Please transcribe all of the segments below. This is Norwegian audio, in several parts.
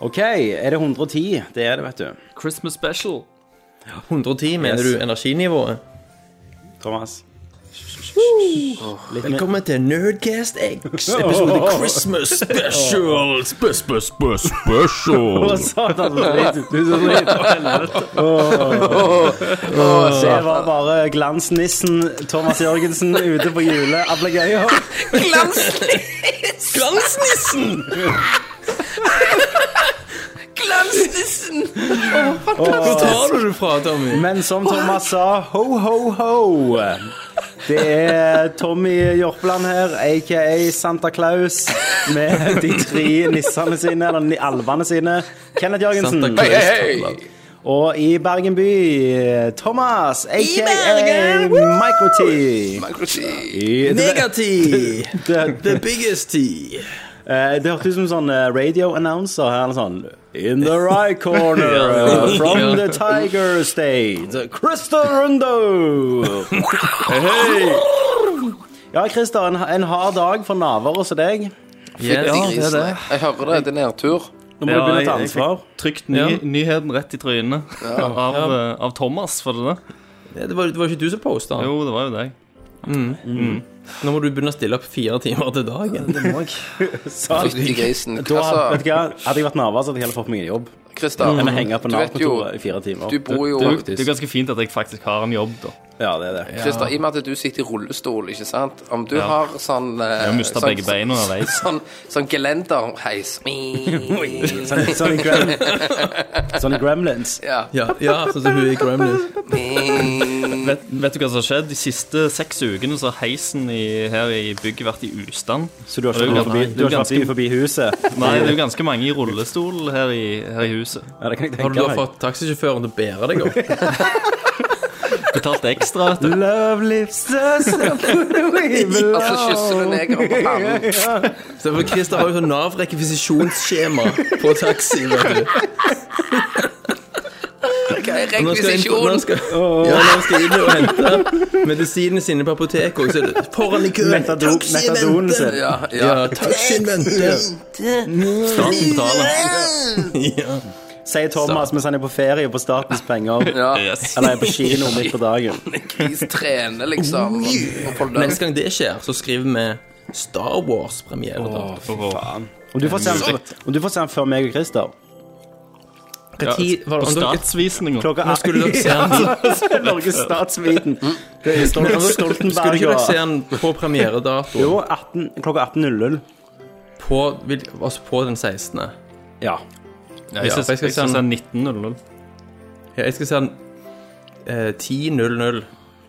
OK, er det 110? Det er det, vet du. Christmas special. 110, mener Yes. du energinivået? Thomas. Velkommen til Nerdcast X, episode Christmas Special. Spes, spes, spes, special. Det var bare glansnissen Thomas Jørgensen ute på juleablegøya. Glansnissen! Glansnissen! Hvor tar du det fra, Tommy? Men som Thomas sa, ho, ho, ho. Det er Tommy Jørpeland her, aka Santa Claus, med de tre nissene sine, eller ni- alvene sine. Kenneth Santa Jørgensen. Claus. Og i Bergen by, Thomas, aka Bergen, Micro-T. I- det- Negativ! det- The biggest tea. Eh, Det hørtes ut som sånn eh, radio announcer her, eller sånn In the right corner, Ja. eh, from Ja. the tiger state, Christer Rundo! Ja, Christer, en, en hard dag for naver hos deg. Yes. Ja, det er det. Jeg hører det, det er nedtur. Nå må du begynne å ta ansvar. Trykt ny, Ja. nyheten rett i trynet av, eh, av Thomas, var det det? Det var, det var ikke du som posta. Jo, det var jo deg. Nå må du begynne å stille opp fire timer til dagen. Så, Fytti grisen. da, vet Altså, du hva? Hadde jeg vært naver, så hadde jeg heller fått meg en jobb. Christer, Mm. Enn å henge på du vet jo Nav-kontoret i fire timer. Du bor jo Det, er jo- det er jo ganske fint at jeg faktisk har en jobb, da. Ja, det er det. Christer, i og med at du sitter i rullestol, ikke sant Om du har sånn eh, Jeg har mista sånn, begge beina underveis. Sånn, sånn gelenderheis Sånn, sånn, i grem, sånn i Gremlins. ja. Ja, ja sånn som hun i Gremlins. Vet, vet du hva som har skjedd? De siste seks ukene så har heisen i, her i bygget vært i ustand. Så du har Det er ikke jo gått forbi, ganske- du har ikke vært forbi forbi huset? Nei, det er jo ganske mange i rullestol her i, her i huset. Ja, det kan jeg Har du tenke da meg. fått taxisjåføren til å bære deg opp? Betalt ekstra, vet du. Love lives us, put away Og så kysser du negeren på pannen. Så for Christer har jo sånn Nav-rekvisisjonsskjema på taxi, vet du. Hva er Nå skal, inn, nå, rekvisisjon? skal, ja, nå skal jeg inn og hente medisinene sine på apoteket også. så er det Foran i køen! Metadon, Taxien metadonen venter! sin. Ja, ja. Ja, taxien venter! Staten betaler. Ja. Sier Thomas mens han er på ferie på statens penger. ja. Yes. Eller er på kino midt på dagen. Gris trener, Oh, liksom. Og får lønn. Neste gang det skjer, så skriver vi Star Wars-premiere. da. Om du får se han, om du får se han før meg og Christer Ja, Ti- var det- om på dere- statsvisninga. Altså, Klokka Nå skulle dere se han er Norges statsviten. Mm. Det er Stol- Skulle Stoltenberg ikke og dere se han på premieredato? Jo, 18, klokka 18.00. På, vil- altså på den 16. Ja. Ja, Ja, jeg syns for jeg skal jeg se synes det er han 19.00. Jeg skal se han eh, 10.00,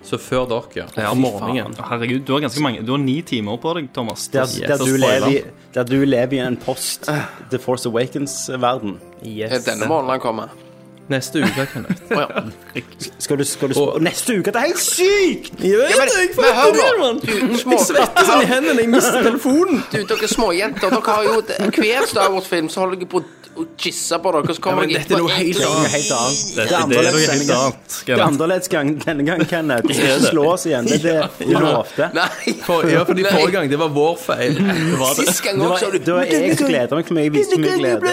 så før dere. Ja, om fy morgenen. faen. Herregud, du har ganske mange Du har ni timer på deg, Thomas. Der, Yes. der, Så du spoiler. lever i, der du lever i en post The Force Awakens-verden. Er det Yes. denne morgenen han kommer? Neste uke, Kenneth. Å ja. Skal du, skal du sp- Og- Neste uke! Det er helt sykt! Jeg vet men- jeg men fatter hør det, nå. mann. Du, små- Jeg svetter sånn i hendene, jeg mister telefonen. Du, dere småjenter, dere har jo hver Star Wars-film så holder dere på å jisse på dere, så Ja, kommer men dere dette er noe helt Det er noe annet. helt annet. Det Det, er det, det er noe annerledes helt denne gangen. annet. Det Skal er jeg annerledes gang denne gang, Kenneth. Du skal ikke slå oss igjen. Det er det du lovte. Nei, For, ja, fordi Nei. Mm. forrige gang, det var vår feil. sist gang Det var, også har du det var jeg som gleda meg, for jeg viste mye glede.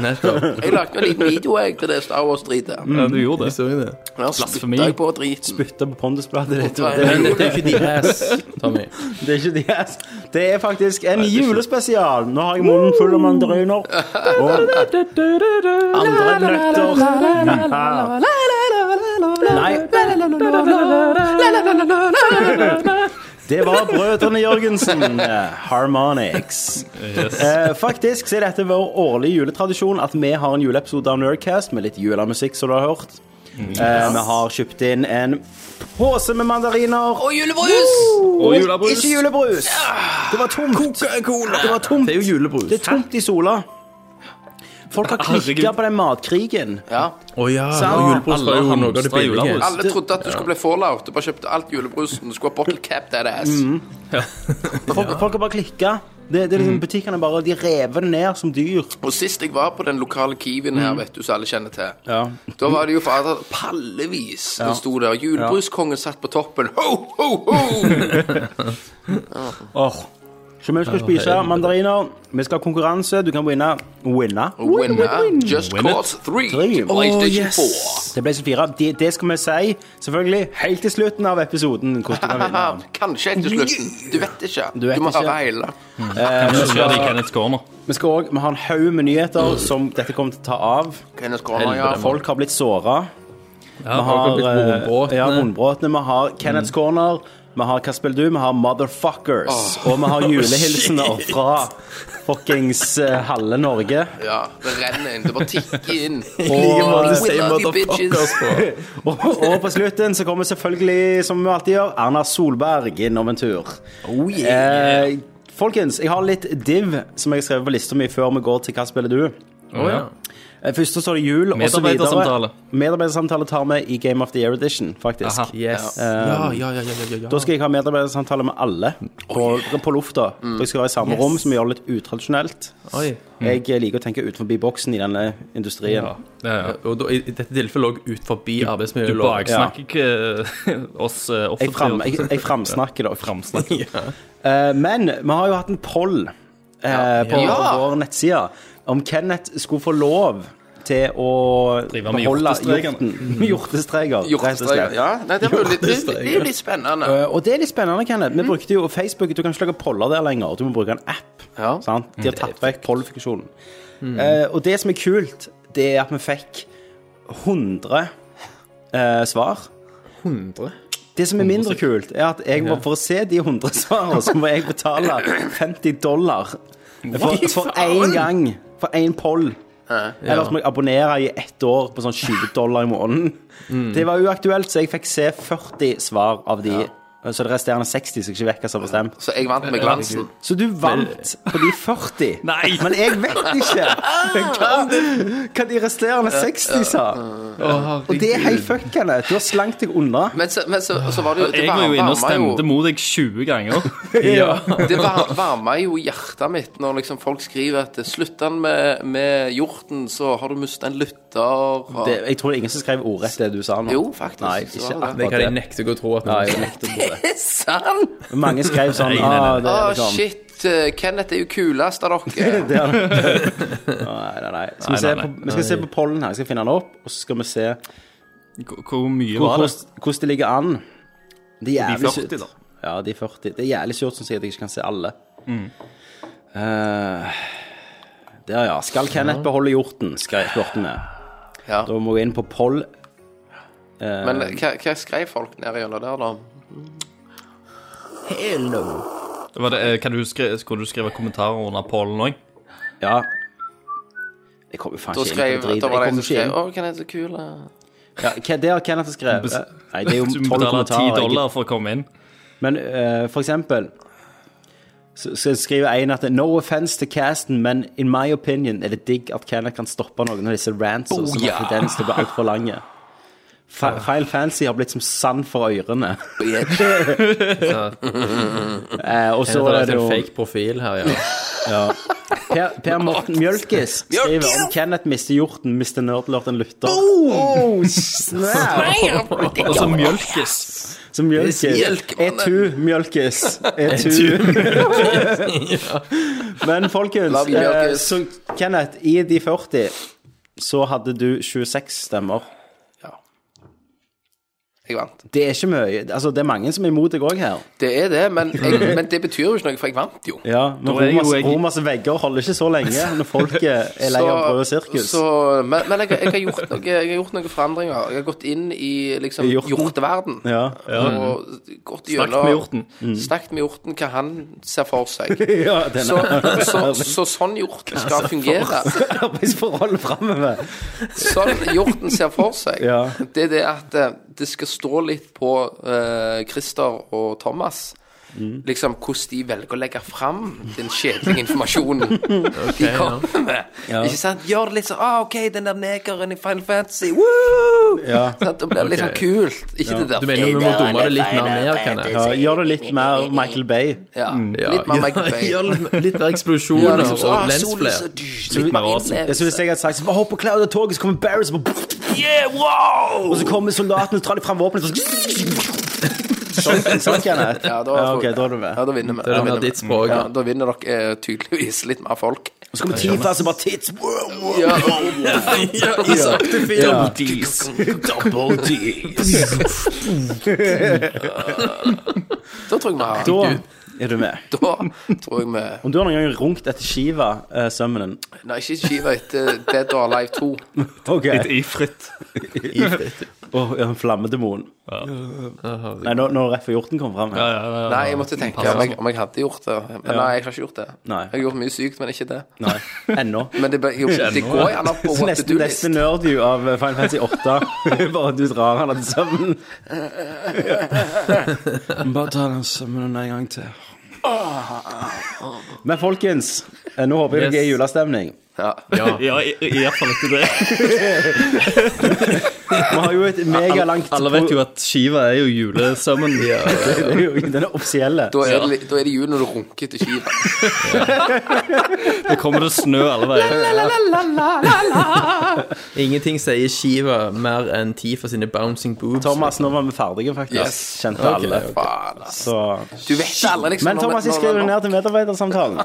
Nettopp. Jeg lagde en liten video jeg, til det Star Wars-dritet. Mm. Ja, du gjorde Jeg det. så jo det. Der Blasfemi. spytta jeg på driten. Bytta på pondusbladet ditt. og Det, Men dette er jo ikke de ass, Tommy. det er ikke det. ass. Det er faktisk en julespesial. Nå har jeg munnen full av mandariner. Og andre nøtter. Nei. Det var brødrene Jørgensen. Harmonix. Yes. Eh, faktisk så er dette vår årlige juletradisjon at vi har en juleepisode av Nerdcast med litt julemusikk, som du har hørt. Mm. Eh, vi har kjøpt inn en pose med mandariner. Og julebrus! Og julebrus. Ikke julebrus! Det var tomt. Det var tomt. Det er jo julebrus. Det er tomt i sola. Folk har klikka Herregud. på den matkrigen. Ja. Å ja, Sant. og Ah, julebrus var jo noe av det Alle hamstrer billige. Alle trodde at du skulle bli fallout. Du bare kjøpte alt julebrusen. Du skulle ha bottle cap that ass. Mm. Folk, folk har bare klikka. Det, det er liksom Butikkene bare de rever det ned som dyr. Og sist jeg var på den lokale Kiwien Mm. her, vet du, som alle kjenner til, Ja. da var det jo fader pallevis som sto der. Julebruskkongen satt på toppen. Ho, ho, ho! Åh. Så vi skal spise mandariner. Vi skal ha konkurranse. Du kan vinne. Winne. Winner Just Win it. Oh, Cause 3. Three. til PlayStation yes. 4. Det ble så fire. Det, det skal vi si, selvfølgelig, helt til slutten av episoden. hvordan du kan vinne den. Kanskje helt til slutten. Du vet ikke. Du, vet må ikke. høre hele. Kanskje skjer det i Kenneth Corner. Vi skal også, vi har en haug med nyheter som dette kommer til å ta av. Kenneth Corner, ja. Helvete, mann. Folk har blitt såra. Ja, Vi har, blitt eh, morgenbråtne. ja, Hornbråtene. Vi har Kenneths Corner. Vi har Hva spiller du? Vi har Motherfuckers. Og vi har julehilsener fra fuckings eh, halve Norge. ja. Det renner inn. Det bare tikker inn. like måte, We love you, bitches. Og, og på slutten så kommer selvfølgelig, som vi alltid gjør, Erna Solberg innom en tur. Oh, yeah. Eh, folkens, jeg har litt div som jeg har skrevet på lista mi før vi går til Hva spiller du? Å, ja. Eh, Først så står det jul, og så videre. Medarbeidersamtale. Medarbeidersamtale tar vi i Game of the Year Edition, faktisk. Aha. Yes. Eh, Ja, ja, ja, ja, ja, Da skal jeg ha medarbeidersamtale med alle Oh, på, på lufta. Mm. Dere skal være i samme Yes. rom, som vi gjør litt utradisjonelt. Oi. Jeg eh, liker å tenke utenfor boksen i denne industrien. Ja, ja, ja. Og da, i dette tilfellet òg ut forbi Du arbeidsmiljøloven. baksnakker ikke oss eh, offentlig. Jeg, fram, jeg, jeg framsnakker det. Eh, men vi har jo hatt en poll eh, på Ja. vår nettside om Kenneth skulle få lov til å Drive med hjortestrekene. hjorten. Hjortestreker, rett og Hjortestreker. slett. Ja, nei, det er jo litt- det- det er jo litt spennende. Eh, Og det er litt spennende, Kenneth. Vi brukte jo Facebook. Du kan ikke lage poller der lenger. Du må bruke en app. Ja. Sant? De har tatt vekk pollfunksjonen. Eh, og det som er kult, det er at vi fikk 100 eh, svar. 100. Det som er mindre kult, er at jeg må, for å se de 100 svarene, så må jeg betale 50 dollar for, for én gang. For én poll. Ellers må jeg abonnere i ett år på sånn 20 dollar i måneden. Det var uaktuelt, så jeg fikk se 40 svar av de. Eh, Så det resterende 60 som ikke vekker seg bestemt. Så jeg vant med glansen. Så du vant på de 40. Nei. Men jeg vet ikke hva, hva de resterende 60 sa. Og det er helt fuckende. Du har slangt deg unna. Men så, men så, så var det jo det Jeg var jo varma- inne og varma jo- stemte mot deg 20 ganger. Det var, varma jo hjertet mitt når liksom folk skriver at 'slutt den med, med hjorten, så har du mistet en lytter'. Og... det, jeg tror det er ingen som skrev ordrett det du sa nå. Jo, faktisk, Nei, så ikke var det. akkurat Det det. kan jeg nekte å tro at Nei, jeg nekter på det. Det er sant! Mange skrev sånn Nei, nei, ah, nei. det Å, er liksom shit. eh, Kenneth er jo kulest av dere. det er det. Nei, nei, nei. Skal vi, se Nei, nei, på, nei. vi skal se på pollen her. Jeg skal finne den opp, og så skal vi se Hvor- Hvor mye var det? hvordan, hvordan det ligger an. Det er De jævlig 40, surt. da. Ja, de 40. Det er jævlig surt som sier at jeg ikke kan se alle. Mm. Eh, der, ja. Skal Kenneth beholde hjorten? Skrev hjorten med. Ja. Da må vi inn på poll. Men hva, hva skrev folk nede gjennom der, da? Var det eh, kan du skri, skulle du skrive kommentarer under pollen òg? Ja. Jeg kommer faen Da ikke inn skrev på det dritet. da Jeg var det en kommer som ikke inn. skrev 'Å, Kenneth er så kul'. eh». Ja, hva- det har Kenneth skrevet. Bes- Nei, det er jo Du 12 må betale 10 kommentarer. dollar for å komme inn. Men eh, for eksempel så så skriver en at No offense til casten, men in my opinion er det digg at Kenneth kan stoppe noen av disse rantsa Oh, som har tendens til å bli altfor lange. Ah. Fa- Final Fantasy har blitt som sand for ørene. Eh, og så Det er er det en jo fake profil her, ja. Per, per Morten Mjølkes skriver om Kenneth mister hjorten, mister nerdlord en lytter. Oh! snap! Og så mjølkes. Så mjølkes. Mjølk, mannen. Etu mjølkes. Etu. Men folkens, Love you, eh, mjølkes. så Kenneth, i de 40 så hadde du 26 stemmer. Jeg vant. Det er ikke mye. Altså, det er mange som er imot deg òg her. Det er det, men, jeg, men det betyr jo ikke noe, for jeg vant jo. Ja, men Da er jo Romers, jeg- Romers vegger holder ikke så lenge når folket er lei av brød og sirkus. så- men men jeg, jeg, har gjort noe, jeg har gjort noen forandringer. Jeg har gått inn i liksom I hjorten. hjorteverden. Ja. Mm. Og gått Snakk med hjorten. Snakket med hjorten hva han ser for seg. ja denne Så, så, så sånn hjorten skal fungere. arbeidsforholdet framover. Sånn hjorten ser for seg, Ja. det er det at eh, det skal stå litt på eh, Christer og Thomas. Mm. Liksom hvordan de velger å legge fram den kjedelige informasjonen de kommer med. Ikke sant? Gjør det litt sånn ah, OK, den der negeren i Final Fantasy, woo! Ja. Sant? Da blir det litt sånn kult. Ikke det der Du mener vi må dumme det litt mer ned, Kenneth? Ja, gjør det litt mer Michael Bay. ja. Mm. Ja, Litt mer Michael Bay. ja, litt- litt mer Ja, eksplosjoner liksom sånn, og ah, solen er lensflare. så dyr, litt mer innlevelse. Det er som hvis jeg hadde sagt Hopp på Cloud og toget, så kommer Barris og bare- Og så kommer soldatene og drar de fram våpenet og så Sånn, sånn Kenneth? Ja, da, ok, da er du med. Ja, da vinner vi. er Da mer vinner vi. ditt språk, ja. Ja, da vinner dere eh, tydeligvis litt mer folk. Så kommer Tifa som bare tits. Wow, wow. Ja, Sakte film. Ja. D's. da tror jeg vi har Da er du med. Da tror jeg vi Om du har noen gang runkt etter Shiva uh, Summon Nei, ikke skiva etter Dead or Alive 2. Ok. Ifrit. Og en flammedemon. Nei, nå, når Ref og Hjorten kom fram her. Nei, jeg måtte tenke om jeg, om jeg hadde gjort det. Men nei, jeg har ikke gjort det. Nei. Jeg har gjort mye sykt, men ikke det. Nei. Ennå. Men det, ble- jo, det går gjerne på Så what to nesten, do-list. nesten nerd you av eh, Final Fantasy 8. Bare du drar han etter søvnen. Bare ta den søvnen en gang til. Men folkens, eh, nå håper jeg dere er i julestemning. Ja. Ja, i, i hvert fall ikke det. Vi har jo et megalangt Alle vet jo at Shiva er jo julesømmen. pro- det er jo- Den er offisielle. Da er, det, da er det jul når du runker til skiva. Det kommer til å snø alle veier. Ingenting sier Shiva mer enn Tifa sine bouncing boobs. Thomas, nå var vi ferdige, faktisk. Yes. Kjente Ok, alle. ok. Faen, ass. Så. Du vet aldri, liksom. Men når- Thomas, jeg når- skriver når- det ned til medarbeidersamtalen.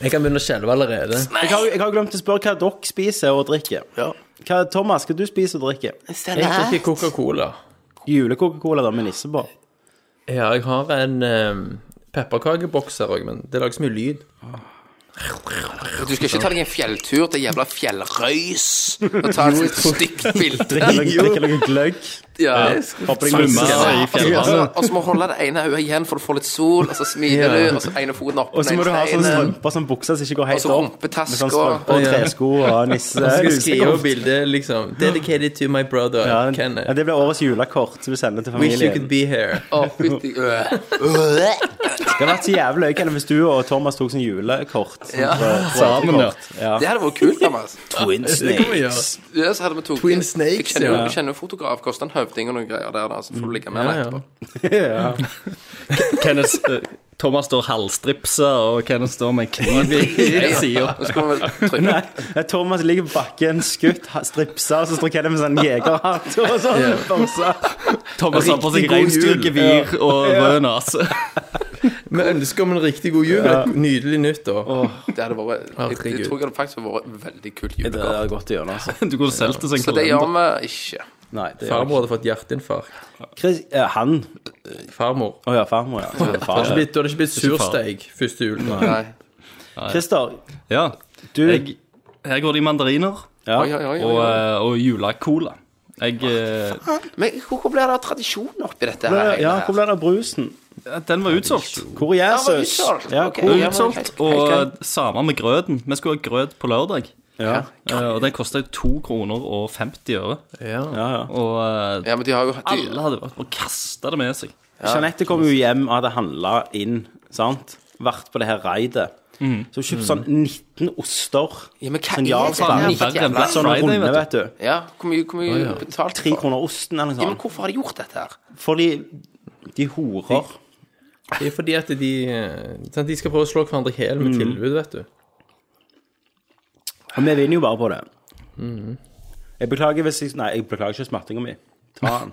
Jeg kan begynne å skjelve allerede. Jeg har, jeg har glemt å spørre hva dere spiser og drikker. Hva, Thomas, hva du spiser og drikker? Jeg drikker Coca-Cola. Jule-Coca-Cola da med nisse på. Ja, jeg har en um, pepperkakeboks her òg, men det lager så mye lyd. Du skal ikke ta deg en fjelltur til jævla fjellrøys og ta et sånt stygt bilde. Drikker noe- drikker noe gløgg. Ja. Hopper deg Svømmer med i fjellvannet. Og så må du holde det ene øyet igjen for du får litt sol, og så smiler du, og så ene foten opp Og så må du ha sånn sånne strømper som bukser som ikke går helt Og så opp. rumpetaske Med sånne strømper og og- tresko og nisse. Jeg skal skrive lusekort. bildet, liksom. 'Dedicated to my brother, Ja, den- ja, Kenneth. det blir årets julekort som du sender til Wish you could familien. be here. Å, fytti øh. Det hadde vært så jævlig løye Kenneth, hvis du og Thomas tok sånn julekort. sånn Ja. fra- fra- Sammen, ja. Det hadde vært kult, Thomas. Twin Snakes. Ja, så hadde vi tok Twin Snakes, Jeg kjenner jo ja. jeg kjenner jo fotograf, koster en høvding og noen greier der, da, så får du ligge med Ja, deg ja. etterpå. Ja. Kenneth, eh, Thomas står halvstripsa, og Kenneth står med en kniv i sida. Og så kommer vi trykke Nei, Thomas ligger på bakken, skutt, ha- stripsa, og så står Kenneth med sånn jegerhatt og sånn. bukser. Thomas har på seg Riktig god reinsdyr, jul. gevir og rød nase. Vi ønsker om en riktig god jul. et Nydelig nyttår. Det hadde vært jeg, jeg, Herregud. tror det hadde faktisk vært veldig kult Det julekort. er godt å gjøre, altså. Du kunne solgt det som en Så det gjør kalender. vi ikke. Nei, det er Farmor hadde fått hjerteinfarkt. Chris, eh, Han Farmor. Å ja, farmor, ja. Så det er Du hadde Far. ikke blitt, du hadde ikke blitt Ikke far. sursteig første julen. Nei. Christer, Ja. du Jeg, her går det i mandariner ja. Oi, oi, oi, og, oi. eh, og julecola. Jeg, eh, Men hvor blir det av tradisjon oppi dette her? Ja, egentlig? hvor ble det av brusen? den var utsolgt. Hvor er Ja, var Jesus? utsolgt. Ja, Ok. hvor, Ja, men Utsolgt. helt- helt greit. Og samme med grøten. Vi skulle ha grøt på lørdag, ja, eh, og den kosta to kroner og 50 øre. ja, ja. Og eh, Ja, men de har jo hatt alle hadde vært og kasta det med seg. Jeanette kom jo hjem og hadde handla inn, sant? Vært på det her raidet. Så hun kjøpte sånn 19 oster. Ja, men hva Sånn er Jarlsberg. det her? Verre enn Black Sånn Friday, runde, vet du. vet du. Ja, hvor mye, hvor mye betalte Tre de for? kroner osten eller Ja, noe men sånt. hvorfor har de gjort dette her? Fordi de horer. Det er fordi at de eh, sant, De skal prøve å slå hverandre i hjel Mm. med tilbud, vet du. Og vi vinner jo bare på det. Jeg beklager hvis jeg Nei, jeg beklager ikke smattinga mi. Ta den.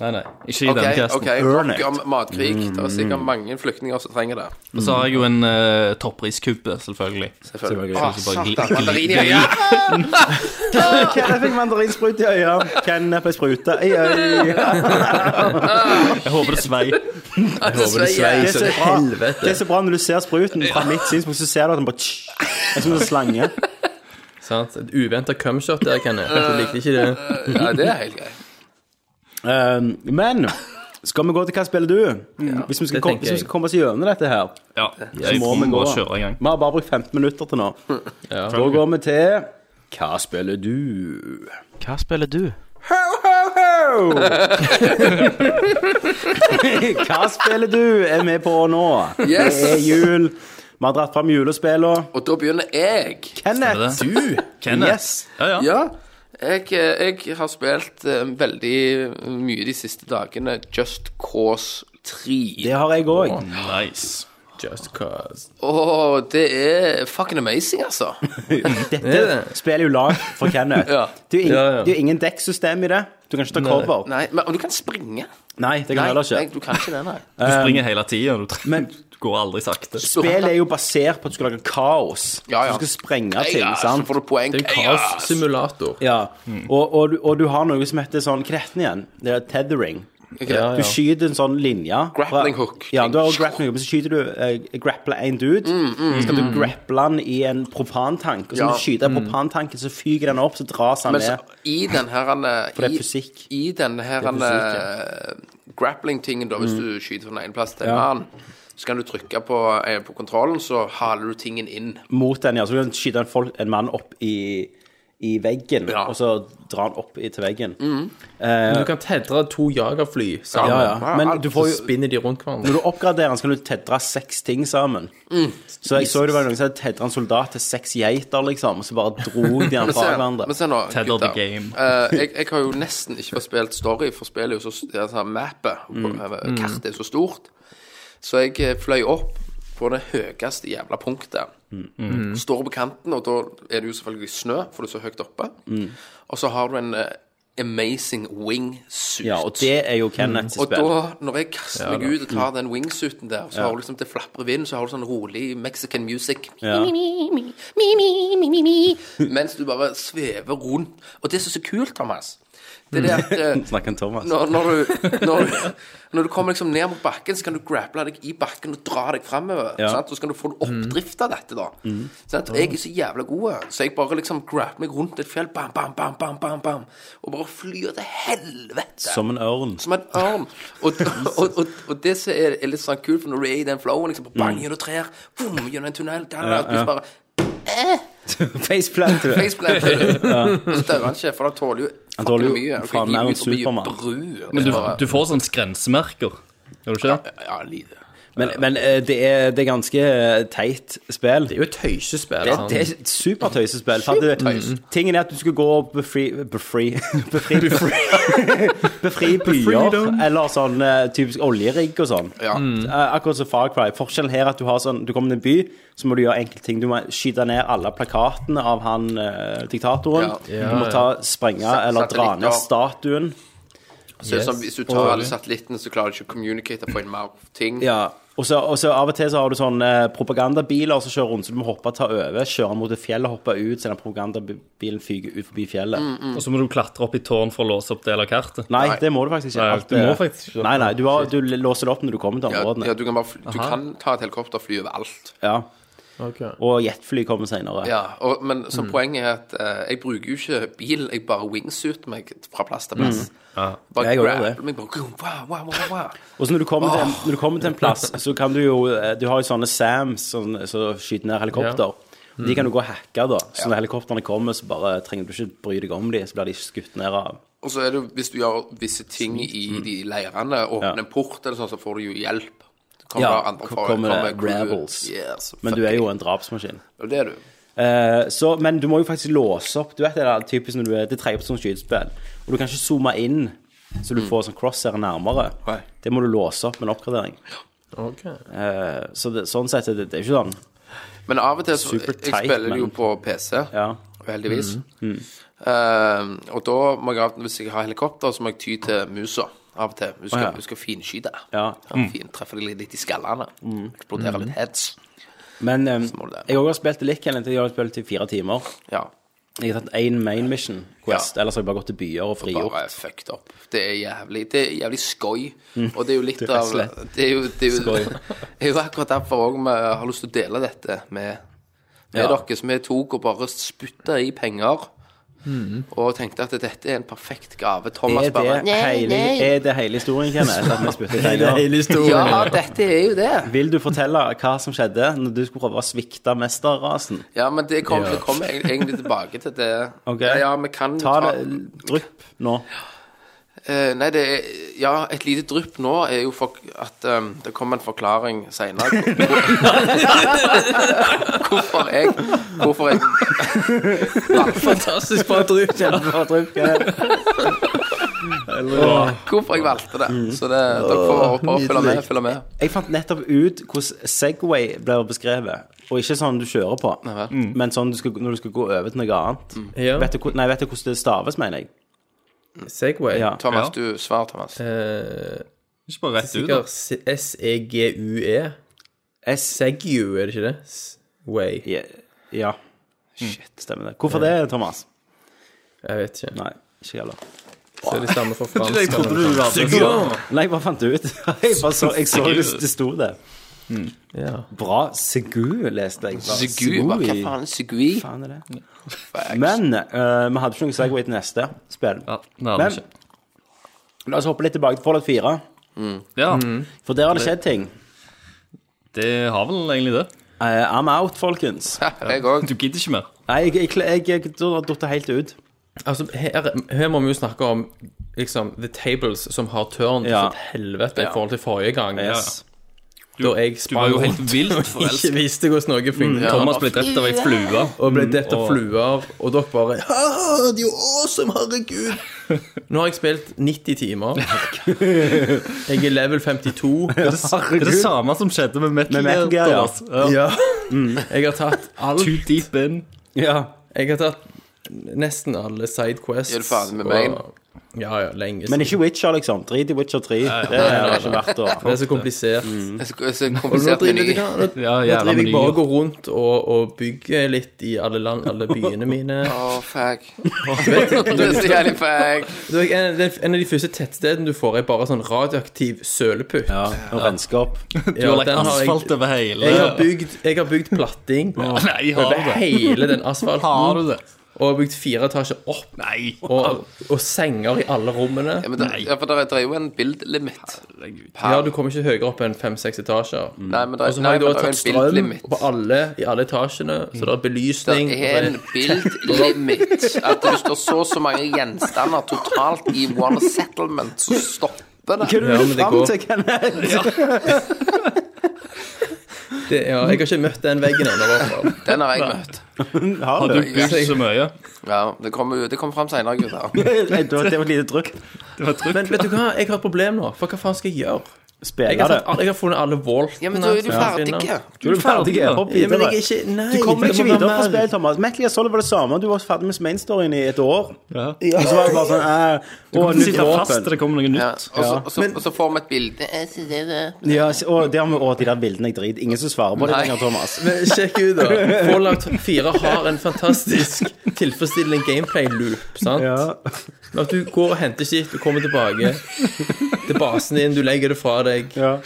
Nei, nei, ikke i Ok, denne kassen. ok, Earn it. om matkrig. Det er sikkert mange flyktninger som trenger det. Og så har jeg jo en uh, toppriskuppe, selvfølgelig. Selvfølgelig. Så Å, bare Ah, satan, gli- mandarin i gli- øya! Kenneth fikk mandarinsprut i øya. Kenneth ble spruta i øya. Jeg håper det svei. Det er Sverige. Det er så bra, helvete. det er så bra når du ser spruten fra mitt synspunkt, så ser du at den bare tsk, er som en slange. Sant? Et uventa cumshot der, Kenneth. Du likte ikke det? Eh, Ja, det er helt greit. Um, men skal vi gå til hva spiller du? Hvis vi skal, det kom, tenker hvis vi jeg. skal komme oss gjennom dette her, Ja, jeg må vi må gå. bare kjøre i gang. Vi har bare brukt 15 minutter til nå. Da går vi til Hva spiller du? Hva spiller du? Ho! Hva spiller du er vi på nå? Yes! Det er jul. Vi har dratt fram julespillene. Og da begynner jeg. Kenneth, Stemmer du! Kenneth. Yes. Ja, ja. Ja. Jeg, jeg har spilt eh, veldig mye de siste dagene Just Cause 3. Det har jeg òg. Nice. Just cause. Og det er fucking amazing, altså. Det er det. Spiller jo lag for Kenneth. Ja. Det er jo ingen, Ja, ja. det er jo ingen dekksystem i det. Du kan ikke ta cover. Nei, Nei, men, og du kan det springe. kan du heller nei, ikke. du kan ikke det, nei. Du springer hele tida. Du, tre- men- du går aldri sakte. Spillet er jo basert på at du skal lage kaos. Ja, ja. Du skal sprenge ting, Ja, så sant? får du poeng. Det er jo Ja. kaossimulator. Ja. Og, og, du- og du har noe som heter sånn Hva heter den igjen? Det er tethering. Ja, Du skyter en sånn linje. Grappling hook. Ja, du har grappling hook, men så skyter du eh, grappler en dude. så skal du grapple han i en propantank, og så Mm, Ja. når du skyter propantanken, så fyker den opp, så dras han Men så, ned. i den her eh, For det er fysikk. I, i den her eh, Det er Mm. grappling-tingen, da, hvis du skyter fra den ene plass til en annen, så kan du trykke på, eh, på kontrollen, så haler du tingen inn. mot den, ja. Så kan du skyte en, folk, en mann opp i, i veggen, Ja. og så dra han opp i, til veggen. Du kan tedre to jagerfly sammen. Ja, ja. Men du får Så jo spinner de rundt når hverandre. du oppgraderer den, så kan du tedre seks ting sammen. Mm. Så jeg så det var noen som hadde tedra en soldat til seks geiter, liksom, og så bare dro de han Men se, fra hverandre. men se nå, Tether the gutter. game. Eh, jeg, jeg har jo nesten ikke fått spilt story, for spillet er jo så det er sånn mappet. Mm. og eh, Kartet er så stort. Så jeg eh, fløy opp på det høyeste jævla punktet. Mm. Mm. Står på kanten, og da er det jo selvfølgelig snø, for det er så høyt oppe. Mm. Og så har du en eh, amazing wingsuit. Ja, og det er jo Kenneths Mm. Og spill. da, når jeg kaster meg ut og tar den wingsuiten der, så har du liksom det flaprer vind, så har du sånn rolig mexican music. Mens du bare svever rundt. Og det som er så kult, Thomas, det er det at eh, Snakker han Thomas. når, når, du, når, du, når du kommer liksom ned mot bakken, så kan du grapple deg i bakken og dra deg framover. Ja. Mm. Og så kan du få en oppdrift av dette, da. Sant? Jeg er så jævla god, så jeg bare liksom grapper meg rundt et fjell, bam, bam, bam, bam, bam, bam, og bare flyr til helvete. Som en ørn. Som en ørn. Og, og, og, og det som er, er litt sånn kult, for når du er i den flowen, liksom, bang Mm. gjennom trær, boom, gjennom en tunnel, der, der, plutselig bare Faceplant. du. faceplanter du. Så dør han ikke, for han tåler jo Han tåler jo fucking mye. faen mer enn Superman. Bru, Men du, bare, du får sånn sånne grensemerker. Gjør du ikke det? Ja, lite. Men, men eh, det, er, det er ganske eh, teit spill. Det er jo et tøysespill. Det, Sånn sant? det er et supertøysespill. for at du- Mm. Tingen er at du skulle gå og befri Befri Befri, befri byer, eller sånn eh, typisk oljerigg og sånn. Ja. Eh, akkurat som Far Cry. Forskjellen her er at du har sånn Du kommer til en by, så må du gjøre enkelte ting. Du må skyte ned alle plakatene av han eh, diktatoren. Ja. Du må ta sprenge eller dra ned statuen. Så det er Yes. som hvis du tar alle satellittene, så klarer du ikke å communicate på en mer ting. Ja. Og så, og så Av og til så har du sånn eh, propagandabiler som kjører rundt, så du må hoppe, ta over, kjøre mot et fjell og hoppe ut, så den propagandabilen fyker ut forbi fjellet. Og så må du klatre opp i tårn for å låse opp del av kartet. Nei, det må du faktisk ikke. Nei, Alt du er- må faktisk ikke. Nei, nei, du, har, du låser det opp når du kommer til Ja, områdene. ja, Ja, du kan bare fly, du kan ta et helikopter og fly over alt. Ok. Og jetfly kommer senere. Ja, og, men så Mm. poenget er at eh, jeg bruker jo ikke bil, jeg bare wingsuiter meg fra plass til plass. Bare Mm. Jeg gjør det. grabber meg bare wow, wow, wow, wow. Og så når du, kommer til en, når du kommer til en plass, så kan du jo eh, Du har jo sånne SAMs som som skyter ned helikopter. De Mm. kan du gå og hacke, da. Så når helikoptrene kommer, så bare trenger du ikke bry deg om dem, så blir de skutt ned av Og så er det jo, hvis du gjør visse ting Mm. i de leirene, åpner en port eller sånn, så får du jo hjelp. Det Kommer Ja, andre k- folk, kommer det crew. rebels. Yes, Men du er jo en drapsmaskin. fucking- Det er du. Eh, så, men du må jo faktisk låse opp. Du vet det er typisk når du er til tredjepersons skytespill, og du kan ikke zoome inn så du får sånn crosshair nærmere. Mm. Nei. Det må du låse opp med en oppgradering. Ok. Eh, så det, sånn sett er det, det er ikke sånn. Men av og til så Super Jeg tight, spiller det jo men- på PC, Ja. Mm, heldigvis. Eh, og da må jeg av og til, hvis jeg har helikopter, så må jeg ty til musa. Av og til. Hun skal, Å, ja. hun skal finskyte. Ja. Mm. Fin, treffe deg litt i skallene. Eksplodere litt heads. Men eh, må du det. jeg har også spilt litt Kenneth. Jeg har spilt i fire timer. Ja. Jeg har tatt én main mission quest, ellers har jeg bare gått til byer og frigjort. Bare fucked up. Det er jævlig Det er jævlig skøy. Mm. Og det er jo litt av Det er jo, det er jo, det er jo akkurat derfor òg vi har lyst til å dele dette med, med Ja. dere. Så vi tok og bare spytta i penger. Og tenkte at dette er en perfekt gave. Thomas Mm. Er det, bare hele, er det hele historien, Kenneth? At vi spytter penger? Ja, dette er jo det. Vil du fortelle hva som skjedde når du skulle prøve å svikte mesterrasen? Ja, men det kommer kom eg- egentlig tilbake til det. Ok. Ja, ja, vi kan Ta det drypp nå. Eh, nei, det er Ja, et lite drypp nå er jo for at ehm, det kommer en forklaring seinere. hvorfor jeg Hvorfor jeg Fantastisk bra drypp. Kjempebra drypp. Kenneth. hvorfor jeg valgte det. Så det, dere får bare følge med. Følge med. Jeg fant nettopp ut hvordan Segway blir beskrevet. Og ikke sånn du kjører på, vel. men sånn du skal, når du skal gå over til noe annet. Ja. Vet du, hvor- nei, vet du hvordan det staves, mener jeg? Segway. Ja. Ja. Thomas, du svar, Thomas. Eh, Ikke bare rett ut. da. sikkert E se- S-E-G-U-E. S Seggu, er det ikke det? Way. Ja. ja. Shit, stemmer det. Hvorfor det, Thomas? Jeg vet ikke. Nei, ikke heller. Så de stammer fra fransk. Jeg trodde eller noe du sånt. hadde sånn. Nei, jeg bare fant det ut. Jeg, bare så, jeg så det, det sto det. Ja. Bra. Segu leste jeg. Bare. Segui, hva hva faen er Segui? faen er det? Men eh, vi hadde ikke noen Segway til neste spill. Ja, det hadde Men- jeg ikke. La oss hoppe litt tilbake til Fallout 4, Ja, for der har det skjedd ting. det har vel egentlig det. Eh, I'm out, folkens. Ja, jeg òg. Du gidder ikke mer. Nei, jeg, jeg, jeg, jeg, jeg datt helt ut. Altså, her, her må vi jo snakke om liksom The Tables som har turned Ja. ja. til helvete i forhold til forrige gang. Yes. Da jeg Du var sprang jo helt rundt vilt og ikke forelsket. Mm, visste hvordan noe funka. Thomas ble drept av ei flue. Og ble dett Mm, av fluer, og dere bare «Haha, Det er jo awesome, herregud! Nå har jeg spilt 90 timer. Jeg er level 52. Det er det Herregud. samme som skjedde med Metal, Med Metal Gear, ja. Thomas. ja. Ja. Jeg har tatt alt. Too deep in. Ja. Jeg har tatt nesten alle sidequests. Er du ferdig med og- main? Ja, ja, lenge siden. Men ikke Witcher, liksom. Drit i Witcher 3. Det har ikke vært Det å er så komplisert. Så så Og nå komplisert driver meny. jeg, nå, Ja, nå jævla driver jeg bare menyer. og går rundt og, og bygger litt i alle land, alle byene mine. Å, fuck. Det er så jævlig fuck. Så jeg, en, en av de første tettstedene du får, er bare sånn radioaktiv søleputt. ja, å renske opp. Du har lagt den har jeg- asfalt over hele Jeg har bygd, jeg har bygd platting Nei, har over du det? hele den Har du asfalten. det? Og har bygd fire etasjer opp, Nei. og, og senger i alle rommene. Ja, men det, ja, for det er- det er jo en bildlimit. Ja, du kommer ikke høyere opp enn fem-seks etasjer. Nei, men det Og er, så nei, har jeg da men det er tatt en strøm bildlimit. på alle, i alle etasjene, så det er belysning. Det er en bildlimit. At hvis det er så og så mange gjenstander totalt i one settlement, så stopper Hva er det. Ja, det du men det fram går. til, Kenneth? Det, ja, jeg har ikke møtt den veggen ennå. i hvert fall. Den har jeg møtt. Har Har du? du bygd så mye? Ja, Det kommer det kom fram seinere, gutter. Nei, det var det var et lite trykk. Det var trygt. Men vet du hva, jeg har et problem nå. For hva faen skal jeg gjøre? Jeg Spille har, det. tatt, alle- jeg har funnet alle voltene. Ja, men da er du som jeg ferdig. finner. Du er ferdig. Hopp Ja, men videre. jeg er ikke Nei. Du kommer det ikke må være videre fra mer. spillet, Thomas. Metal Gear Solid var det samme. Du var ferdig med main storyen i et år. Ja. Og så var det bare sånn eh, Å, Du nytt sitter fast våpen. til det kommer noe Ja, nytt. og, så, og, så, og så får vi et bilde. Eh, så det er det. Ja, s- og det har vi å, de der bildene jeg driter Ingen som svarer på det Nei. lenger, Thomas. Men sjekk ut, da. Fallout 4 har en fantastisk tilfredsstillende gameplay-loop. sant? Ja. Men At du går og henter shit, du kommer tilbake til basen din, du legger det fra deg. ja.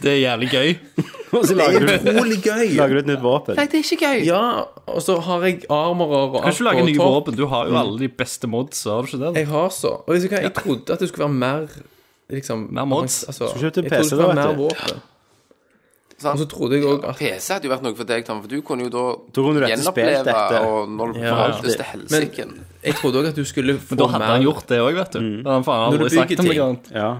Det er jævlig gøy. Og så Det lager er du, utrolig gøy. lager du et nytt våpen. Nei, det er ikke gøy. Ja, og så har jeg armorer og Kan ikke du lage på nye topp. våpen? Du har jo alle de beste mods, har du ikke det? da? Jeg har så. Og vet du hva, jeg trodde at det skulle være mer liksom, Mer mods. Altså, Skulle kjøpt en jeg trodde PC det skulle da, være vet mer våpen. Sant? Og så trodde jeg òg at PC Sånn, hadde jo vært noe for deg, Tom, for du kunne jo Da kunne du da rett og slett spilt gjenoppleve dette. og når du Ja, forholdt ja. til helsiken. Jeg trodde også at du skulle få Da hadde han mer gjort det òg, vet du. Da hadde han faen Mm. Når du aldri sagt bygger om ting. noe annet. Ja.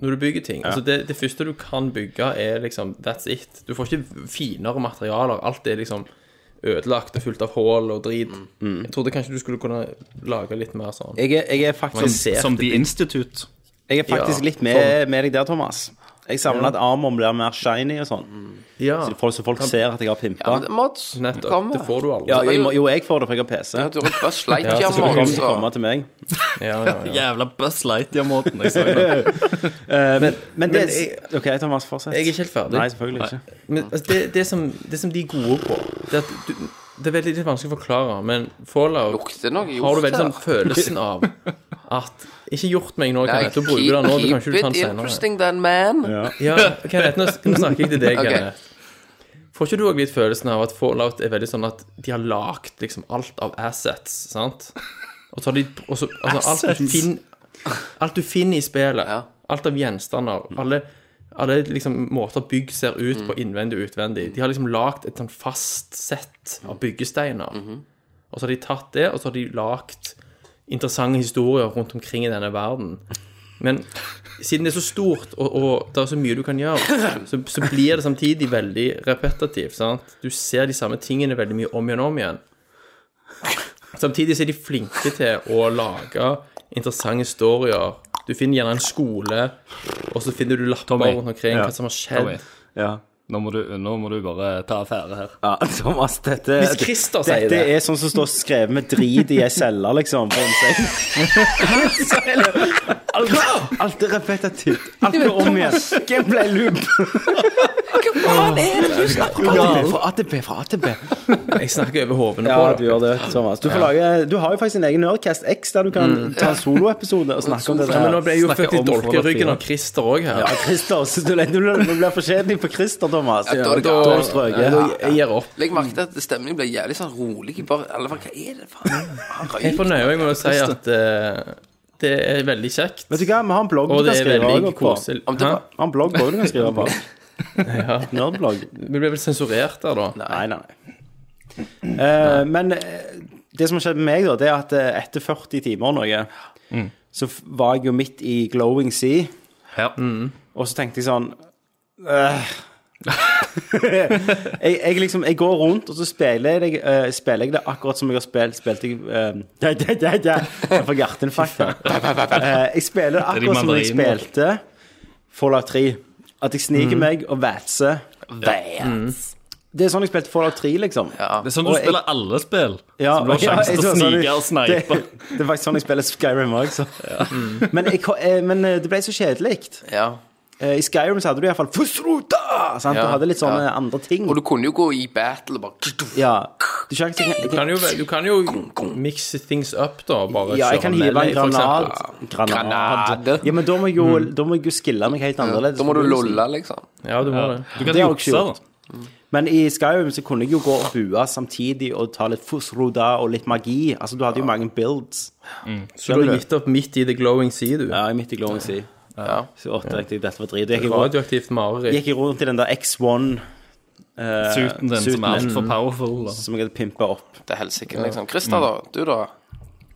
når du bygger ting. Altså, det, det første du kan bygge, er liksom That's it. Du får ikke finere materialer. Alt er liksom ødelagt og fullt av hull og drit. Jeg trodde kanskje du skulle kunne lage litt mer sånn. Jeg, er, jeg er faktisk, Som The Institute. jeg er faktisk Ja. litt med, med deg der, Thomas. Jeg savner at armoren blir mer shiny og sånn. Ja. Så folk, så folk ser at jeg har pimpa. Ja, men Mods, Nettopp. kom Det får du aldri. Ja, jeg må, jo, jeg får det, for jeg har PC. Ja, Du røper Ja, så skal Du kan sleitjammonstre. komme til meg. Ja, ja, ja. Jævla Buzz Lightyear-måten. jeg så det. Men, men det jeg- OK, Thomas, fortsett. Jeg er ikke helt ferdig. Nei, selvfølgelig ikke. Men altså, det, det, som, det som de er gode på Det, er at du, det er veldig litt vanskelig å forklare, men Fallout Lukter noe har du gjort veldig sånn her. følelsen av at Ikke gjort meg nå, Nei, Kenneth. Du bruker det nå, så kanskje du keep kan it senere. interesting, then, man. Ja, Kenneth, nå, nå snakker jeg til deg, Ok. Kenneth. Får ikke du òg litt følelsen av at Fallout er veldig sånn at de har lagd liksom alt av assets, sant? Og så har de og så, altså, alt, du finner, alt du finner i spillet, Ja. Mm. alt av gjenstander, alle, alle liksom måter bygg ser ut på innvendig og utvendig De har liksom lagd et sånn fast sett Mm. av byggesteiner. Mhm. Og så har de tatt det, og så har de lagd interessante historier rundt omkring i denne verden. Men siden det er så stort, og, og det er så mye du kan gjøre, så, så blir det samtidig veldig repetitivt. sant? Du ser de samme tingene veldig mye om igjen og om igjen. Samtidig så er de flinke til å lage interessante historier. Du Du finner gjerne en skole, og så finner du lapper Tommy. rundt omkring hva som har skjedd. Tommy, Ja. nå må, du, nå må du bare ta affære her. ja, Thomas, dette Hvis Christer sier Dette det. er sånn som står skrevet med drit i ei celle, liksom. På en seng. Så er det- Alt, alt er repetitivt. Alt går om igjen. Gameplay loop. ATB fra ATB fra ATB. Jeg snakker over hodene Ja, på du det. gjør det, Thomas. Du, får lage, du har jo faktisk en egen Nerdcast X der du kan ta en soloepisode og snakke om det Men nå der. ble jeg jo Snakker født i om dolkeryggen forholdet av Christer òg her. Ja, Christer, så du, du blir for kjedelig for Christer, Thomas. Ja, da- da har du strøket. Ja, Jeg gir opp. Legg merke til at stemningen blir jævlig sånn rolig. i Bare, alle bare, Hva er det, faen? Ah, Han Jeg røyker. fornøyer meg med å si at eh, det er veldig kjekt. Vet du hva, vi har en blogg Og du det kan er skrive veldig også på. koselig. Om det Hæ? var- Vi har en blogg også du kan skrive på. Nerdblogg. Vi ble vel sensurert der, da. Nei, nei. nei. Eh, men eh, det som har skjedd med meg, da, det er at eh, etter 40 timer og noe, Mm. så f- var jeg jo midt i glowing sea, Ja. og så tenkte jeg sånn eh. jeg, jeg liksom Jeg går rundt, og så spiller jeg, eh, spiller jeg det akkurat som jeg har spilt Spilte jeg eh, da, da, da, da. Jeg får hjerteinfarkt her. Eh, jeg spiller det er de akkurat som jeg mandarinene. Mm. spilte Fallout 3. At jeg sniker meg og vætser. Det er sånn jeg spilte Fallout 3, liksom. Det er sånn du Og jeg- spiller alle spill. så du har ja, sjanse jeg til å tror sånn- snike og snipe. Det, det er faktisk sånn jeg spiller Skyrim òg, så. Men, jeg, ko- eh, men eh, det ble så kjedelig. Ja. Eh, I Skyrim så hadde du iallfall Fusruta! Sant? Du Ja, hadde litt sånne ja. andre ting. Og du kunne jo gå i battle og bare ja. du skjønner ikke Du kan jo, du kan jo mix things up, da. Bare Ja, jeg kan kjøre hive en melee, for eksempel. granat. Granade. Ja, men da må jeg jo, da må jeg jo skille meg helt annerledes. Hmm. Da må du lolle, liksom. Ja, du må det. Du kan Det har jeg jukse, ikke gjort. da. Men i Skyrim så kunne jeg jo gå og bue samtidig og ta litt Fusruta og litt magi. Altså, du hadde jo mange builds. Så du har gitt opp midt i the glowing sea, du. Ja, i midt i glowing sea. Ja. Så oppdaget jeg dette var drit. Jeg gikk rundt- Radioaktivt mareritt. gikk jeg rundt i den der X1 eh, Suiten din suiten som er min, altfor powerful. Da. som jeg hadde pimpa opp. Det er helsike, liksom. Christer, da. Du, da.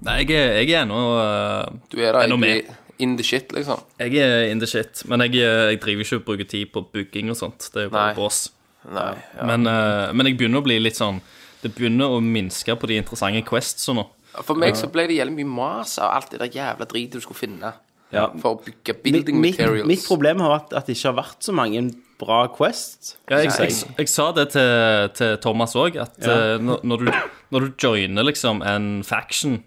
Nei, jeg er, jeg er ennå eh, Du er da Enda egentlig in the shit, liksom. Jeg er in the shit, men jeg, øh, jeg driver ikke og bruker tid på bygging og sånt. Det er jo bare Nei. bås. Nei. Ja. Men, eh, men jeg begynner å bli litt sånn Det begynner å minske på de interessante quests og nå. For meg så ble det jævlig mye mas av alt det der jævla dritet du skulle finne. Ja. For å bygge Mitt, building mitt, materials. mitt problem har vært at det ikke har vært så mange bra Quest. Ja, jeg, jeg, jeg, sa det til, til Thomas òg, at eh, når, når, du, når du joiner liksom en faction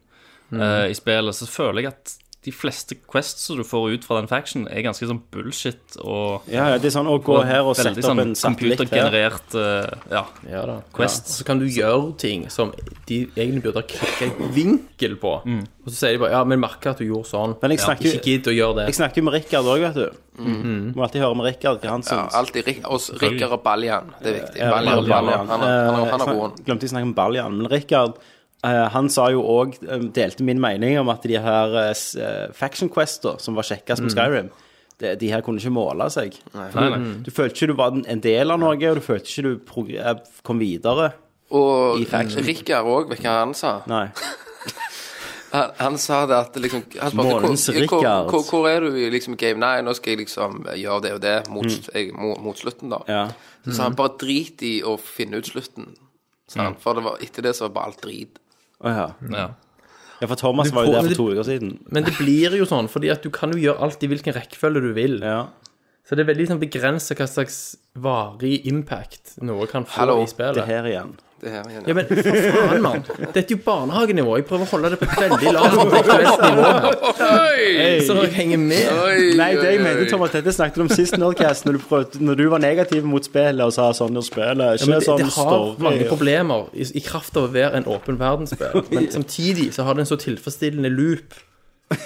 Mm. eh, i spillet, så føler jeg at de fleste quests som du får ut fra den faction, er ganske sånn bullshit og Ja, ja, det er sånn å gå her og sette veldig opp sånn en satellitt her. computergenerert eh, Ja. Ja da. Quests. Ja. Så kan du gjøre ting som de egentlig burde ha klikka en vinkel på. Og så sier de bare ja, men merka at du gjorde sånn. Men jeg snakker- Ikke gidd å gjøre det. Jeg snakker jo med Rikard òg, vet du. Mhm. Må alltid høre med Rikard hva han Ja, syns. alltid Rik- oss Rikard og Baljan. Det er viktig. Ja, Baljan, Baljan. Baljan. Han er, han er, han er Eh, roen. snak- Glemte jeg å snakke om Baljan, men Rikard eh, han sa jo òg, delte min mening om at de her eh, s- eh, Faction Quester som var kjekkest Mhm. med Skyrim, de, de her kunne ikke måle seg. Nei, nei. Du følte ikke du var den- en del av noe, og du følte ikke du prog- eh, kom videre. Og I faction. Rikard òg, vet du hva han sa? Nei. Han, han sa det at liksom han spurte, Morgens hvor, hvor, Rikard. hvor, hvor er du i liksom game? Nei, nå skal jeg liksom gjøre det og det mot, jeg, mot, mot slutten, da. Ja. Så sa han bare drit i å finne ut slutten. Sa han, for det var, etter det så var bare alt drit. Å ja. Ja. ja, for Thomas Du var jo får- der for to uker siden. Men det blir jo sånn, fordi at du kan jo gjøre alt i hvilken rekkefølge du vil. Ja. Så det er veldig sånn begrensa hva slags varig impact noe kan få Hallo, i spillet. Det her igjen. Det her igjen. Ja, men for faen, mann. Dette er jo barnehagenivå. Jeg prøver å holde det på et veldig lavt intellektuelt nivå. her. Oi! Så dere henger med. Oi, Nei, det jeg oi, mente, oi. Thomas, dette snakket du om sist Nerdcast, når du, prøvde, når du var negativ mot spillet og sa sånn, og spillet er Ja, ikke men det, sånn det har story. mange problemer i, i kraft av å være en åpen verdensspill. Men samtidig så har det en så tilfredsstillende loop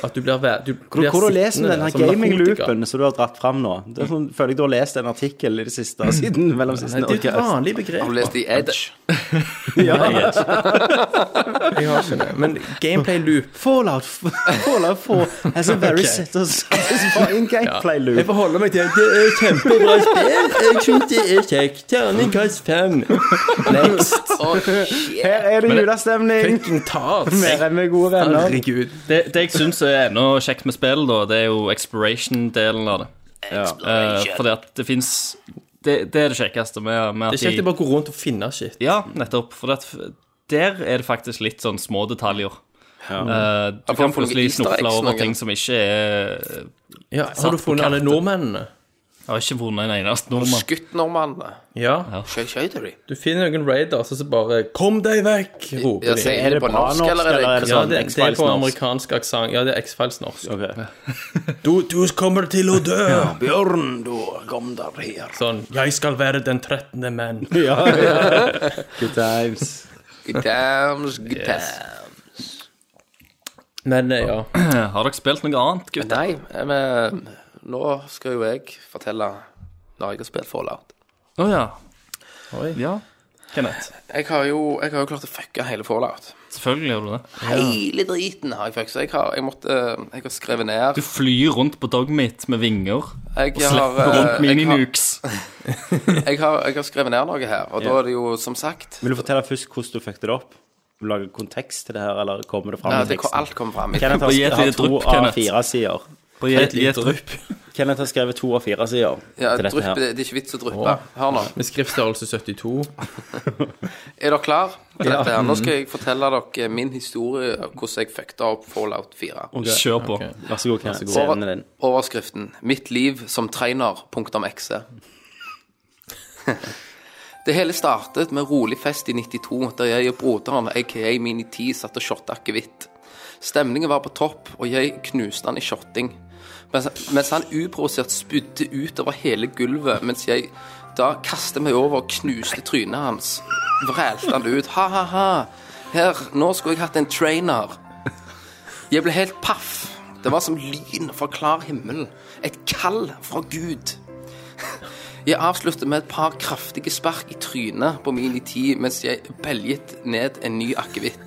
at du blir, væ- du Hvor, blir hvor har du lest om sittende denne som sånn narkotika. gaming-loopen som du har dratt fram nå? Det er sånn, føler jeg du har lest en artikkel i det siste, siden mellom siste Nei, Det er jo et Nerdcast. vanlig Har du begrep. lest i Edge? Jeg har ikke det. Men gameplay loop Fallout, Fallout 4 has a very set of satisfying Jeg gameplay-loop. forholder meg til at det er kjempebra spill. Jeg syns det er kjekt. Terningkast fem. Next. Å, shit. Her er det julestemning! Fucking tas. Mer enn med gode venner. Herregud. Det, det jeg syns er ennå kjekt med spillet, da, det er jo exploration-delen av det. Eh, fordi at det fins det, det er det kjekkeste med, med Det at er kjekt å bare gå rundt og finne shit. Ja, nettopp. For at f- der er det faktisk litt sånn små detaljer Eh, du Ja, kan for han får noen plutselig easter snufle eggs, over noen. ting som ikke er Ja, Satt har du på funnet alle kartet. nordmennene? Jeg har ikke vunnet en eneste nordmann. Skutt nordmennene. Ja. Skjøy, skjøy til dem. Du finner noen raiders, og så bare 'Kom deg vekk!' roper Ja, de. så er det på bra norsk, eller er det Ja, sånn det, det er X-Files på norsk? amerikansk aksent. Ja, det er X-Files norsk. Ok. Du, du kommer til å dø! Bjørn, du, kom der her. Sånn 'Jeg skal være den trettende menn'. Ja, ja. Good times. Good times, good times. Men eh, ja. Har dere spilt noe annet, gutter? Nei, eh, men nå skal jo jeg fortelle når jeg har spilt Fallout. Å ja. Oi. Ja. Kenneth. Jeg har jo, jeg har jo klart å fucke hele Fallout. Selvfølgelig gjør du det. Hele driten har jeg fucka. Så jeg har, jeg måtte, eh, jeg har skrevet Du ned flyr rundt på dogmeat med vinger og Jeg har, slipper eh, rundt jeg har, mininukes. jeg har, jeg har skrevet ned noe her, og da er det jo som sagt Vil du fortelle først hvordan du fucket det opp? Vil du lage kontekst til det her, eller kommer det fram ja, i eh, det, teksten? Alt kommer fram. Kenneth har, Bare gi et har lite to drypp, av Kenneth. fire sider. Bare gi et- gi et drypp. Kenneth har skrevet to av fire sider Ja, til dette drypp, her. det er ikke vits å dryppe. Hør nå. Med skriftstørrelse 72. Er dere klar til dette her? Nå skal jeg fortelle dere min historie, hvordan jeg fucka opp Fallout 4. Kjør på. Vær så god, Kenneth. Over- Scenen din. Overskriften 'Mitt liv som trainer.exe'. Det hele startet med rolig fest i 92, der jeg og broderen, aka Mini T, satt og shotta akevitt. Stemningen var på topp, og jeg knuste han i shotting. Mens, mens han uprovosert spydde utover hele gulvet, mens jeg da kastet meg over og knuste trynet hans. Vrælte han ut 'ha-ha-ha', her, nå skulle jeg hatt en trainer'. Jeg ble helt paff. Det var som lyn fra klar himmel. Et kall fra Gud. Jeg avsluttet med et par kraftige spark i trynet på min i tid mens jeg belget ned en ny akevitt.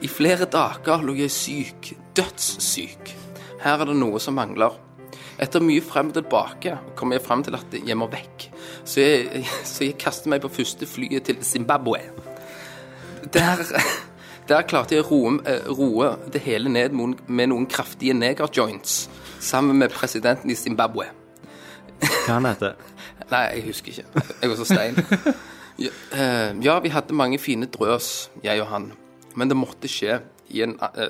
I flere dager lå jeg syk, dødssyk. Her er det noe som mangler. Etter mye frem og tilbake kom jeg frem til at jeg må vekk, så jeg, så jeg kastet meg på første flyet til Zimbabwe. Der der klarte jeg å roe, eh, roe det hele ned mon- med noen kraftige negerjoints sammen med presidenten i Zimbabwe. Hva han heter Nei, jeg husker ikke. Jeg var så stein. Ja, eh, ja, vi hadde mange fine drøs, jeg og han. Men det måtte skje i en eh,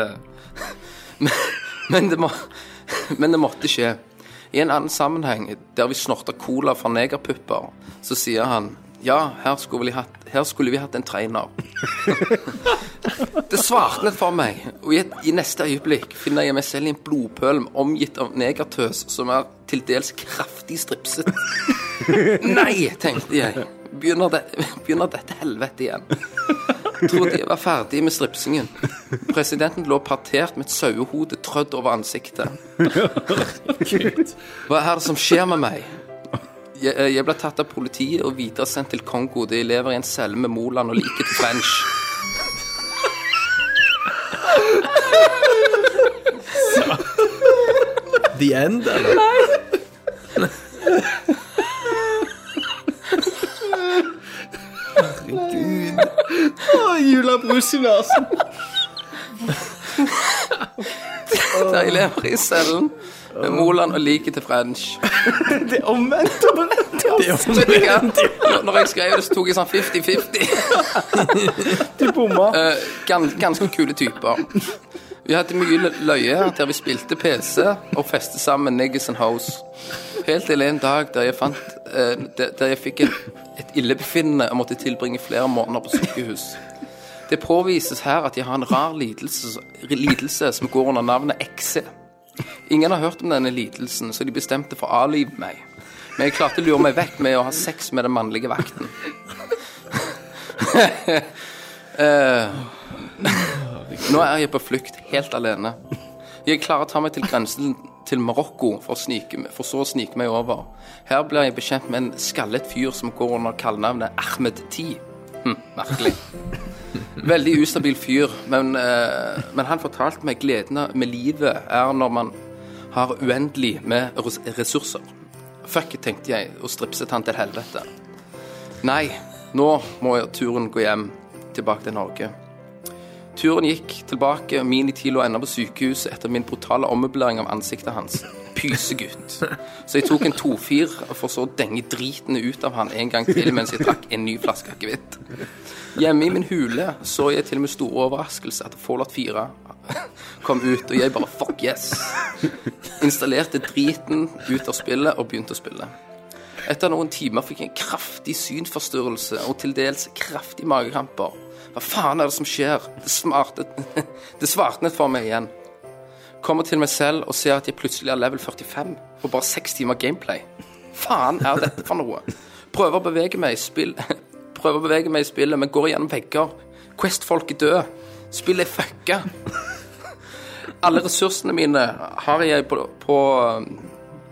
eh, men- men, det må, men det måtte skje. I en annen sammenheng, der vi snorta cola fra negerpupper, så sier han ja, her skulle, vi hatt, her skulle vi hatt en trainer. Det svartnet for meg, og i, et, i neste øyeblikk finner jeg meg selv i en blodpøl omgitt av negertøs som er til dels kraftig stripset. Nei, tenkte jeg. Begynner, det, begynner dette helvete igjen. Trodde jeg var ferdig med stripsingen. Presidenten lå partert med et sauehode trødd over ansiktet. Hva er det som skjer med meg? Jeg, eh, jeg ble tatt av politiet og videresendt til Kongo, der jeg lever i en celle med Moland og liker til French. The End, eller? Der jeg lever i cellen med Moland og liket til French. Det er omvendt! Så det kan- når- Når jeg skrev det, så tok jeg sånn 50-50. Du bomma. Eh, Gans, ganske kule typer. Vi hadde mye lø- løye der vi spilte PC og festet sammen Niggas and Hoes. Helt til en dag der jeg fant eh, der, der jeg fikk et, et illebefinnende og måtte tilbringe flere måneder på sykehus. Det påvises her at jeg har en rar lidelse, lidelse som går under navnet XC. Ingen har hørt om denne lidelsen, så de bestemte for å avlive meg. Men jeg klarte å lure meg vekk med å ha sex med den mannlige vakten. Eh, Nå er jeg på flukt, helt alene. Jeg klarer å ta meg til grensen til Marokko, for, å snike, for så å snike meg over. Her blir jeg bekjent med en skallet fyr som går under kallenavnet Ahmed T. Hm, merkelig. Veldig ustabil fyr, men, eh, men han fortalte meg gleden av- med livet er når man har uendelig med res- ressurser. Fuck it, tenkte jeg, og stripset han til helvete. Nei, nå må jeg turen gå hjem, tilbake til Norge. Turen gikk tilbake, og Mini Tilo enda på sykehuset etter min brutale ommøblering av ansiktet hans. pysegutt. Så jeg tok en 2-4 for så å denge driten ut av han en gang til mens jeg trakk en ny flaske akevitt. Hjemme i min hule så jeg til og med stor overraskelse at Fallout 4 kom ut, og jeg bare fuck yes. Installerte driten ut av spillet og begynte å spille. Etter noen timer fikk jeg en kraftig synsforstyrrelse og til dels kraftig magekramper. Hva faen er det som skjer? Det, smartet, det svartnet for meg igjen. Kommer til meg selv og ser at jeg plutselig er level 45 og bare seks timer gameplay. Faen er dette for noe? Prøver å bevege meg i spill Prøver å bevege meg i spillet, men går gjennom vegger. Quest-folk er døde. Spillet er fucka. Alle ressursene mine har jeg på, på um,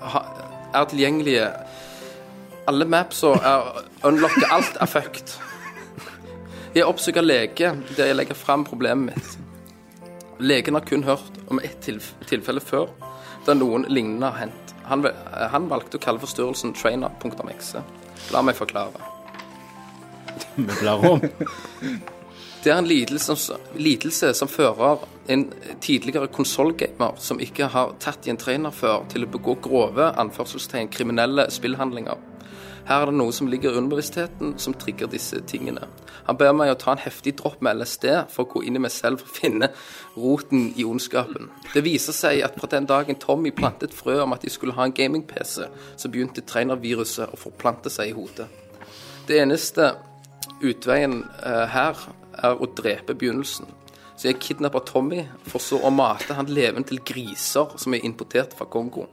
ha- er tilgjengelige alle mapsa er unlocka. Alt er fucked. Jeg oppsøker lege der jeg legger fram problemet mitt. Legen har kun hørt om ett tilf tilfelle før der noen lignende har hendt. Han, vel- eh, han valgte å kalle forstyrrelsen trainer.exe. La meg forklare. Vi blar om. Det er en lidelse som, lidelse som fører en tidligere konsollgamer som ikke har tatt i en trainer før, til å begå grove anførselstegn kriminelle spillhandlinger. Her er det noe som ligger i underbevisstheten som trigger disse tingene. Han ber meg å ta en heftig dropp med LSD for å gå inn i meg selv for å finne roten i ondskapen. Det viser seg at fra den dagen Tommy plantet frø om at de skulle ha en gaming-PC, så begynte trainerviruset å forplante seg i hodet. Det eneste utveien eh, her er å drepe begynnelsen. Så jeg kidnapper Tommy, for så å mate han levende til griser som er importert fra Kongo.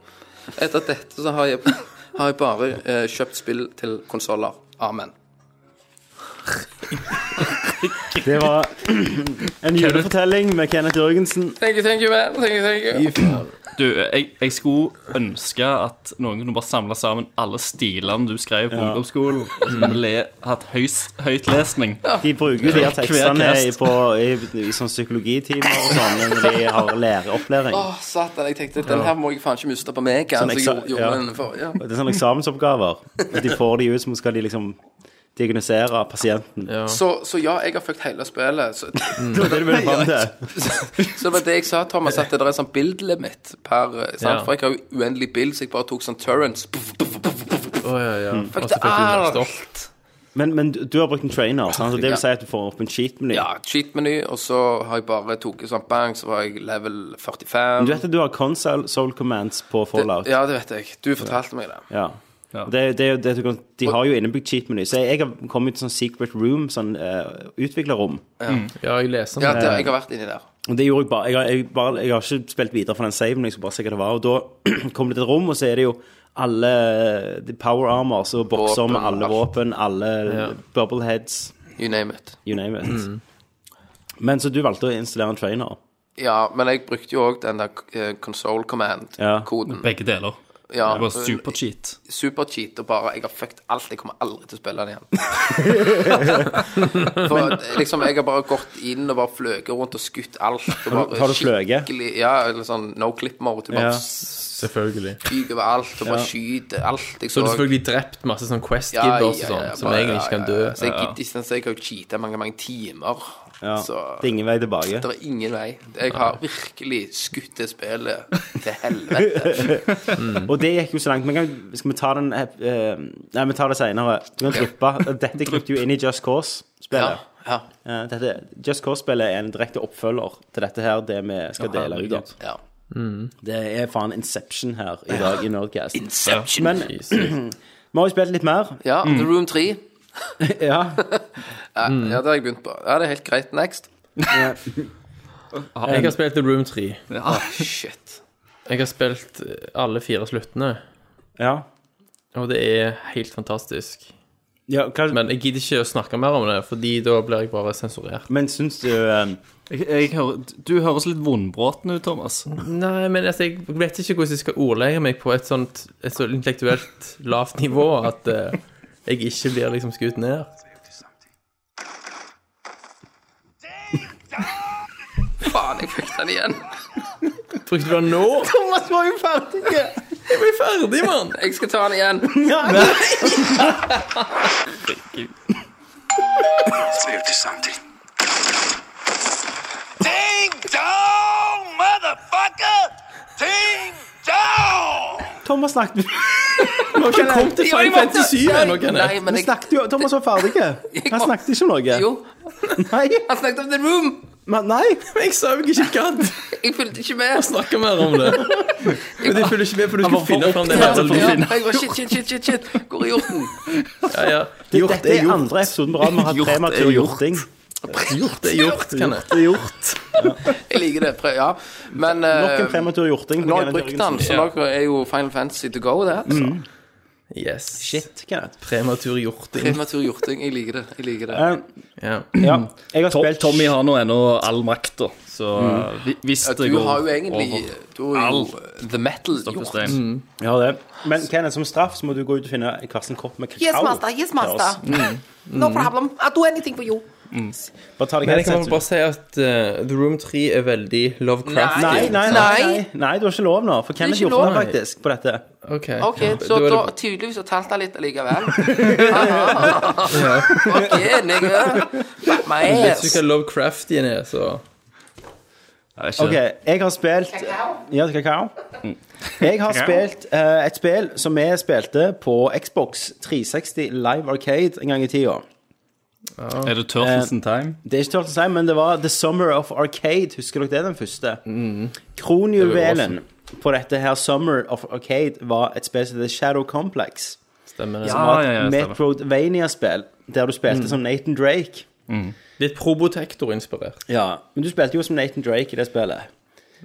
Etter dette så har jeg, har jeg bare eh, kjøpt spill til konsoller. Amen. Det var en julefortelling med Kenneth Jørgensen. Thank you, thank you, man. Thank you, thank you. Du, jeg, jeg skulle ønske at noen kunne bare samle sammen alle stilene du skrev på ungdomsskolen, og så kunne vi le, hatt høys, høytlesning. De bruker jo de her Hver tekstene i, cast. på, i, i sånn psykologitimer og sånn når de har læreopplæring. Å, satan, jeg tenkte den her må jeg faen ikke miste på meg. Sånn Altså, jeg eksa- gjorde, gjorde ja. den forrige. Det er sånne eksamensoppgaver. Og De får de ut, så skal de liksom diagnosere pasienten. Så, så ja, jeg har fucked hele spillet. Så, Det var det du ville fram til. så det var det jeg sa, Thomas, at det er en sånn bildlimit per eh, sant? Ja. For jeg har jo uendelig bild, så jeg bare tok sånn turrents. Å, ja, ja. Og så fikk det du er- lest opp. Men, men du har brukt en trainer, sant? så det vil si at du får opp en cheat-meny. Ja, cheat-meny, og så har jeg bare tatt sånn bang, så var jeg level 45. Du vet at du har console soul commands på Fallout? Ja, det vet jeg. Du fortalte meg det. Ja. Det, det, er jo det, du kan- de har jo innebygd cheat-meny. Så jeg har kommet til sånn secret room, sånn eh, utviklerrom. Ja, jeg leser Ja, den. det, jeg har vært inni der. Og det gjorde jeg bare. Jeg, har- jeg, bare, jeg har ikke spilt videre for den saven, men jeg skulle bare se hva det var. Og da kom det til et rom, og så er det jo alle eh, de power armors og bokser med Våpen, alle alt. våpen, alle bubbleheads, You name it. you name it. Men så du valgte å installere en trainer. Ja, men jeg brukte jo òg den der eh, console Ja. command-koden. Begge deler. Ja, Det var supercheat. Supercheat og bare Jeg har fucked alt. Jeg kommer aldri til å spille den igjen. For at, liksom, jeg har bare gått inn og bare fløket rundt og skutt alt. Og bare har du fløget? skikkelig- Ja, eller sånn no clip-mode. Du Ja. bare Selvfølgelig. fyker over alt og bare skyter alt. Jeg Så har du selvfølgelig drept masse sånn Quest Ja, Gibbers ja, og sånn, ja, som bare- egentlig ikke kan ja, dø. ja, ja. Så jeg gidder ikke, sånn, så jeg har jo cheatet mange, mange timer. Ja. Så Det er ingen vei tilbake. det er ingen vei. Jeg har virkelig skutt det spillet til helvete. Mm. Og det gikk jo så langt. Men kan, skal vi ta den eh, Nei, vi tar det seinere. Du kan dryppe. Dette krypte jo inn i Just Ja, Cause-spillet. ja, Eh, dette- Just Cause-spillet er en direkte oppfølger til dette her, det altså. vi skal dele ut av. ja. Det er faen Inception her i dag i Nerdcast. Inception. Men vi har jo spilt litt mer. Ja, The Room 3. Ja. Ja, ja, det har jeg begynt på. Ja, det er helt greit. Next. Jeg har spilt The Room 3. Ah, shit. Jeg har spilt eh, alle fire sluttene, ja. og det er helt fantastisk. ja hva, men, Men jeg gidder ikke å snakke mer om det, fordi da blir jeg bare sensurert. syns du eh, Jeg, jeg hører, du høres litt vondbråten ut, Thomas. Nei, men altså, jeg vet ikke hvordan jeg skal ordlegge meg på et sånt et så intellektuelt lavt nivå at eh, jeg ikke blir liksom skutt ned. Faen, jeg fikk den igjen. Tror ikke det var nå. Thomas var jo ferdig! Jeg blir ferdig, mann! Jeg skal ta den igjen. Ding dong, motherfucker! Ding dong! Thomas snakket Vi har ikke kommet til Jo, jeg Final måtte- Fantasy 7 ennå, Nei, Kenneth. men Vi jeg, snakket jo Thomas var ferdig. Han snakket ikke om noe. jo, Nei. han snakket om The Room. Men nei. Jeg sa jo ikke gadd Jeg fulgte ikke med. snakke mer om det. Men det følger ikke med, for du skulle finne fram det Ja, her. ja, jeg var shit, shit, shit, shit, shit. Hvor er hjorten? Ja, ja. Dette er andre episoden på rad vi har hatt Gjort er prematur gjort. hjorting. Gjort er gjort, Kenneth. Det er gjort. Jeg liker det. prøv- Ja. Men Nok en eh, prematur hjorting. på nå har jeg Kenneth brukt den, Jørgensen. så nå er jo Final Fantasy to go, det. Så. Mm. Yes. Shit, Kenneth. Prematur hjorting. Prematur hjorting. Jeg liker det. Jeg liker det. Eh, Ja. ja, jeg har spilt Tommy har nå ennå all makta, så eh, vi- hvis Ja, det du går har jo egentlig over Du har jo All. The Metal gjort. Stein. Ja, det. Men Kenneth, som straff så må du gå ut og finne hver sin kopp med kakao. Yes, master. Yes, til oss. master. No problem. I'll do anything for you. Bare ta deg Men jeg helt kan sett. bare si at eh, The Room 3 er veldig Lovecrafty. Nei, nei, nei, nei, nei, du har ikke lov nå. For Kenneth ikke gjorde det lov. faktisk på dette. Ok, OK, så Da er da, det- tydeligvis så talt jeg litt allikevel. Aha. OK, nigga. Fuck my Vet du ass. hva Lovecraftien er, så Jeg vet ikke. OK, jeg har spilt Ja, kakao. Jeg har spilt eh, et spill som vi spilte på Xbox 360 Live Arcade en gang i tida. Er Eh, det Turtles in Time? Det er ikke tørt å si, men det var The Summer of Arcade. Husker dere det, den første? Kronjuvelen på dette her Summer of Arcade var et spill som heter Shadow Complex. stemmer det. Ja, ja, ja, stemmer. Metrodvania-spill, der du spilte som Nathan Drake. Litt Probotector-inspirert. Ja, men du spilte jo som Nathan Drake i det spillet.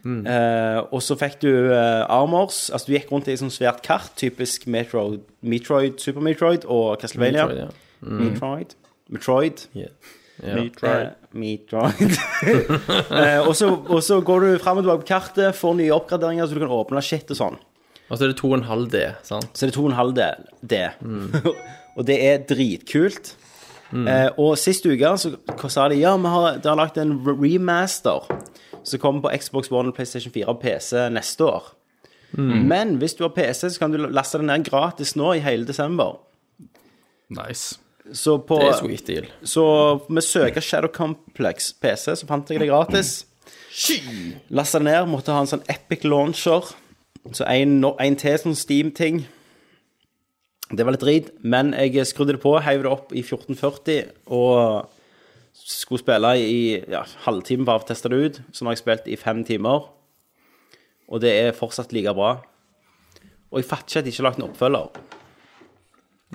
Eh, og så fikk du eh, armors. Altså, du gikk rundt i et sånt svært kart, typisk Metroid, Metroid Super Metroid og Castlevania. Tror jeg, ja. Metroid. Metroid. Ja. Eh, Metroid. Eh, og så- og så går du fram og tilbake på kartet, får nye oppgraderinger, så du kan åpne shit og sånn. Og så er det 2,5D, sant? Så det er 2,5 del det. og det er dritkult. Eh, og sist uke så hva sa de ja, vi har, de har lagt en remaster som kommer på Xbox One, PlayStation 4 og PC neste år. Men hvis du har PC, så kan du laste den ned gratis nå i hele desember. Nice. Så, på, Det er sweet deal. så vi søker Shadow Complex PC, så fant jeg det gratis. Lasta det ned, måtte ha en sånn epic launcher. Så en, no- en til sånn Steam-ting. Det var litt drit, men jeg skrudde det på, heiv det opp i 1440 og skulle spille i ja, halvtime bare for å teste det ut. Så nå har jeg spilt i fem timer, og det er fortsatt like bra. Og jeg fatter ikke at de ikke har lagt en oppfølger.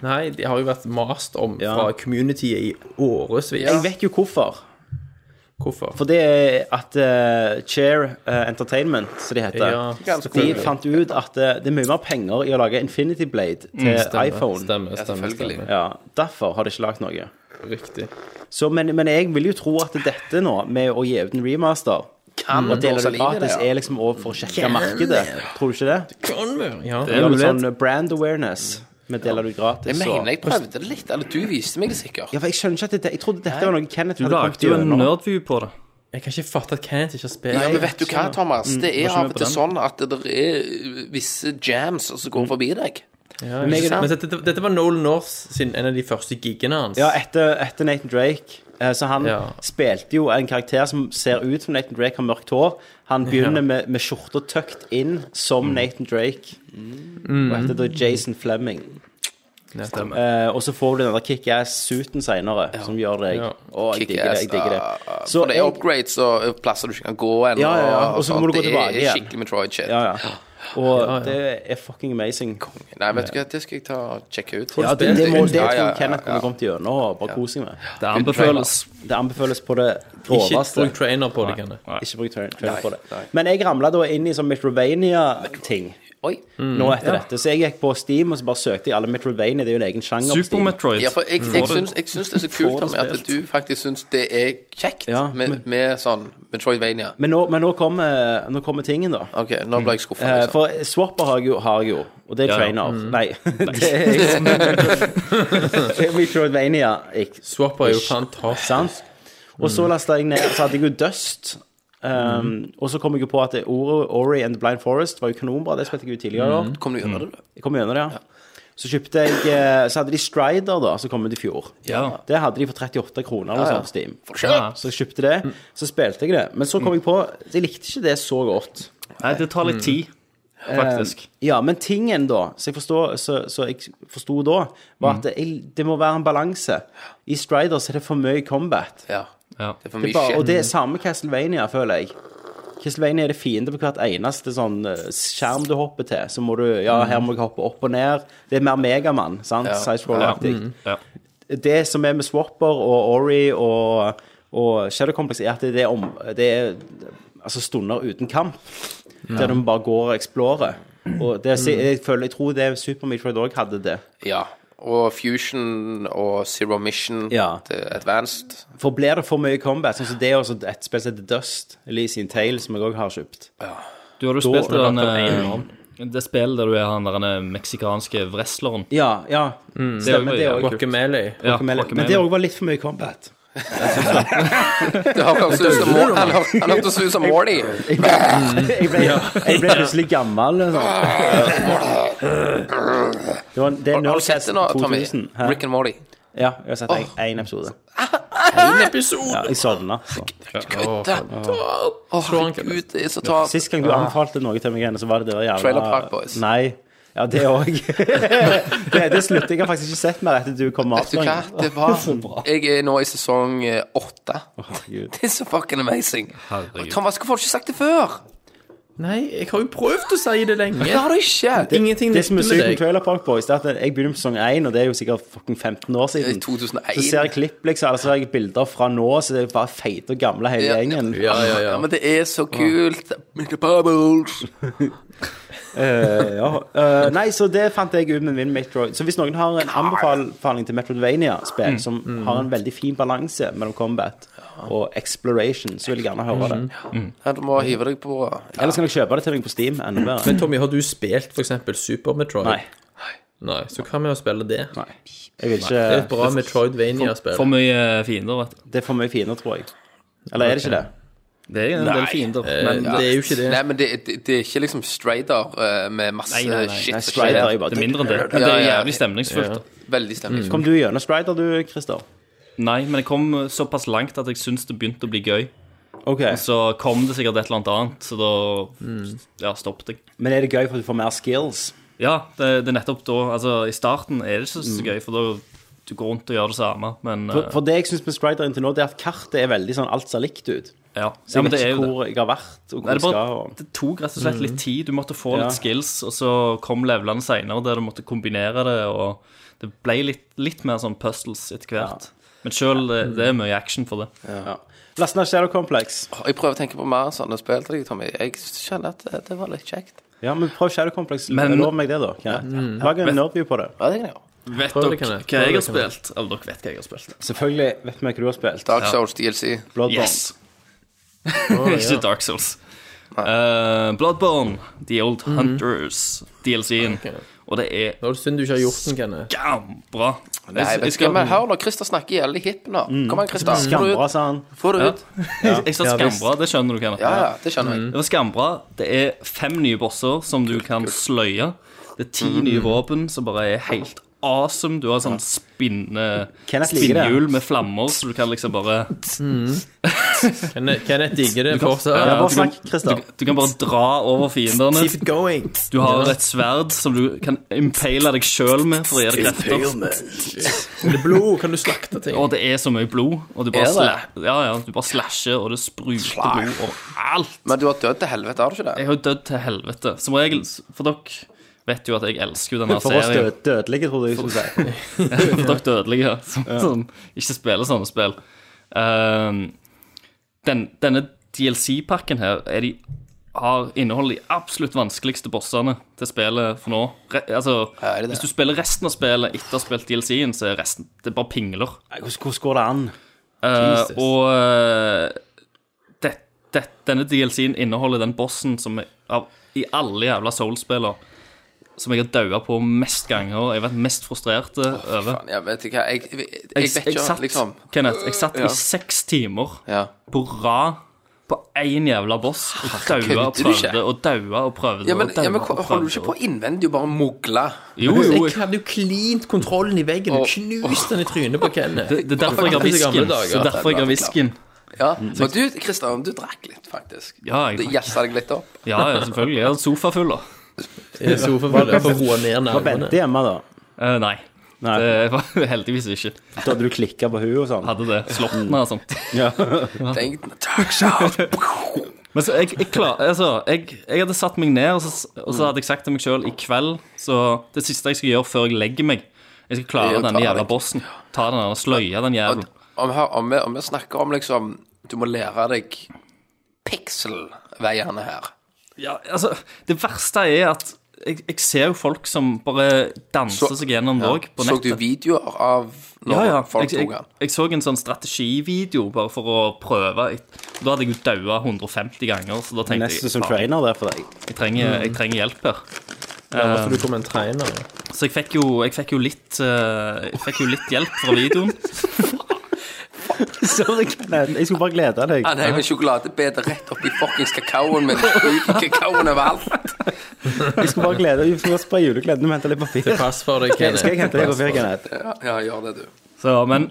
Nei, de har jo vært mast om Ja. fra communityet i årevis. Jeg vet jo hvorfor. Hvorfor? For det er at eh, Chair eh, Entertainment, som de heter, Ja, de fant ut at eh, det er mye mer penger i å lage Infinity Blade til stemmer, iPhone. Stemmer, stemmer, selvfølgelig. stemmer. Ja, Derfor har de ikke lagd noe. Riktig. Så, men, men jeg vil jo tro at dette nå, med å gi ut en remaster Kan og dele også det like det, gratis, ja. er liksom også for å sjekke markedet. Tror du ikke det? Ja, Det er Gjør mulig. litt sånn brand awareness med å dele det ut gratis. Jeg og- mener jeg prøvde det litt. Eller du viste meg det sikkert. Ja, for jeg skjønner ikke at dette, jeg trodde dette var noe Kenneth Du hadde kommet lagde jo en gjennom. nerdview på det. Jeg kan ikke fatte at Kenneth ikke har spilt. Ja, men vet du hva, Thomas? Det Var er ikke av med og på til den. Mm. sånn at det er visse jams som går forbi deg. Ja, ikke sant? men dette, dette var Noel North sin, en av de første giggene hans. Ja, etter, etter Nathan Drake. eh, Så han Ja. spilte jo en karakter som ser ut som Nathan Drake, har mørkt hår. Han begynner med, med skjorta tøkt inn som Mm. Nathan Drake. Og heter da Jason Fleming. Nettopp. Eh, og så får du den der kickass-suiten seinere, som gjør deg Ja. Å, jeg digger det. jeg digger det. Kickass, Så Ah, For det er jeg- upgrades og eh, plasser du ikke kan gå ennå. Ja, ja, ja, og så sånt. må du gå tilbake Det igjen. er skikkelig Metroid-shit. Ja, ja. Og det er fucking amazing. Nei, vet du hva, det skal jeg ta og sjekke ut. Ja, det, det, må, det Ja, tror ja, jeg ja, Kenneth ja. kunne kommet gjennom og bare kost seg med. Det anbefales. Det anbefales på det Ikke groveste. bruk trainer på det, Kenneth. Ikke bruk trail trail på det. Men jeg ramla da inn i sånn Metrovania-ting Oi. nå etter dette. Så jeg gikk på Steam og så bare søkte jeg alle Metrovania. Det er jo en egen sjanger. på Super Steam. Metroid. Ja, for jeg, jeg, Får det- syns, jeg syns det er så kult Tommy, at du faktisk syns det er kjekt Ja, med, med sånn Metroidvania. Men nå, men nå kommer nå kommer tingen, da. OK, nå ble jeg skuffa. Eh, Liksom. For swapper har jeg jo, har jeg jo og det er Ja, ja. trainer. Nei, det er jeg som Det er Metrovania. Ikke Swap er jo fantastisk. sant? Og så lasta jeg ned Så hadde jeg jo Dust. Um, Og så kom jeg jo på at det Ori, Ori and the Blind Forest var jo kanonbra. Det spilte jeg jo tidligere. Mm. Kom du gjennom det? du? Jeg kom gjennom det, ja. Så kjøpte jeg eh, Så hadde de Strider, da, som kom ut i fjor. Ja. Det hadde de for 38 kroner eller noe sånt på Steam. Ja. Mm. Så jeg kjøpte det, så spilte jeg det. Men så kom jeg på Jeg likte ikke det så godt. Mm. Um, Nei, det tar litt tid. Eh, faktisk. Ja, men tingen da, så jeg, forstår, så, så jeg forsto da, var Mm. at det, det må være en balanse. I Striders er det for mye combat. Ja. Ja. Det er for Det mye er bare, og shit. det er samme Castlevania, føler jeg. Castlevania er det fiende på hvert eneste sånn eh, skjerm du hopper til. Så må du Ja, Mm. her må jeg hoppe opp og ned. Det er mer Megamann, sant? Ja. Sidescroll-aktig. Ja. Mm. Det som er med Swapper og Ori og, og Shadow Complex, er at det er, om, det er altså stunder uten kamp. Der de bare går og explorer. Og det, er- jeg, føler, jeg tror det er Super Meat Road òg hadde det. Ja. Og Fusion og Zero Mission, Ja. det er advanced. For blir det for mye combat, sånn som det er også et spill som heter Dust, Elise in Tale, som jeg òg har kjøpt. Du har jo spilt den, eh, det spillet der du er han der eh, meksikanske wrestleren. Ja, ja. Stemmer jo- Mm. det ja, òg. Guacamele. Ja, Men, men det Guacamele. òg var litt for mye combat. Det har hørt ut som Mor- han har- han hørtes ut som Morty. Jeg ble, jeg ble, jeg ble plutselig gammel. Liksom. Det var, det er Har du sett Nerdcast det nå, Tommy? 2000. Hæ? Rick and Morty. Ja, jeg har sett én episode. En episode! Ja, jeg sovna. så. Kødda! Å, herregud, det er så ta... Sist gang du anbefalte noe til meg, Hennes, så var det det der jævla Ah. Trailer Park Boys. Nei. Ja, det òg. det, det slutter. Jeg har faktisk ikke sett mer etter du kom med Vet du hva? Det var Jeg er nå i sesong eh, åtte. avsløringen. Det er så fucking amazing. Herregud. Og Thomas, hvorfor har du ikke sagt det før? Nei, jeg har jo prøvd å si det Det lenge. har du ikke. Det Ingenting Det som er nytt sykt med med deg. Trailer Park Boys, det er at jeg begynner på sesong 1, og det er jo sikkert fucking 15 år er siden. 2001. Så ser jeg klipp, liksom, eller så ser jeg bilder fra nå, så det er bare feite og gamle hele Ja. gjengen. Ja, ja, Ja, ja. men det er så kult. Mr. Bubbles. Eh, ja. Eh, nei, så det fant jeg ut med min Metroid. Så hvis noen har en anbefaling til Mm. Metroidvania-spill som har en veldig fin balanse mellom combat og exploration, så vil jeg gjerne høre det. Mm. Ja, du må hive deg på. Ja. Ellers kan jeg kjøpe det til deg på Steam. Enda bedre. Men Tommy, har du spilt for eksempel Super Metroid? Nei. Nei, så hva med å spille det? nei. Jeg vil Det er et ikke bra For Metroidvania-spill. mye fiender, vet du. Det er for mye fiender, tror jeg. Eller er det ikke det? Det er en del fiender. Men Men Eh, det er jo ikke det. Nei, men det, det, det er ikke liksom Strider eh, med masse Nei, nei, nei. shit. Nei, som Strider er skjer. jo bare Mm. det er mindre enn det. Men Ja, det er ja. jævlig stemningsfullt. da. Veldig stemning. Kom du gjennom Strider, du, Christer? Nei, men jeg kom eh, såpass langt at jeg syntes det begynte å bli gøy. Ok. Så kom det sikkert et eller annet annet, så da ja, stoppet jeg. Men er det gøy for at du får mer skills? Ja, det, det er nettopp da. Altså, I starten er det ikke så, så gøy, for da du går rundt og gjør det samme, men For, eh, for det jeg syns med Strider inntil nå, det er at kartet er veldig sånn alt ser likt ut. eh, ja. Så ja, jeg men vet det ikke er jo det. hvor jeg har vært, og hvor Nei, jeg det, bare, skal. Og... det tok rett og slett litt tid. Du måtte få Ja. litt skills, og så kom levelene seinere der du måtte kombinere det, og det ble litt, litt mer sånn puzzles etter hvert. Men sjøl det, det er mye action for det. Ja. Last Night Shadow Complex. Jeg prøver å tenke på mer sånne spill til deg, Tommy. Jeg kjenner at det, det var litt kjekt. Ja, men prøv Shadow Complex. Men- Lov meg det, da. Kenneth. Lag en nerdview på det. Ja, det kan jeg gjøre. Vet Prøv dere det, hva Kenneth. Prøv jeg det, har spilt? Eller dere vet hva jeg har spilt. Selvfølgelig vet vi hva du har spilt. Dark Souls DLC. Bloodborne. Yes! Ikke Dark Souls. Eh, Bloodborne, The Old Mhm. Hunters, DLC-en. Og det er Nå er det synd du ikke har gjort den, Kenneth. gambra. Jeg, Nei, jeg, vet du skal, hva, men hør nå, Christer snakker ihjel i hippen nå. Mm. Kom igjen, Christer. Få det Skambra, ut. sa han. Få det ut. jeg sa Ja, visst. skambra, det skjønner du, Kenneth. Ja, ja, det skjønner jeg. Det var skambra. Det er fem nye bosser som du kan sløye. Det er ti Mhm. nye våpen som bare er helt awesome. Du har sånn spinne, Kenneth liker det. spinnhjul med flammer, så du kan liksom bare Kenneth, Kenneth digger det fortsatt. Ja, bare snakk, Christer. Du kan bare dra over fiendene. Keep it going. Du har et sverd som du kan impale deg sjøl med for å gi deg krefter. Det er blod, kan du slakte ting? Og det er så mye blod, og du bare, Er det? sla ja, ja, du bare slasher, og det spruter blod overalt. Men du har dødd til helvete, har du ikke det? Jeg har jo dødd til helvete. Som regel, for dere vet jo at jeg elsker jo denne For oss serien. død, dødelige, trodde jeg du skulle si. For dere dødelige som, som ikke spiller sånne spill. Ehm, den, denne DLC-pakken her er de har inneholder de absolutt vanskeligste bossene til spillet for nå. Re, altså, Ja, er det det? Hvis du spiller resten av spillet etter å ha spilt DLC-en, så er resten det er bare pingler. Nei, Hvordan hvordan går det an? Eh, Jesus. og eh, det, det, denne DLC-en inneholder den bossen som jeg, av, i alle jævla Soul-spiller som jeg har daua på mest ganger og jeg har vært mest frustrert eh, over. Faen, Jeg vet ikke, jeg, jeg, Jeg, jeg vet jeg ikke, satt, liksom. Kenneth, jeg satt Ja. i seks timer Ja. på rad på én jævla boss og daua og kødder du ikke? prøvde og daua og prøvde. Ja, men, og daua ja, men og holder du prøvde, ikke og- på innvendig å bare mugle? Jo, jo. Jeg hadde jo klint kontrollen i veggen. Åh. Du knuste den i trynet på Kenneth. Det, det er derfor jeg har Faktisk i gamle whisken. dager. Det er derfor jeg har whisken. Ja, og du, Kristian, du drakk litt, faktisk. Mm. Ja, Det jeg, jassa deg litt opp. ja, ja, selvfølgelig. Jeg har sofa full, da. i sofaen for å roe ned Var nervene. Bente hjemme, da? Eh, nei. Nei. Det var heldigvis ikke. Da hadde du klikka på henne og sånn? Hadde det. Slått meg og sånt. Ja. Tenk, takk, Charles. Men så jeg, jeg, klar, altså, jeg, jeg hadde satt meg ned, og så, og Mm. så hadde jeg sagt til meg sjøl i kveld Så det siste jeg skal gjøre før jeg legger meg Jeg skal Det klare er å ta denne jævla deg. bossen. Ta den der sløya, den jævlen. Om, her, om, vi, om vi snakker om liksom Du må lære deg pikselveiene her. Ja, altså, det verste er at jeg, jeg ser jo folk som bare danser Så- seg gjennom det òg, på Så du nettet. videoer av når Ja, ja. folk Jeg, jeg, tok den? jeg så en sånn strategivideo bare for å prøve. Jeg- Da hadde jeg jo daua 150 ganger, så da tenkte Nesten som jeg "Faen, trainer der for deg. jeg trenger, Mm. jeg trenger hjelp her. Hvorfor du kom en trainer? Så jeg fikk jo, jeg fikk jo, litt, eh, jeg fikk jo litt hjelp fra videoen. Sorry, Kenneth. Jeg skulle bare glede deg. Han heiv en sjokoladebete rett oppi fuckings kakaoen min. Ut i Kakaoen overalt. Jeg skulle bare glede deg. Jeg skulle bare spre julegleden og hente litt papir. Til pass for deg, Kenneth. Skal jeg hente deg Pass for papir, deg. Kenneth? Ja, ja, gjør det, du. Så, men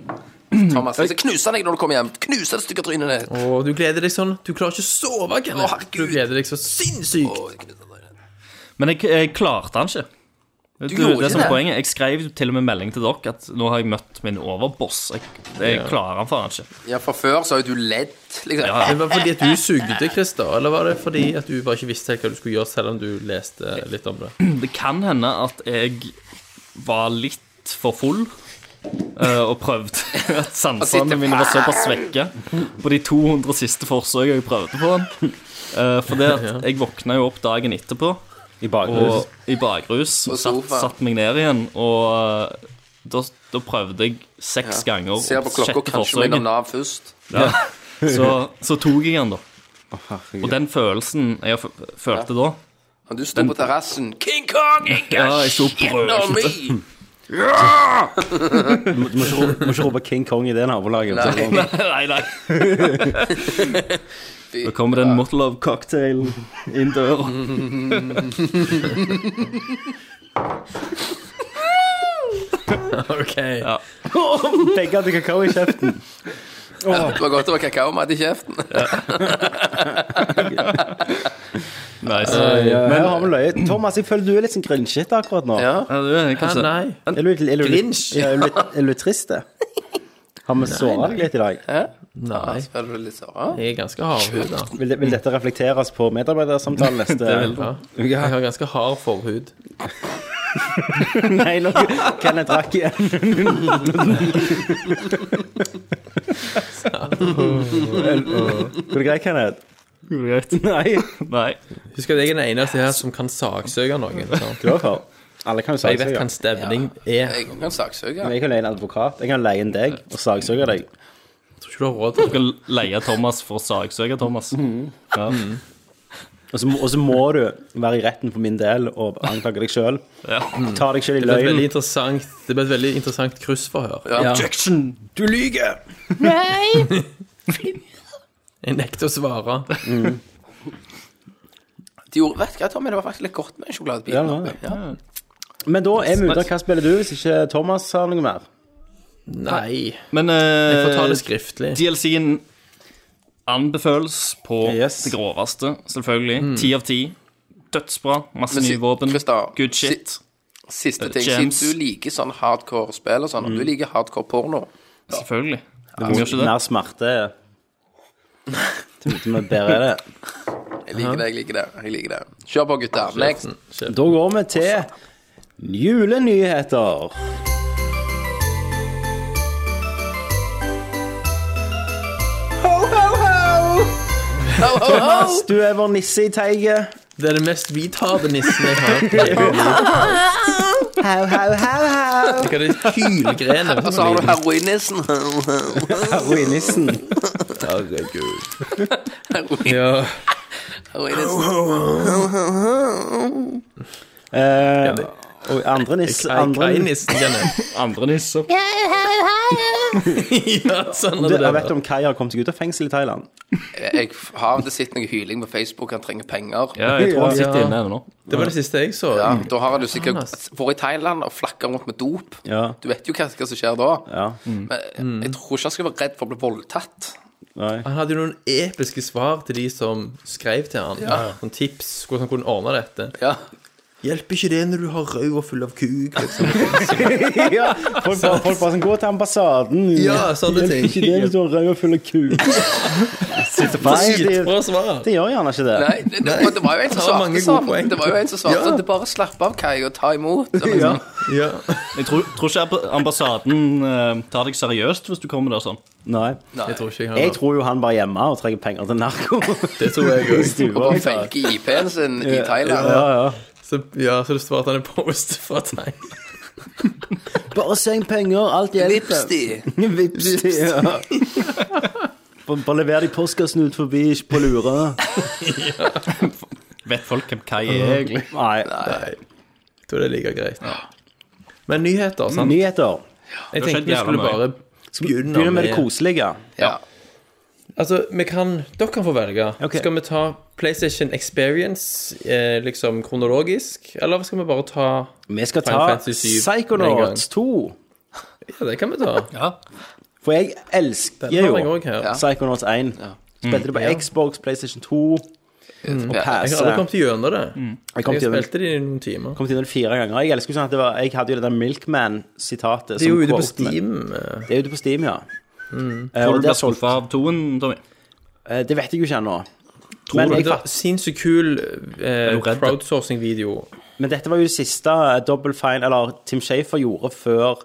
Thomas, Mm. jeg skal knuse deg når du kommer hjem. Knuse det stygge trynet ditt. Å, du gleder deg sånn. Du klarer ikke å sove, Å, Kenneth. herregud. Du gleder deg så sinnssykt. Å, jeg knuser trynet ditt. Men jeg, jeg klarte han ikke. Du, gjorde det som ikke det? er poenget, Jeg skrev jo til og med melding til dere at nå har jeg møtt min overboss. Jeg, jeg klarer han faen ikke. Ja, for før så har jo du ledd, liksom. Ja, ja. Men var det fordi at du sugde, Christer? Eller var det fordi at du bare ikke visste helt hva du skulle gjøre, selv om du leste litt om det? Det kan hende at jeg var litt for full eh, og prøvde. At sansene mine var såpass svekke på de 200 siste forsøkene jeg prøvde på han. Eh, for det at jeg våkna jo opp dagen etterpå I bakrus. og i bakrus. På Og satt, sofaen. satt meg ned igjen, og eh, da, da prøvde jeg seks ganger. Ser på klokka, sjette kanskje du må forsøket. innom Nav først. Ja. Så, så tok jeg den, da. Og den følelsen jeg f følte da Men du sto på terrassen. King Kong, ikke Ja, jeg sto gjennom brølende. meg! Du må ikke rope- må ikke rope King Kong i det nabolaget. Nei. Nei, nei. Da kommer det en Motlove cocktail inn døra. OK. Begge hadde kakao i kjeften. Det var godt det var kakaomat i kjeften. Nice. Men her har vi løye. Thomas, jeg føler du er litt sånn grinchete akkurat nå. Ja. Ja, du er Ah, kanskje nei. Er du, litt- er du, litt- Grinch? Ja, er du, litt- er du litt trist, det? Har vi såra deg litt i dag? Nei. Så er det litt sånn, ja. Jeg er ganske hardhuda. Vil, det, vil dette reflekteres på medarbeidersamtalen neste Ja. uke? Jeg har ganske hard forhud. Nei, nå Kenneth rakk igjen. Går det greit, Kenneth? greit. Nei. Nei. Husk at jeg er den eneste her som kan saksøke noen. sant? Glad for. Alle kan jo Jeg vet saksøke. hva en stevning er. Jeg kan saksøke. Men Jeg kan leie en advokat. Jeg kan leie en deg og saksøke deg. Jeg tror ikke du har råd til Du skal leie Thomas for å saksøke Thomas. Mm. Ja. Og så, må- og så må du være i retten for min del og anklage deg sjøl. Ja. Ta deg sjøl i det. Det ble et veldig løgn. interessant, det ble et veldig interessant kryssforhør. Objection! Du lyver! Jeg nekter å svare. De gjorde, vet du hva, Tommy, det var faktisk litt godt med en sjokoladebit. Ja, det var det. Men da er vi ute av hva spiller du, hvis ikke Thomas har noe mer. Nei. Men Jeg får ta det uh, skriftlig. DLC-en anbefales på Yes. Mm. det groveste, selvfølgelig. Ti av ti. Dødsbra. Masse Men si- nye våpen. Christer, Good si- shit. Eh, Siste ting, siden Gems. du liker sånn hardcore spill og sånn, Mm. om du liker hardcore porno Selvfølgelig. Hvem gjør ikke det? Mer smerte. Vi bedre er det. Jeg liker det, jeg liker det. jeg liker det Kjør på, gutter. Next. Mm. Da går vi til julenyheter. Ho, ho, ho! Du er vår nisse i teiget. Det er den mest hvitharde nissen jeg har. hørt. Hau, hau, hau, hau. Hva er det hylgrenet? Og så har du heroinissen. Heroinissen. Herregud. Heroin- Ja. Heroinissen. Eh, og andre nisse andre, Kai-nissen, Kenneth. Andre nisser. Ja, sånn du, er det. Jeg vet om Kai har kommet seg ut av fengsel i Thailand. Jeg har aldri sett noe hyling på Facebook. Han trenger penger. Ja, jeg tror han sitter Ja. inne ennå. Det var det siste jeg så. Ja, da har han jo sikkert Johannes. vært i Thailand og flakka rundt med dop. Ja, Du vet jo hva, hva som skjer da. ja, Men Mm. jeg tror ikke han skal være redd for å bli voldtatt. nei. Han hadde jo noen episke svar til de som skrev til han. Noen tips hvordan han kunne ordne dette. Ja. Hjelper ikke det når du har rød og full av kuk? Liksom. ja, folk, bare, folk bare sånn Gå til ambassaden. Ja, sånne ting. Hjelper ikke det hvis du har rød og full av kuk. Nei, de, Bra svar. de gjør gjerne ikke det. Nei, det, det, det var jo en som Har mange gode svarte sånn. poeng. Det var jo en som svarte Ja. sånn. Det er bare å slappe av, Kai, og ta imot. Og liksom, Ja. Ja. Jeg tror, tror ikke ab- ambassaden eh, tar deg seriøst hvis du kommer der sånn. Nei. Jeg tror ikke jeg Jeg har tror jo han bare er hjemme og trenger penger til narko. det. tror jeg I også. stua. Og bare felge IP-en sin i Thailand. Ja, ja. Så, ja, så du svarte han en post fra Tegn. Bare seng penger, alt Vips de. Vips, ja. Bare bare lever de postkassen ut forbi, ikke på lure. Vet folk hvem Kai er, egentlig? Nei. Jeg tror det er like greit. Men nyheter, sant? Nyheter. Jeg Mm. Det har skjedd tenkte vi skulle jævla mye. bare Begynner med det koselige. Ja. Altså, vi kan, dere kan få velge. Ok. Skal vi ta PlayStation Experience eh, liksom kronologisk, eller skal vi bare ta Vi skal Final ta Fantasy syv med en gang. Psychonauts 2. Ja, det kan vi ta. Ja. For jeg Den har elsker jeg jo også Mm. her. Ja. Psychonauts 1. Spilte det på Xbox, PlayStation 2, Ja. Mm. PC. Jeg har aldri kommet gjennom det. Mm. Jeg kom Jeg til den spilte det i noen timer. kom til den fire ganger. Jeg elsker jo sånn at det var, jeg hadde jo det der Milkman-sitatet. Det er jo som ute på quote med- Steam. Mm. eh, Det er ute på Steam, ja. Eh, Tror og du det, du er blir solgt, skuffa av toen, Tommy? eh, det vet jeg jo ikke ennå. Men Men, jeg det var fatt- sinnssykt kul eh, du redd? crowdsourcing-video. men dette var jo det siste eh, Double Fine, eller Tim Shafer gjorde før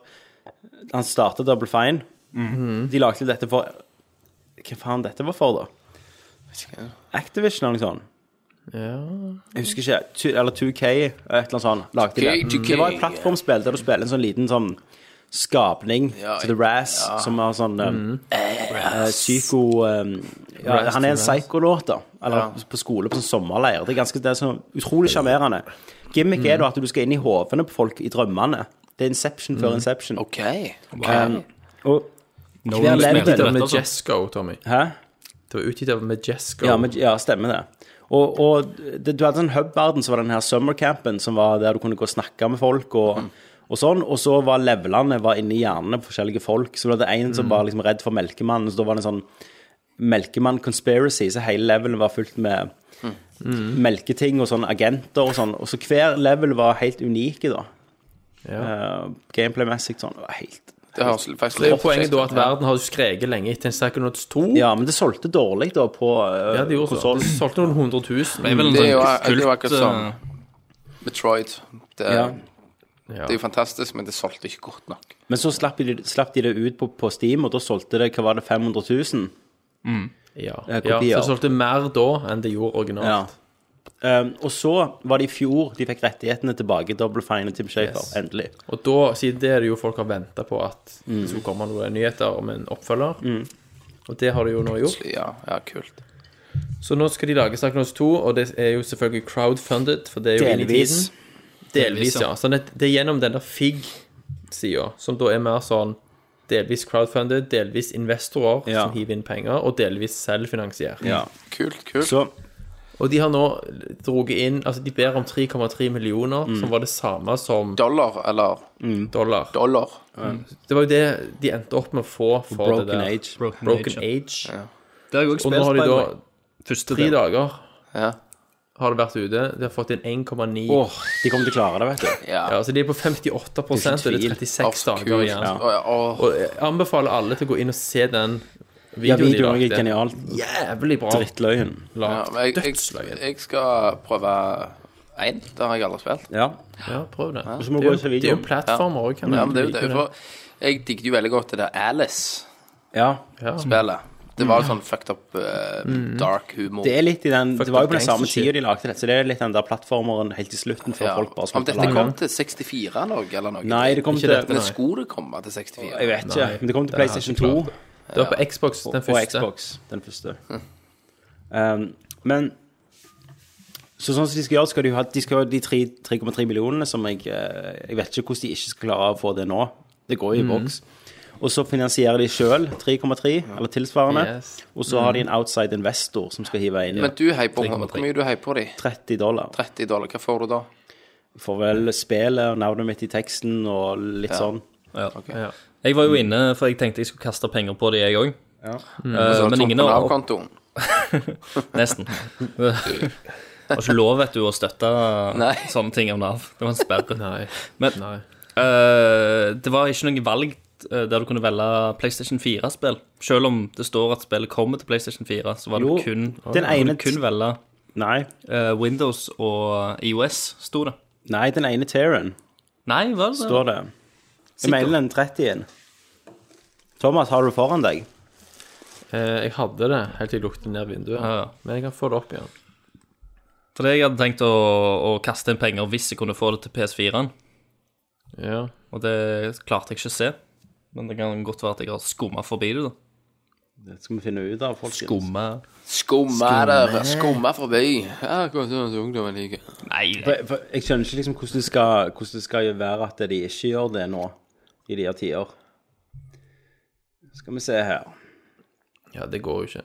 han startet Double Fine. Mm. De lagde dette for Hva faen dette var for, da? Activision eller noe sånt. Ja. Jeg husker ikke. Two- Eller 2K, et eller annet sånt. Lagde det. 2K, Det var et plattformspill der du spiller en sånn liten sånn skapning Ja, til The Razz, som har sånn eh, eh, psyko eh, ja, Razz Han er en til psykolåt, da. Eller på skole, på sånn sommerleir. Det er, ganske, det er sånn utrolig sjarmerende. Gimmick er da at du skal inn i hovene på folk i drømmene. Det er Inception før Inception. OK. Um, og No, Hver du level. smelte Det var dette, altså. Majesco, Tommy. Hæ? Det var utgitt av Majesco. Ja, men, ja stemmer det. Og, og det, du hadde en hub-verden som var den her summercampen, som var der du kunne gå og snakke med folk og, og sånn. Og så var levelene var inni hjernene på forskjellige folk. Så du hadde en Mm. som var liksom redd for melkemannen, så da var det en sånn melkemann-conspiracy, så hele levelen var fullt med Mm. melketing og sånn agenter og sånn. Og så hver level var helt unike, da. Eh, Gameplay-messig sånn. Det var helt Det høres faktisk Det er jo rått poenget ut. da at verden har jo skreket lenge etter en Psychonauts 2. Ja, men det solgte dårlig, da, på uh, Ja, de gjorde så. konsollen. De solgte noen hundre tusen. Det er vel en Det er jo- sånn det er jo kult akkurat sånn. eh, Metroid. Det, Ja. det er jo fantastisk, men det solgte ikke godt nok. Men så slapp de, slapp de det ut på, på Steam, og da solgte det hva var det, 500 000. Ja. Eh, ja, kopier. så de solgte mer da enn de gjorde originalt. Um, og så var det i fjor de fikk rettighetene tilbake, Double Fine og Tim Shafer, Yes. endelig. Og da, siden det er det jo folk har venta på at Mm. det skulle komme noen nyheter om en oppfølger. Og det har de jo nå gjort. Ja, ja kult. Så nå skal de lage Psychonauts 2, og det er jo selvfølgelig crowdfunded. For det er jo inn i Delvis. tiden. Delvis, ja. Så det, det er gjennom den der FIG-sida, som da er mer sånn delvis crowdfunded, delvis investorer Ja. som hiver inn penger, og delvis selvfinansiert. Ja. Kult, kult. Så Og de har nå droget inn Altså, de ber om 3,3 millioner, Mm. som var det samme som Dollar, eller dollar. dollar. Det var jo det de endte opp med å få for det Broken der. Age. Broken, Broken Age. Age. ja. Det har jeg òg Og nå spilt, har by de the da way. Første tre del. dager Ja. har det vært ute. De har fått inn 1,9. Åh, de kommer til å klare det, vet du. Ja. Ja, så de er på 58 og Det er det ikke er tvil. 36 dager kult. igjen. Ja. Å, ja, å, Og jeg anbefaler alle til å gå inn og se den Ja, videoen de videoen er lagde. genial. Jævlig bra Drittløyen. ja, lagd. men jeg, jeg, Dødsløyen. jeg skal prøve én. Det har jeg aldri Mm, spilt. Ja. Ja, prøv det. Så må vi Det er gå jo, og se det er jo videoen. plattformer òg, kan Ja, jeg men det, er jo- det, er like jo det. for- jeg digget jo veldig godt det der Alice-spelet. Ja. Ja. Det var jo sånn fucked up eh, Mm. dark humor. Det er litt i den Det var jo på den samme Gangster tida de lagde det, så det er litt den der plattformeren helt til slutten, før ja. folk bare Om slutter å dette lage. kom til 64 Norge, eller noe? Nei, det kom Ikke til dette, Men nei. skulle det komme til 64? Jeg vet ikke, men det kom til det har PlayStation jeg 2 ikke klart. Det var på Xbox, den og første. Xbox, den første. Um, men så sånn som de skal gjøre, skal de, jo ha, de skal ha de tre- 3,3 millionene som jeg eh, Jeg vet ikke hvordan de ikke skal klare å få det nå. Det går jo i boks. Og så finansierer de sjøl 3,3, eller tilsvarende. Yes. Og så har de en outside investor som skal hive inn Men du heier på Hvor mye du heier på de? 30 dollar. 30 dollar, hva får du da? Får vel spillet og navnet mitt i teksten og litt sånn. Ja. Ja. Jeg var jo inne, for jeg tenkte jeg skulle kaste penger på det, jeg òg. Mm. Ja. men ingen av Nav-kontoen. Nesten. Har ikke lov, vet du, å støtte Nei. sånne ting av Nav. Det var en sperre. Nei. Men Nei. eh, det var ikke noe valg eh, der du kunne velge PlayStation 4-spill. Selv om det står at spillet kommer til PlayStation 4, så var det Jo, kun, den ene- kunne du kun velge Nei. eh, Windows og IOS, sto det. Nei, den ene tearen Nei, var det det? står det. Jeg mener den 30-en. Thomas, har du foran deg? Eh, jeg hadde det helt til jeg lukte ned vinduet. Ja, ja. Men jeg kan få det opp igjen. For det jeg hadde tenkt å, å kaste inn penger hvis jeg kunne få det til PS4-en, Ja. og det klarte jeg ikke å se. Men det kan godt være at jeg har skumma forbi det. da. Det skal vi finne ut av. folkens. Skumma Skumma der. Skumma forbi. Ja, hvordan er det ungdommen liker. Nei, det For, for, jeg skjønner ikke liksom hvordan det, skal, hvordan det skal være at de ikke gjør det nå, i de her tider. Skal vi se her. ja, det går jo ikke.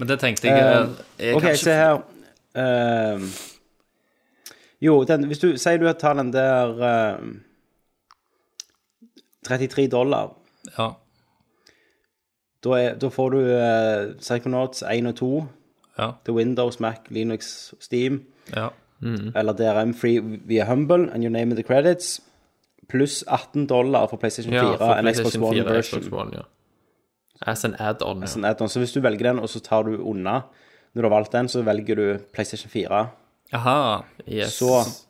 Men det tenkte jeg, eh, jeg Um, OK, kan ikke- se her. Ehm, jo, den, hvis du sier du tar den der ehm, 33 dollar, Ja. da, er, da får du eh, Psychonauts 1 og 2 ja, til Windows, Mac, Linux, Steam, ja. eller DRM free via Humble, and you name the credits, pluss 18 dollar for PlayStation 4 Ja, for and Xbox PlayStation One 4 og version. Xbox One, ja. As an add-on. Ja. Sånn add-on. Så hvis du velger den, og så tar du unna når du har valgt den, så velger du PlayStation 4, Aha. Yes. så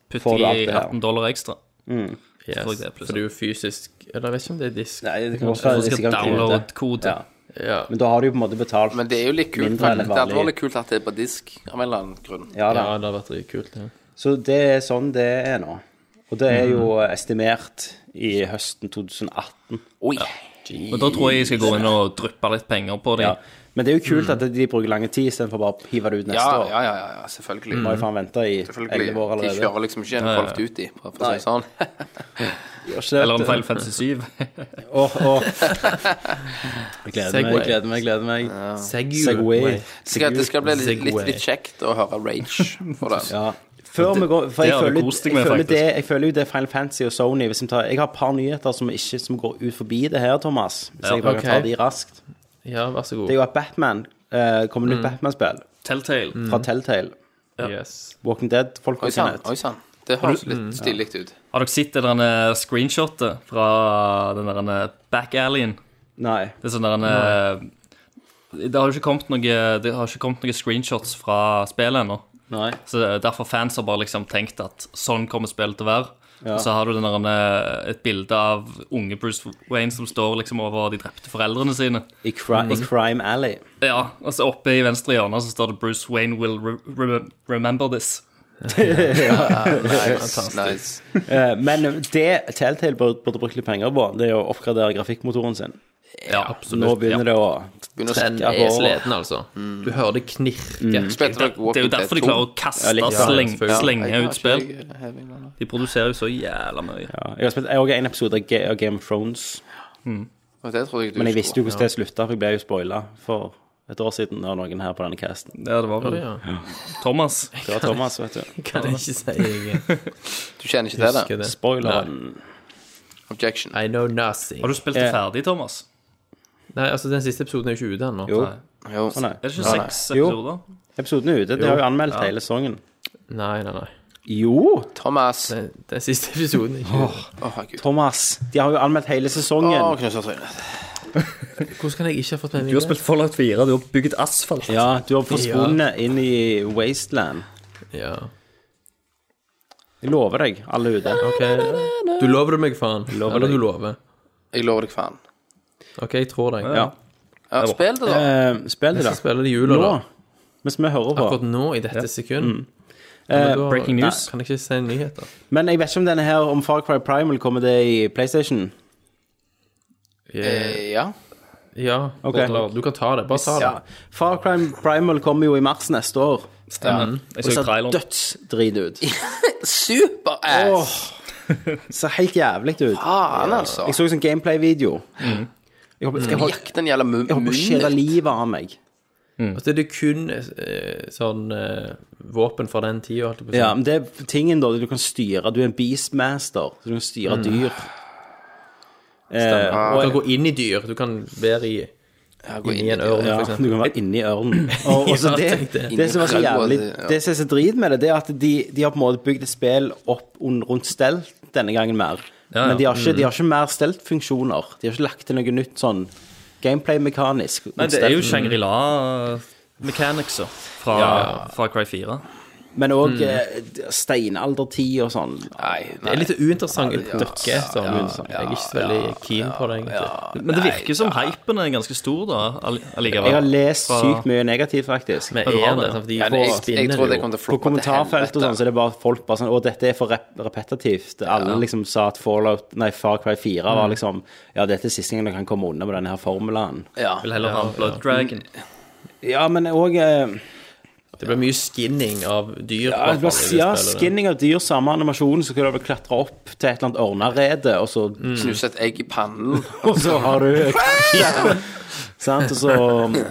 får Putter du alt i det her. Mm. 18 dollar ekstra. yes. får jeg det plutselig. For det er jo fysisk Eller jeg vet ikke om det er disk. Nei, det kan godt Du være det er skal sikkert downloade kredit. kode. Ja. Ja. Men da har du jo på en måte betalt. Men det er jo litt kult. Mindre enn Det vanlig. hadde vært litt kult at det er på disk av en eller annen grunn. ja, Ja, da. det har vært dritkult. Ja. Så det er sånn det er nå. Og det er jo Mm. estimert i høsten 2018. Oi. Men da tror jeg jeg skal gå inn og dryppe litt penger på det. Ja. Men det er jo kult Mm. at de bruker lang tid istedenfor bare å hive det ut neste Ja, år. ja, ja, ja, ja selvfølgelig. Nå har jeg faen venta i Selvfølgelig. elleve år De allerede. kjører liksom ikke en folk uti, for å si det sånn. Gjør ikke det, Eller en vet feil du. 57. Åh, åh. Jeg gleder meg, Segway. jeg gleder meg. jeg gleder meg. Segway. Segway. Det skal, det skal bli litt, Segway. litt, litt kjekt å høre rage for det. Ja. Før vi går, for jeg, det har du føler, kost deg jeg, med, føler faktisk. det, jeg føler jo det er Final Fantasy og Sony. Hvis vi tar, jeg har et par nyheter som, ikke, som går ut forbi det her, Thomas. Hvis jeg bare ok. kan ta de raskt. Ja, vær så god. Det er jo at Batman eh, kommer Mm. nytt Batman-spill Telltale. fra Telltale. Yes. Walking Dead, folk Oi og sann. Kenneth. Oi sann. Det høres litt stilig ut. Har dere sett det der screenshotet fra den der back alleyen? Nei. Det er sånn der en eh, Det har jo ikke kommet noe Det har ikke kommet noen screenshots fra spillet ennå. Nei. Så eh, Derfor fans har bare liksom tenkt at sånn kommer spillet til å være. Og så har du den der, eh, et bilde av unge Bruce Wayne som står liksom over de drepte foreldrene sine. I, cri Mm. I Crime Alley. Ja, og så Oppe i venstre hjørne så står det 'Bruce Wayne will re re remember this'. Nice. Eh, men det Telltale burde, burde brukt litt penger på, det er å oppgradere grafikkmotoren sin. Ja, absolutt. Nå begynner det å Begynner å Den snakke. er sliten, altså. Du hører det Mm. knirke. Spilte dere Det er Walking jo derfor Dead de klarer å 2? kaste Ja, litt, ja, sleng, selvfølgelig. slenge ut spill. Jeg har ikke- jeg- jeg- De produserer jo så jævla mye. ja, Jeg har spilt jeg har også en episode av Ga- av Game of Thrones, Og Det trodde jeg du men jeg skulle. visste jo hvordan det slutta, for jeg ble jo spoila for et år siden av noen her på denne casten. Ja, det var vel Ja. Thomas. Det var Thomas, vet du. Kan jeg ikke si jeg Du kjenner ikke til husker det? det. Spoileren. Objection. I know nothing. Har du spilt det Eh. ferdig, Thomas? Nei, altså, den siste episoden er jo ikke ute ennå. Jo. Jo. Å nei. Er det ikke Nei, nei. seks Jo. episoder? Episoden er ute. De har jo anmeldt hele sesongen. Nei, nei, nei. Jo, Thomas. Å, Den, den siste episoden er ikke ute. herregud. Thomas. De har jo anmeldt hele sesongen. Å, knuser trynet. Hvordan kan jeg ikke ha fått med meg det? Fallout 4, du har bygget asfalt. Ja, du har forsvunnet inn i Wasteland. Ja. Jeg lover deg, alle ute. Ok. Du lover det meg, faen. Lover Eller deg. du lover. Jeg lover deg, faen. Ok, jeg tror deg. Ja. Ja, spill det, da. Eh, spill det, Jeg skal da. spille det i jula, Nå, da. mens vi hører på. Akkurat nå, i dette sekund. Eh, breaking news. Nei, kan jeg ikke si nyheter? men jeg vet ikke om denne her, om Far Cry Primal kommer det i PlayStation. Yeah. Eh, Ja. Ja. Ok. Eller, Du kan ta det. Bare ta det. Ja. Far Cry Primal kommer jo i mars neste år. Stemmer. Og Jeg så ser traileren. dødsdrit ut. Super-ass! Åh, ser helt jævlig ut. Faen, altså. Jeg så en sånn gameplay-video. Mm. Jeg håper jeg håper- Jakk den gjelder mu- jeg håper å skjære munnen. livet av meg. Mm. Altså, det er kun eh, sånn eh, våpen fra den tida, holdt jeg på å si. Ja, men det er tingen da, du kan styre. Du er en beastmaster, så du kan Mm. styre dyr. Eh, Du kan gå inn i dyr. Du kan være i Ja, gå i inn i en det. ørn, Ja, for du eksempel. kan være inni ørnen. Og, og så Ja, det, tenk det. det som er så Inni kraua, jævlig det, ja. Det som er så drit med det, det er at de, de har på en måte bygd et spill opp un- rundt stelt denne gangen mer. Ja, Mm. ja. Men de har ikke, de har ikke mer steltfunksjoner. De har ikke lagt til noe nytt sånn gameplay-mekanisk. Nei, rundt det er jo stelt. Shangri-La mechanicser fra, fra Cry 4. Men òg Mm. steinaldertid og sånn. Nei, Det nei. er litt uinteressant dukke. sånn. jeg er ikke så veldig keen på det, egentlig. Men det virker som hypen er ganske stor, da, all- Jeg har allikevel. lest Fra- sykt mye negativt, faktisk. Men Ja, du har er det det. sånn, for de Ja, det, får jeg, jeg spinner tror det jo. kommer til å På floppe til kommentarfelt og helvete. sånn, så er det bare folk bare sånn Å, dette er for rep repetitivt. Alle liksom sa at Fallout Nei, Far Cry 4 var liksom Ja, dette er siste gang du kan komme unna med denne her formelen. Ja. Vil heller ha en Blood Dragon. Ja, men òg eh, Det blir mye skinning av dyr. ja, det blir- ja, skinning av dyr, samme animasjon, så skal du klatre opp til et eller annet ørnerede, og så Knuse et egg i pannen. Og så har du Sant, og så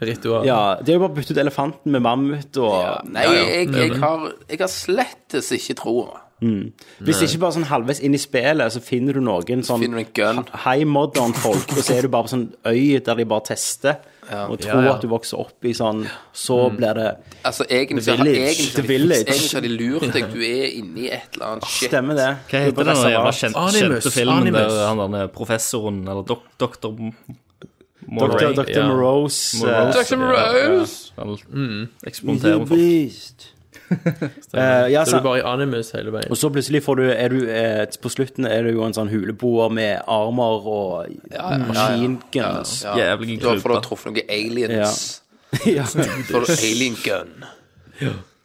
Ritual. Ja, de har jo bare byttet ut elefanten med mammut og Nei, jeg, jeg, har, jeg har slettes ikke troa. Hvis ikke bare sånn halvveis inn i spillet, så finner du noen sånn Finner du en gun? high modern folk, og så er du bare på sånn øy der de bare tester, og tror Ja, ja. at du vokser opp i sånn Så blir det Altså, egentlig The så har Village. egentlig så har The de- Village. egentlig så har de lurt deg. Du er inni et eller annet shit. Ah, Stemmer det. Hva heter den jævla kjente, Animus, kjente filmen der Animus. han der professoren, eller dok, doktor Dr. Moray, Dr. Morose. eh, Morose. Dr. Rose! eksperimenterer med folk. eh, ja, Så er så, du bare i animus hele veien. og så plutselig får du, er du eh, På slutten er du jo en sånn huleboer med armer og maskinguns. Ja. Jævlig Da får du klype. truffet noen aliens. Ja. Så får du alien gun.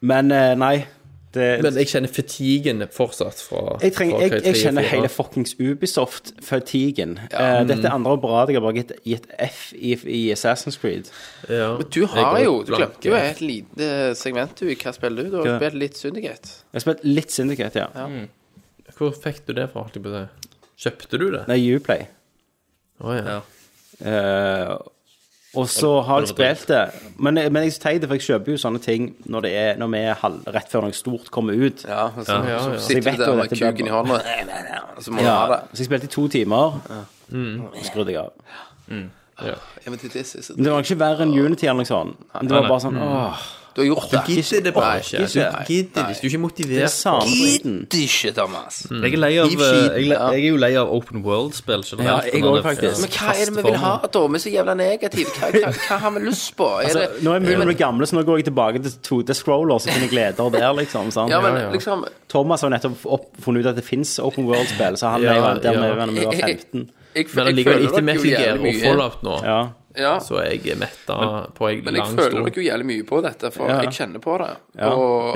Men eh, nei. Det, Men jeg kjenner fatigen fortsatt fra Jeg, trenger, fra jeg, jeg Cry kjenner 4. hele fuckings Ubisoft-fatigen. Eh, dette er andre operatet jeg har bare gitt, gitt F i, i Assassin's Creed. ja. Du har Jeg går jo Du blank, glemte jo ja. et lite segment du i hva spiller du. Du har Hva? spilt litt Syndicate. Jeg har spilt litt Syndicate, ja. Hvor fikk du det fra? holdt jeg på å si? Kjøpte du det? Nei, Uplay. Å ja. Ja. Eh, og så har jeg spilt det. Men, eh, men jeg er så teit, for jeg kjøper jo sånne ting når, det er, når vi er halv, rett før noe stort kommer ut. Ja, så, ja, ja. så Jeg sitter vet du der jo med dette kuken der. i hånda, og så altså, må du ha Ja, det. så jeg spilte i to timer, og så skrudde jeg av. Ja, men det, er så- Men det var ikke verre enn Unity eller noe sånt. Det var bare sånn åh, du har gjort det. Gidder det bare Nei, ikke. Du nei, gidder hvis du ikke er det er motivert. samme driten. Gidder ikke, Thomas. Jeg er, lei av, Deep eh, Sheet, jeg, ja. jeg er jo lei av open world-spill. generelt, Ja, jeg når òg, det er faktisk. Men hva er det vi vil ha, da? Vi er så jævla negative. Hva, hva, hva har vi lyst på? Er det, Altså, nå er mulig vi er gamle, så nå går jeg tilbake til 2D-scroller, så finner jeg gleder der, liksom. Sant? ja, men liksom Thomas har nettopp opp, funnet ut at det fins Open World-spill, så han er Ja, jo der ja. med når vi var 15. jeg, Men jeg allikevel, føler etter dere jo Metal Gear jævlig og mye- Fallout nå, Ja. Ja, så er jeg metta på en men jeg lang føler stor dere jo jævlig mye på dette, for Ja. jeg kjenner på det. Og Men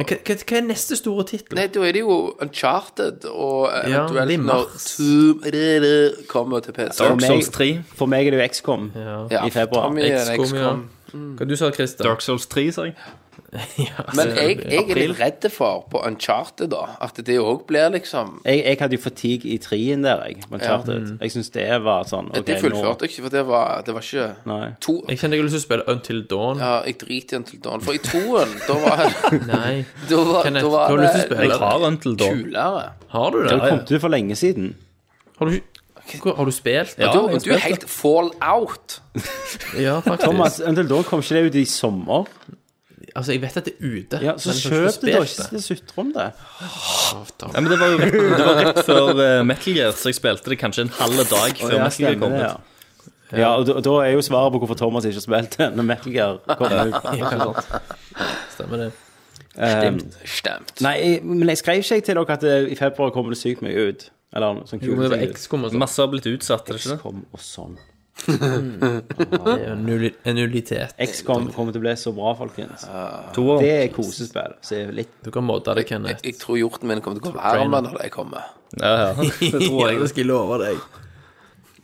hva, hva hva er neste store tittel? Nei, da er det jo Uncharted og Ja, det eventuelt er når mars. Tomb Raider kommer til PC. Dark Souls meg- 3. For meg er det jo XCOM Ja, i februar. Tommy er en XCOM, ja. XCOM. Hva du sa Christer? Dark Souls 3, sa jeg. Eh, Men jeg, jeg er litt redd for på Uncharted, da, at det òg blir liksom Jeg, jeg hadde jo fatigue i trien der, jeg. Man klarte det. Jeg syns det var sånn ok, Det fullførte nå- jeg ikke, for det var, det var ikke Nei. to Jeg kjenner jeg har lyst til å spille Until Dawn. Ja, jeg driter i Until Dawn, for i toen, da var, Nei. da var, Kenneth, da du var har lyst til å det spille. Jeg har Until Dawn. kulere. Har du det? Det kom til for lenge siden. Har du, ikke- Hvor- har du spilt? Ja, Du, jeg du er helt fall out. Ja, faktisk. Thomas, Until Dawn kom ikke det ut i sommer? Altså, jeg vet at det er ute. Ja, Så men jeg har kjøp det, da. ikke spilt Ikke sutre om det. Nei, men det var jo rett, det var rett før eh, Metal Gear, så jeg spilte det kanskje en halv dag før Ja, Metal Gear stemmer kom det, ut. ja. Ja, og da, da er jo svaret på hvorfor Thomas ikke har spilt når Metal Gear kom ut. Ja, sant. Stemmer det. Ehm, Stemt. Nei, jeg- men jeg skrev ikke jeg til dere at eh, i februar kommer det sykt mye ut. Eller sånn Jo, kule men det var ting ut. XCOM og sånn. Masse har blitt utsatt, er det ikke det? XCOM og sånn. Det er jo nulli- en nullitet. XCOM kommer til å bli så bra, folkens. To år. Det er kosespill. Så er det litt Du kan modde det, Kenneth. Jeg tror hjorten min kommer til å gå varm når jeg kommer. Ja, ja. Det tror jeg. skal jeg love deg.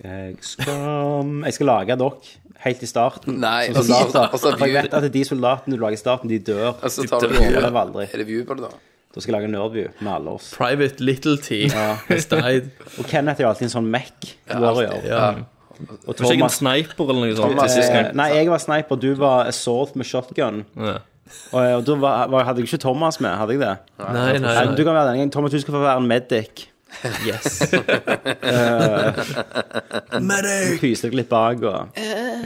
XCOM Jeg skal lage dokk helt i starten. Nei, altså, som og så- soldater. og så For jeg vet at de soldatene du lager i starten, de dør. Og så altså, tar du De overlever aldri. Er det view på det, da? Da skal jeg lage Nerdview med alle oss. Private Little T has died. Og Kenneth er jo alltid en sånn Mac-warrior. Ja. Og Ikke en Thomas sniper eller noe sånt til Thomas- sist gang. Nei, jeg var sniper, du var assault med shotgun. Ja. Og, eh, og da var, var, hadde jeg ikke Thomas med, hadde jeg det? Nei, nei, Nei, nei. du kan være den gangen. Thomas, du skal få være en medic. Eh, Yes. Pyse deg litt bak og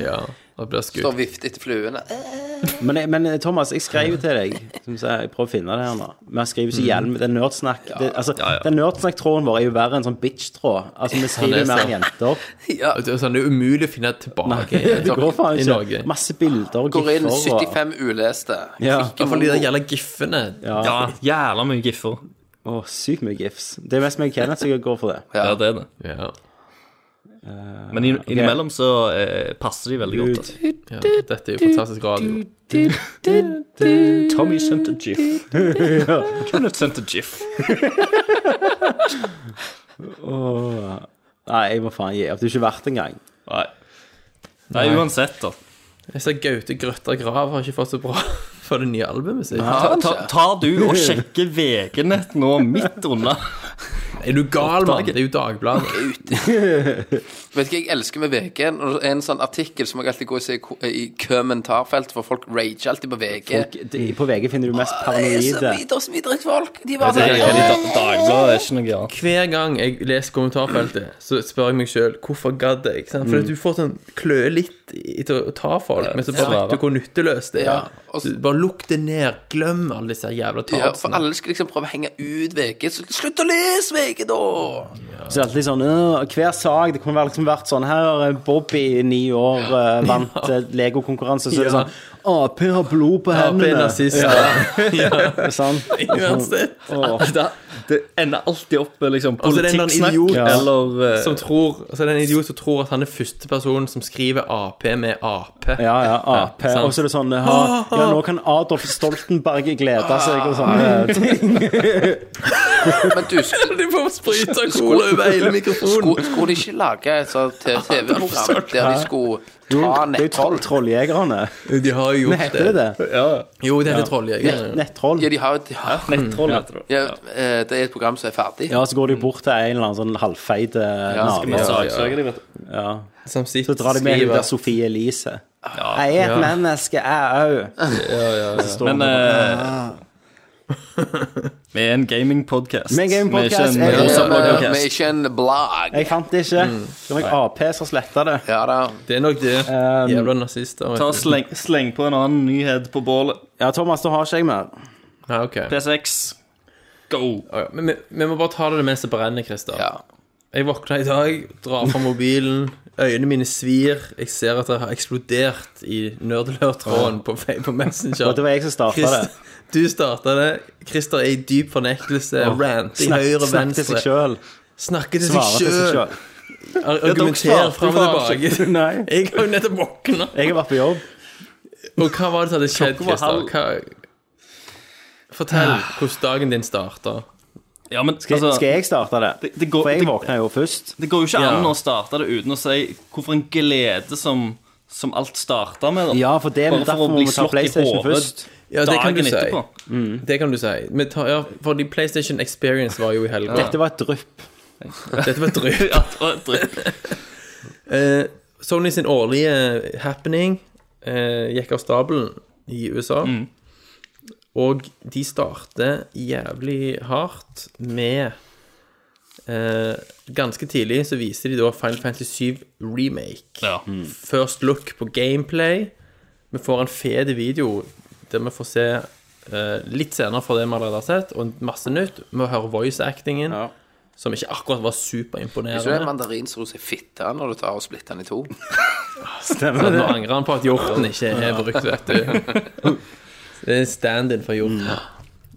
Ja, da blir det Står skutt. og vifter etter fluene. Eh, Men, jeg- men eh, Thomas, jeg skrev jo til deg som sier, Jeg prøver å finne det her nå. Men jeg skriver ikke hjelm. Det er nerdsnakk. Det, altså, Den nerdsnakk-tråden vår er jo verre enn sånn bitch-tråd. Altså, vi skriver det er mer sant. enn jenter. Ja, Og Det er sånn, det er umulig å finne tilbake i. Det går faen i ikke. Norge. Masse bilder og går inn giffer og 75 uleste. Ja. Ikke Iallfall de moro. der jævla giffene. Ja, jævla mye giffer. Å, sykt mye gifs. Det er mest meg og Kenneth som går for det. Ja, det er det. Ja. Men inn- innimellom så eh, passer de veldig godt. Altså. ja. Dette er jo fantastisk radio. Tommy sendte gif. Kenneth sendte gif. Nei, jeg må faen gi opp. Det er ikke verdt engang. Nei. Nei, uansett, da. Jeg ser Gaute Grøtta Grav har ikke fått så bra for det nye albumet sitt. Ta, ta, tar du og sjekker VG-nett nå midt under? Er du gal, mann? Det er jo Dagbladet. Vet du hva jeg elsker med VG? Når det er en sånn artikkel som jeg alltid går og ser i ko- i kommentarfeltet, for folk rager alltid på VG. Folk, de- på VG finner du mest paranoide. og så mye drittfolk. De bare sånn Dagbladet er ikke noe annet. Hver gang jeg leser kommentarfeltet, så spør jeg meg sjøl hvorfor gadd jeg? sant? For du får sånn klø litt i til å ta folk, men så bare Ja. vet du hvor nytteløst det Ja, er. og Du bare lukk det ned. Glem alle disse jævla ja, For tapsene. alle skal liksom prøve å henge ut VG. Så slutt å lese VG, da! Så det er alltid sånn «Åh, Hver sak Det kunne vel liksom vært sånn Her har Bobby i ni år eh, vant eh, Lego-konkurranse, så er det Ja. sånn Ap har blod på Ap er hendene. nazist. Ja, sant? Uansett. Åh. Da- Det ender alltid opp med liksom, Og så er det en eller annen politikksnakk idiot eller eh, Som tror, så er det en idiot som tror at han er første personen som skriver AP med AP. Ja, ja, Ap. sant. Og så er det sånn ja, ja, nå kan Adolf Stoltenberg glede seg, og sånne ting. Men du, sk- De får sprute cola over hele mikrofonen. sko- skulle de ikke lage et sånt TV-program der de skulle ta Det er jo troll, nettroll? trolljegerne. De har jo gjort Heter det det? Jo, det heter Nett, Trolljegeren. nettroll? Ja, de har de har- mm. nettroll, heter det. ja, eh, Det er et program som er ferdig. Ja, så går de bort til en eller annen sånn halvfeit eh, nabo, Ja, Saksøker de, vet du. Som sitter så drar de med skriver- henne der Sofie Elise. Jeg er et menneske, jeg òg. Men eh, Vi er en gamingpodkast. Vi er en gamingpodcast, Vi er jeg- ikke en rosa Men, eh, podcast. Vi er ikke en blogg. Jeg fant det ikke. Det var jeg Ap som sletta det. Ja da. Det er nok det. Um, Jævla nazister. vet Ta og du. sleng, sleng på en annen nyhet på bålet. Ja, Thomas, da har ikke jeg mer. Ja, ok. P6. Go. Ja, Men vi, vi må bare ta det mens det brenner, Christer. Ja. Jeg våkna i dag, drar fra mobilen, øynene mine svir. Jeg ser at det har eksplodert i nerdelørtråden på, fe- på Messenger. Og det var jeg som starta det. Christ, du starta det. Christer er i dyp fornektelse. Rant i Snakk- høyre og snakk til venstre. seg sjøl. Snakker til Svare til seg seg sjøl. sjøl. Argumenterer fram og tilbake. Nei. Jeg har jo nettopp våkna. Jeg har vært på jobb. Og hva var det som hadde skjedd, Klokka var Christer? Hva... halv. Fortell hvordan dagen din starta. Ja, men Skal, altså, skal jeg starte det? Det- det går- For jeg det- våkna jo først. det går jo ikke Ja. an å starte det uten å si hvorfor en glede som, som alt starta med. Da. Ja, for det Bare for å derfor må bli vi ta slått i PlayStation hodet. først. Ja, det kan du Dagen si. etterpå. Det kan du si. Men ta, ja, fordi PlayStation Experience var jo i helga. Dette var et drypp. Dette var drøyt. Ja, det var dritt. Eh, Sony sin årlige happening eh, gikk av stabelen i USA. Og de starter jævlig hardt med eh, Ganske tidlig så viser de da Final Fantasy 7 Remake. Ja. Mm. First look på gameplay. Vi får en fet video der vi får se eh, litt senere fra det vi allerede har sett, og masse nytt. Vi hører voice-actingen, Ja. som ikke akkurat var Så er det en superimponerende. mandarin som roser fitte når du tar og splitter den i to. Stemmer Nå det? angrer han på at hjorten ikke er brukt, vet du. Det er en stand-in for hjorten.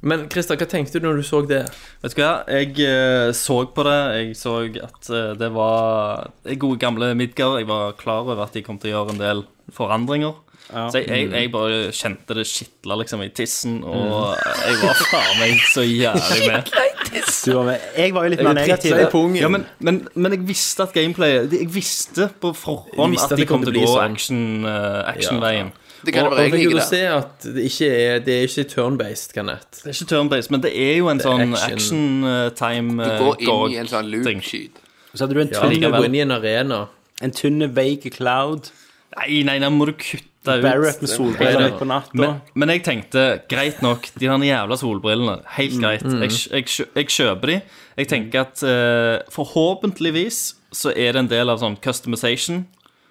Men Christer, hva tenkte du når du så det? Vet du hva, jeg eh, så på det. Jeg så at eh, det var det gode gamle Midgard. Jeg var klar over at de kom til å gjøre en del forandringer. Så jeg, jeg, jeg bare kjente det skitla liksom i tissen, og jeg var faen meg så jævlig med. Du var med. Jeg var jo litt mer negativ. i pungen. Ja, men, men, men jeg visste at gameplayet Jeg visste på forhånd visste at at de det kom kom til å til å bli gå sånn. action, eh, actionveien. Det kan jo Og være jeg jeg fikk jo liker det. se at det ikke er, det er ikke turn-based, Kanett. Det er ikke turn-based, men det er jo en sånn action. action, eh, time De eh, går inn i en dog. sånn ting. loop-skyt. Så hadde du en Du tynn, går inn i en arena. en tynn vague cloud. Nei, nei, den må du kutte ut. Barrett med solbriller midt på natta. Men, men jeg tenkte, greit nok, de der jævla solbrillene, helt greit. Jeg, jeg, kjø- jeg kjøper de. Jeg tenker at eh, forhåpentligvis så er det en del av sånn customization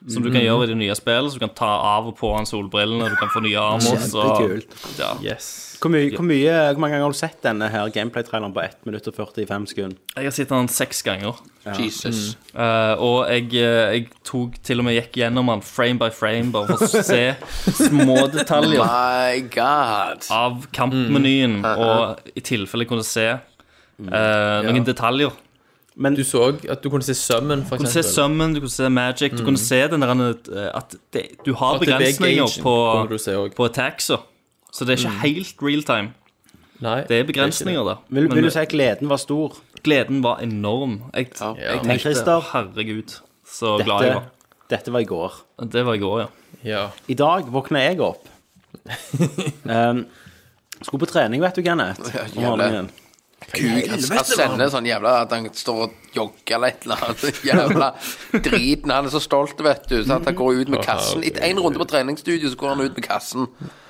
Som du kan gjøre i det nye spillet. Så du kan ta av og på han solbrillene, du kan få nye armors. Og, Kjempekult. ja. Yes. Hvor, mye, hvor, mye, hvor mange ganger har du sett denne her gameplay-traileren på 1 minutt og 45 sekunder? Jeg har sett han seks ganger. Jesus. Eh, og jeg, eh, jeg tok til og med gikk gjennom han frame by frame, bare for å se små detaljer. My God. av kampmenyen, og i tilfelle jeg kunne se eh, noen detaljer. Du så at du kunne se sømmen, for Du kunne se eksempel. Summon, du kunne se Magic, du kunne se den der, eh, at det, du har At det er begrensninger begrensen, på, kunne du se også. på attackser. Så det er ikke helt real time. Nei, Det er begrensninger, da. Vil, Men vil du si at gleden var stor? gleden var enorm. Jeg, Ja. jeg Men tenkte Christer- Herregud, så glad Dette, jeg var. dette var i går. Det var i går, ja. Ja. I dag våkna jeg opp. um, skulle på trening, vet du, Kenneth. Ja, om morgenen. Gud, han han sender sånn jævla At han står og jogger eller et eller annet. Jævla driten. Han er så stolt, vet du. Så at han går ut med kassen. Etter én runde på treningsstudio, så går han ut med kassen.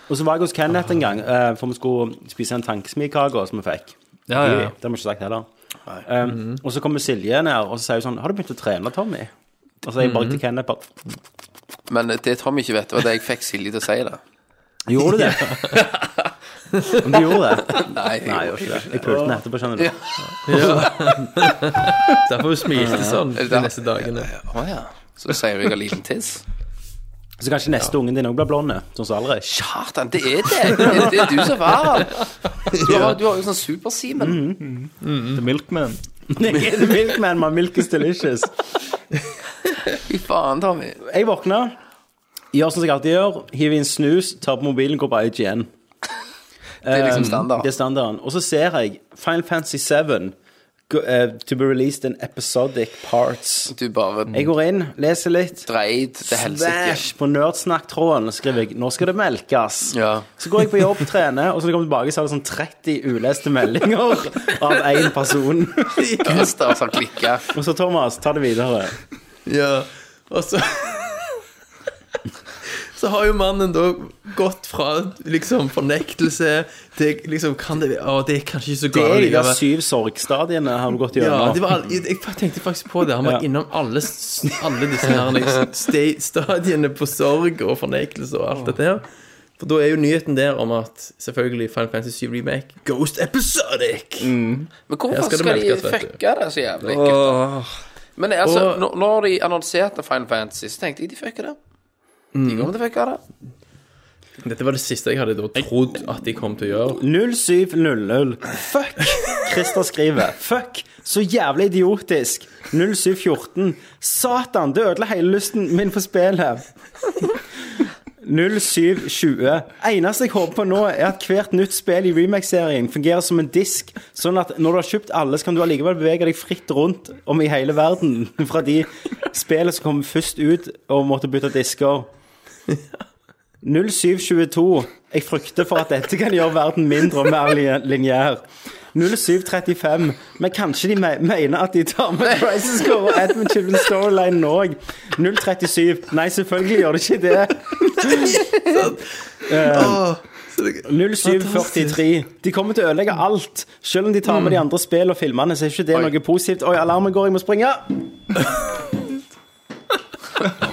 Og så var jeg hos Kenneth en gang, eh, for vi skulle spise en tankesmikake som vi fikk. Ja, ja, ja. Det har vi ikke sagt heller. Um, Og så kommer Silje ned, og så sier hun sånn Har du begynt å trene, Tommy? Og så er jeg bare til Kenneth bare Men eh, det Tom ikke vet, var det jeg fikk Silje til å si det. Gjorde du det? Om du gjorde det? Nei, jeg Nei, jeg gjorde ikke det. Jeg pulte den etterpå, skjønner du. Derfor smilte du sånn det de der? neste dagene. Å ja. Så sier jeg har liten tiss. Så kanskje neste ungen din òg blir blond, sånn som Alrik. Kjartan, det er det! Det er, det er du som var han. Du har du har jo sånn Super-Simen. The Milkman. The Milkman, my milk is delicious. Fy faen, Tommy. Jeg våkna, gjør som jeg alltid gjør, hiver i en snus, tar på mobilen, går på IGN. Det er liksom standard. Det er standarden. Og så ser jeg Final Fantasy 7 go- eh, to be released in episodic parts. Du bare Jeg går inn, leser litt. dreid til helsike. Smash på nerdsnakktråden, og skriver jeg 'Nå skal det melkes'. Ja. Så går jeg på jobb, trener, og så når jeg kommer tilbake, så er det sånn 30 uleste meldinger av én person. Christer som klikka. Og så Thomas, ta det videre. Ja, og så Så har jo mannen da gått fra liksom fornektelse til liksom Kan det være Å, det er kanskje ikke så Det galt er de der likevel. syv sorgstadiene har du gått Ja, gjennom. det var, all- jeg jeg tenkte faktisk på det. Han var Ja. innom alle, s- alle disse her liksom, sta- stadiene på sorg og fornekelse og alt dette her. For da er jo nyheten der om at selvfølgelig Final Fantasy 7 Remake Ghost Episodic! Mm. Men Her hvorfor skal skal, det melkes, de vet du. fucke det så jævlig? gutter? Men altså, Og- når, når de annonserte Final Fantasy, så tenkte jeg de fucker det. De kommer til å fucke det. Dette var det siste jeg hadde da trodd at de kom til å gjøre. 0700. Fuck! Christer skriver. Fuck! Så jævlig idiotisk. 0714. Satan, det ødela hele lysten min for spillet. 0720. Eneste jeg håper på nå, er at hvert nytt spill i remake-serien fungerer som en disk, sånn at når du har kjøpt alle, så kan du allikevel bevege deg fritt rundt om i hele verden fra de spillene som kom først ut og måtte bytte disker. 0722. Jeg frykter for at dette kan gjøre verden mindre og mer li- lineær. 0735. Men kanskje de me mener at de tar med Crisis Core og Edmund Children's Storyline nå òg. 037. Nei, selvfølgelig gjør de ikke det. Eh, Åh, så det- 0743. De kommer til å ødelegge alt. Selv om de tar med Mm. de andre spill og filmene, så er ikke det noe positivt. Oi, alarmen går, jeg må springe.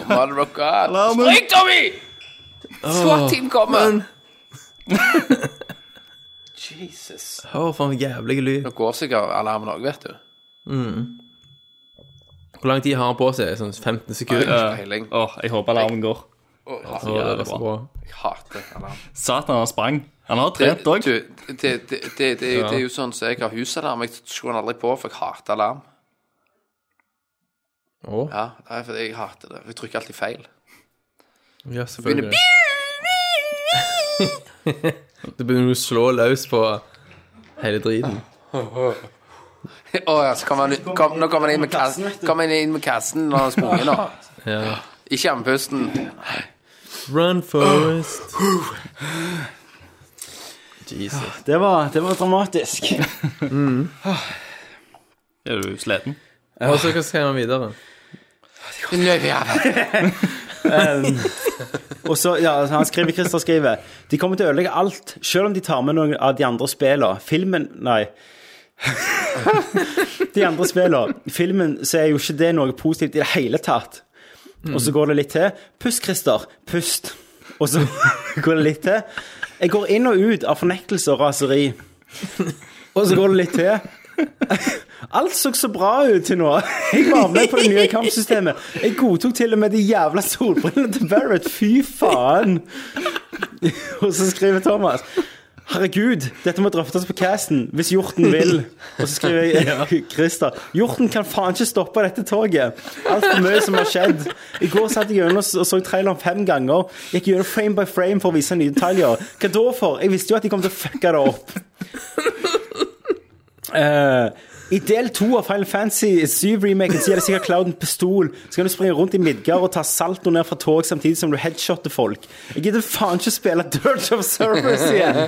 Mother of God. Spring, Tommy! SWAT-team kommer! Jesus. Åh, for en jævlig lyd. Nå går sikkert alarmen òg, vet du. Hvor lang tid har han på seg? Sånn 15 sekunder? Ikke peiling. Åh, jeg håper alarmen går. Å, Åh, jeg- det var så bra. Jeg hater alarm. Satan, han sprang. Han har Det, trent òg. du, det, det, det, det, det, er jo sånn som jeg har husalarm. Jeg skrur den aldri på, for jeg hater alarm. Åh, Ja, nei, for Jeg hater det. Jeg trykker alltid feil. ja, selvfølgelig. Du begynner å slå løs på hele driten. Å ja, så kommer han ut- kom, nå kommer han inn med kassen Kommer han inn med kassen når han har sprunget nå. Ja. Ikke andpusten. Run forest. Jesus. Det var, det var dramatisk. Er du sliten? Og så hva skal han videre? Og så, ja, han skriver, Christer skriver De kommer til å ødelegge alt, selv om de tar med noen av de andre spillene. Filmen Nei. de andre spillene. Filmen så er jo ikke det noe positivt i det hele tatt. Og så går det litt til. Pust, Christer. Pust. Og så går det litt til. Jeg går inn og ut av fornektelse og raseri. Og så går det litt til. Alt så så bra ut til nå. Jeg var med på det nye kampsystemet. Jeg godtok til og med de jævla solbrillene til Barrett. Fy faen. Og så skriver Thomas Herregud, dette må drøftes på casten hvis hjorten vil. Og så skriver jeg Christer Hjorten kan faen ikke stoppe dette toget. Altfor mye som har skjedd. I går satt jeg gjennom og s- og så traileren fem ganger. Gikk gjennom frame by frame for å vise nye detaljer. Hva da for? Jeg visste jo at de kom til å fucke det opp. Eh, I del to av Final Fantasy 7-remaken så gir det sikkert Cloud en pistol. Så kan du springe rundt i Midgard og ta salto ned fra tog samtidig som du headshotter folk. Jeg gidder faen ikke å spille Dirt of Service igjen!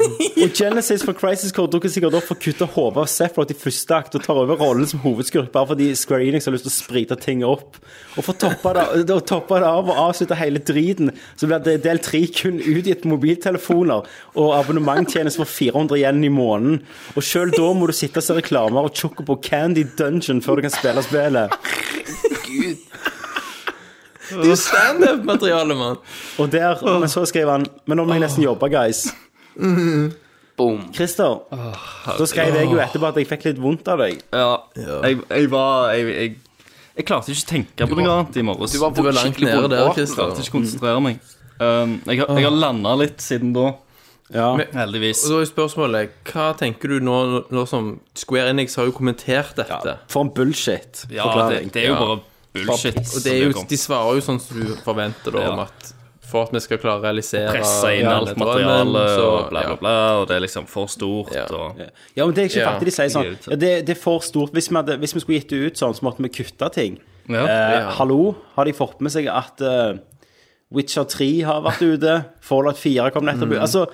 Og Genesis fra Crisis Core dukker sikkert opp for å kutte hodet av Sephiroth i første akt og tar over rollen som hovedskurk bare fordi Square Enix har lyst til å sprite ting opp. Og for å toppe det, å toppe det av og avslutte hele driten, så blir det del tre kun utgitt på mobiltelefoner og abonnementtjeneste for 400 igjen i måneden. Og sjøl da må du sitte og se reklamer og Chocobo Candy Dungeon før du kan spille spillet. Gud. Det er jo standup-materiale, mann. Og der, men så skriver han Men nå må jeg nesten jobbe, guys. Boom. Christer, da skrev jeg jo etterpå at jeg fikk litt vondt av deg. Ja, jeg, jeg var jeg, jeg, jeg klarte ikke å tenke på noe annet i morges. Du var, Du var langt skikkelig nede der, vondbråten. Christer. klarte ikke å konsentrere meg. Um, jeg, har- jeg har landa litt siden da, Ja. heldigvis. Og da er jo spørsmålet, hva tenker du nå nå som Square Enix har jo kommentert dette? For en bullshit. Ja, det, forklaring. det er jo Ja. bare bullshit. Og det er jo, som de svarer jo sånn som du forventer, da, Ja. om at for at vi skal klare å realisere pressa inn ja, alt drømmen, materiale så- og bla, bla, bla, og det er liksom for stort Ja. og Ja, men det er ikke Ja. fattig de sier sånn. Ja, det, det er for stort. Hvis vi, hadde, hvis vi skulle gitt det ut sånn, så måtte vi kutte ting. Ja. Eh, Hallo, har de fått med seg at eh, Witcher 3 har vært ute? Fallout 4 kom Mm. nettopp ut? Altså,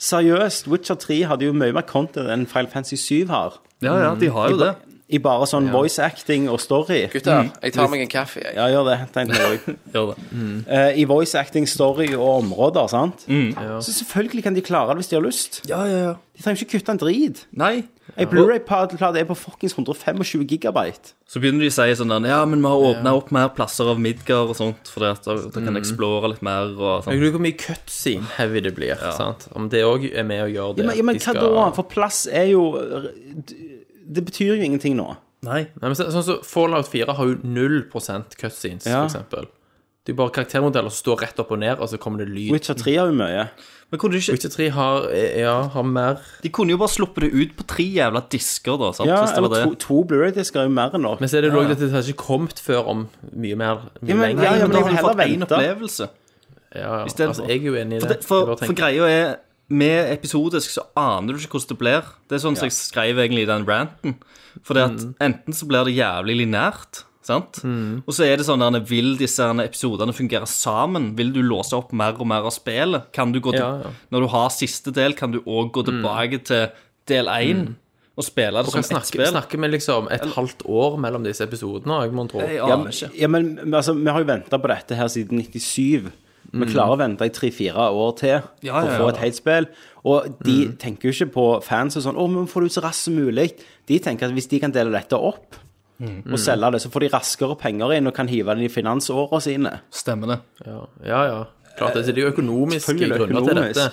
seriøst, Witcher 3 hadde jo mye mer content enn Final Fantasy 7 har. ja, ja, de har jo det. I bare sånn voice acting og story. Gutter, jeg tar meg en kaffe, jeg. Ja, gjør det. tenkte jeg også. Gjør det. Eh, I voice acting, story og områder, sant? Så selvfølgelig kan de klare det hvis de har lyst. Mm. Ja, ja, ja. De trenger ikke kutte en drit. Nei. Ei Blu-ray-plate er på fuckings 125 gigabyte. Så begynner de å si sånn der Ja, men vi har åpna opp mer plasser av Midgard og sånt, for da, da Mm. kan Explore litt mer og Jeg sånn. lurer på hvor mye cutscene-heavy det blir. sant? Om det òg er med og gjør det. Ja, men, ja, men at de hva skal- da? For plass er jo Det betyr jo ingenting nå. Nei. Nei, men så, sånn som Fallout 4 har jo 0 cutscenes, Ja. for eksempel. Det er jo bare karaktermodeller som står rett opp og ned, og så kommer det lyd. Witcher 3 har jo mye. Men kunne de, ikke, Witcher 3 har, eh, ja, har mer de kunne jo bare sluppet det ut på tre jævla disker, da, sant? Ja, hvis det var det. eller to, to Blu-ray-disker er jo mer enn nok. Men så er det jo også at det har ikke kommet før om mye mer. Mye Ja, men- ja, ja, men- jeg lenger. da har vil du heller fått én vente. opplevelse. ja, ja. stedet Altså, for- jeg er jo enig i det. For, det, for, Jeg bare for tenker- greia er Med episodisk så aner du ikke hvordan det blir. Det er sånn som jeg skrev egentlig i den ranten. For det at Mm. enten så blir det jævlig linært, sant? Og så er det sånn der, Vil disse her episodene fungere sammen? Vil du låse opp mer og mer av spillet? Kan du gå til, Ja, ja. Når du har siste del, kan du òg gå tilbake til del én og spille det Mm. Kan som ett snakke, spill? snakke med liksom et halvt år mellom disse episodene, jeg må tro. Jeg ja, aner men, ikke. ja, men men altså, vi har jo venta på dette her siden 97. Vi klarer å vente i tre-fire år til Ja, ja, for å ja. få et helt spill. Og de tenker jo ikke på fans og sånn 'Å, vi må få det ut så raskt som mulig'. De tenker at hvis de kan dele dette opp og selge det, så får de raskere penger inn og kan hive det inn i finansåra sine. Stemmer det. Ja, ja. ja. Klart, altså, det, det er jo økonomiske Selvfølgelig grunner økonomisk. til dette.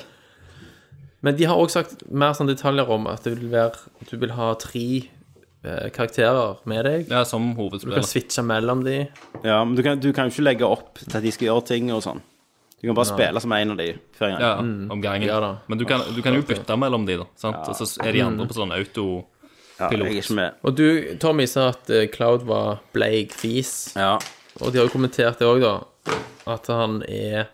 Men de har også sagt mer sånn detaljer om at det vil være, at du vil ha tre eh, karakterer med deg. Ja, som Du kan hovedspiller. switche mellom de. Ja, men du kan, du kan jo ikke legge opp til at de skal gjøre ting og sånn. Du kan bare spille som en av de hver gang. Ja, om gangen. Mm. Ja da. Mm. Men du kan, du kan jo bytte mellom de, da. Sant? Og så er de andre på sånn auto... Ja, jeg pilot. er ikke med. Og du, Tommy, sa at eh, Cloud var bleik fis. Ja. Og de har jo kommentert det òg, da. At han er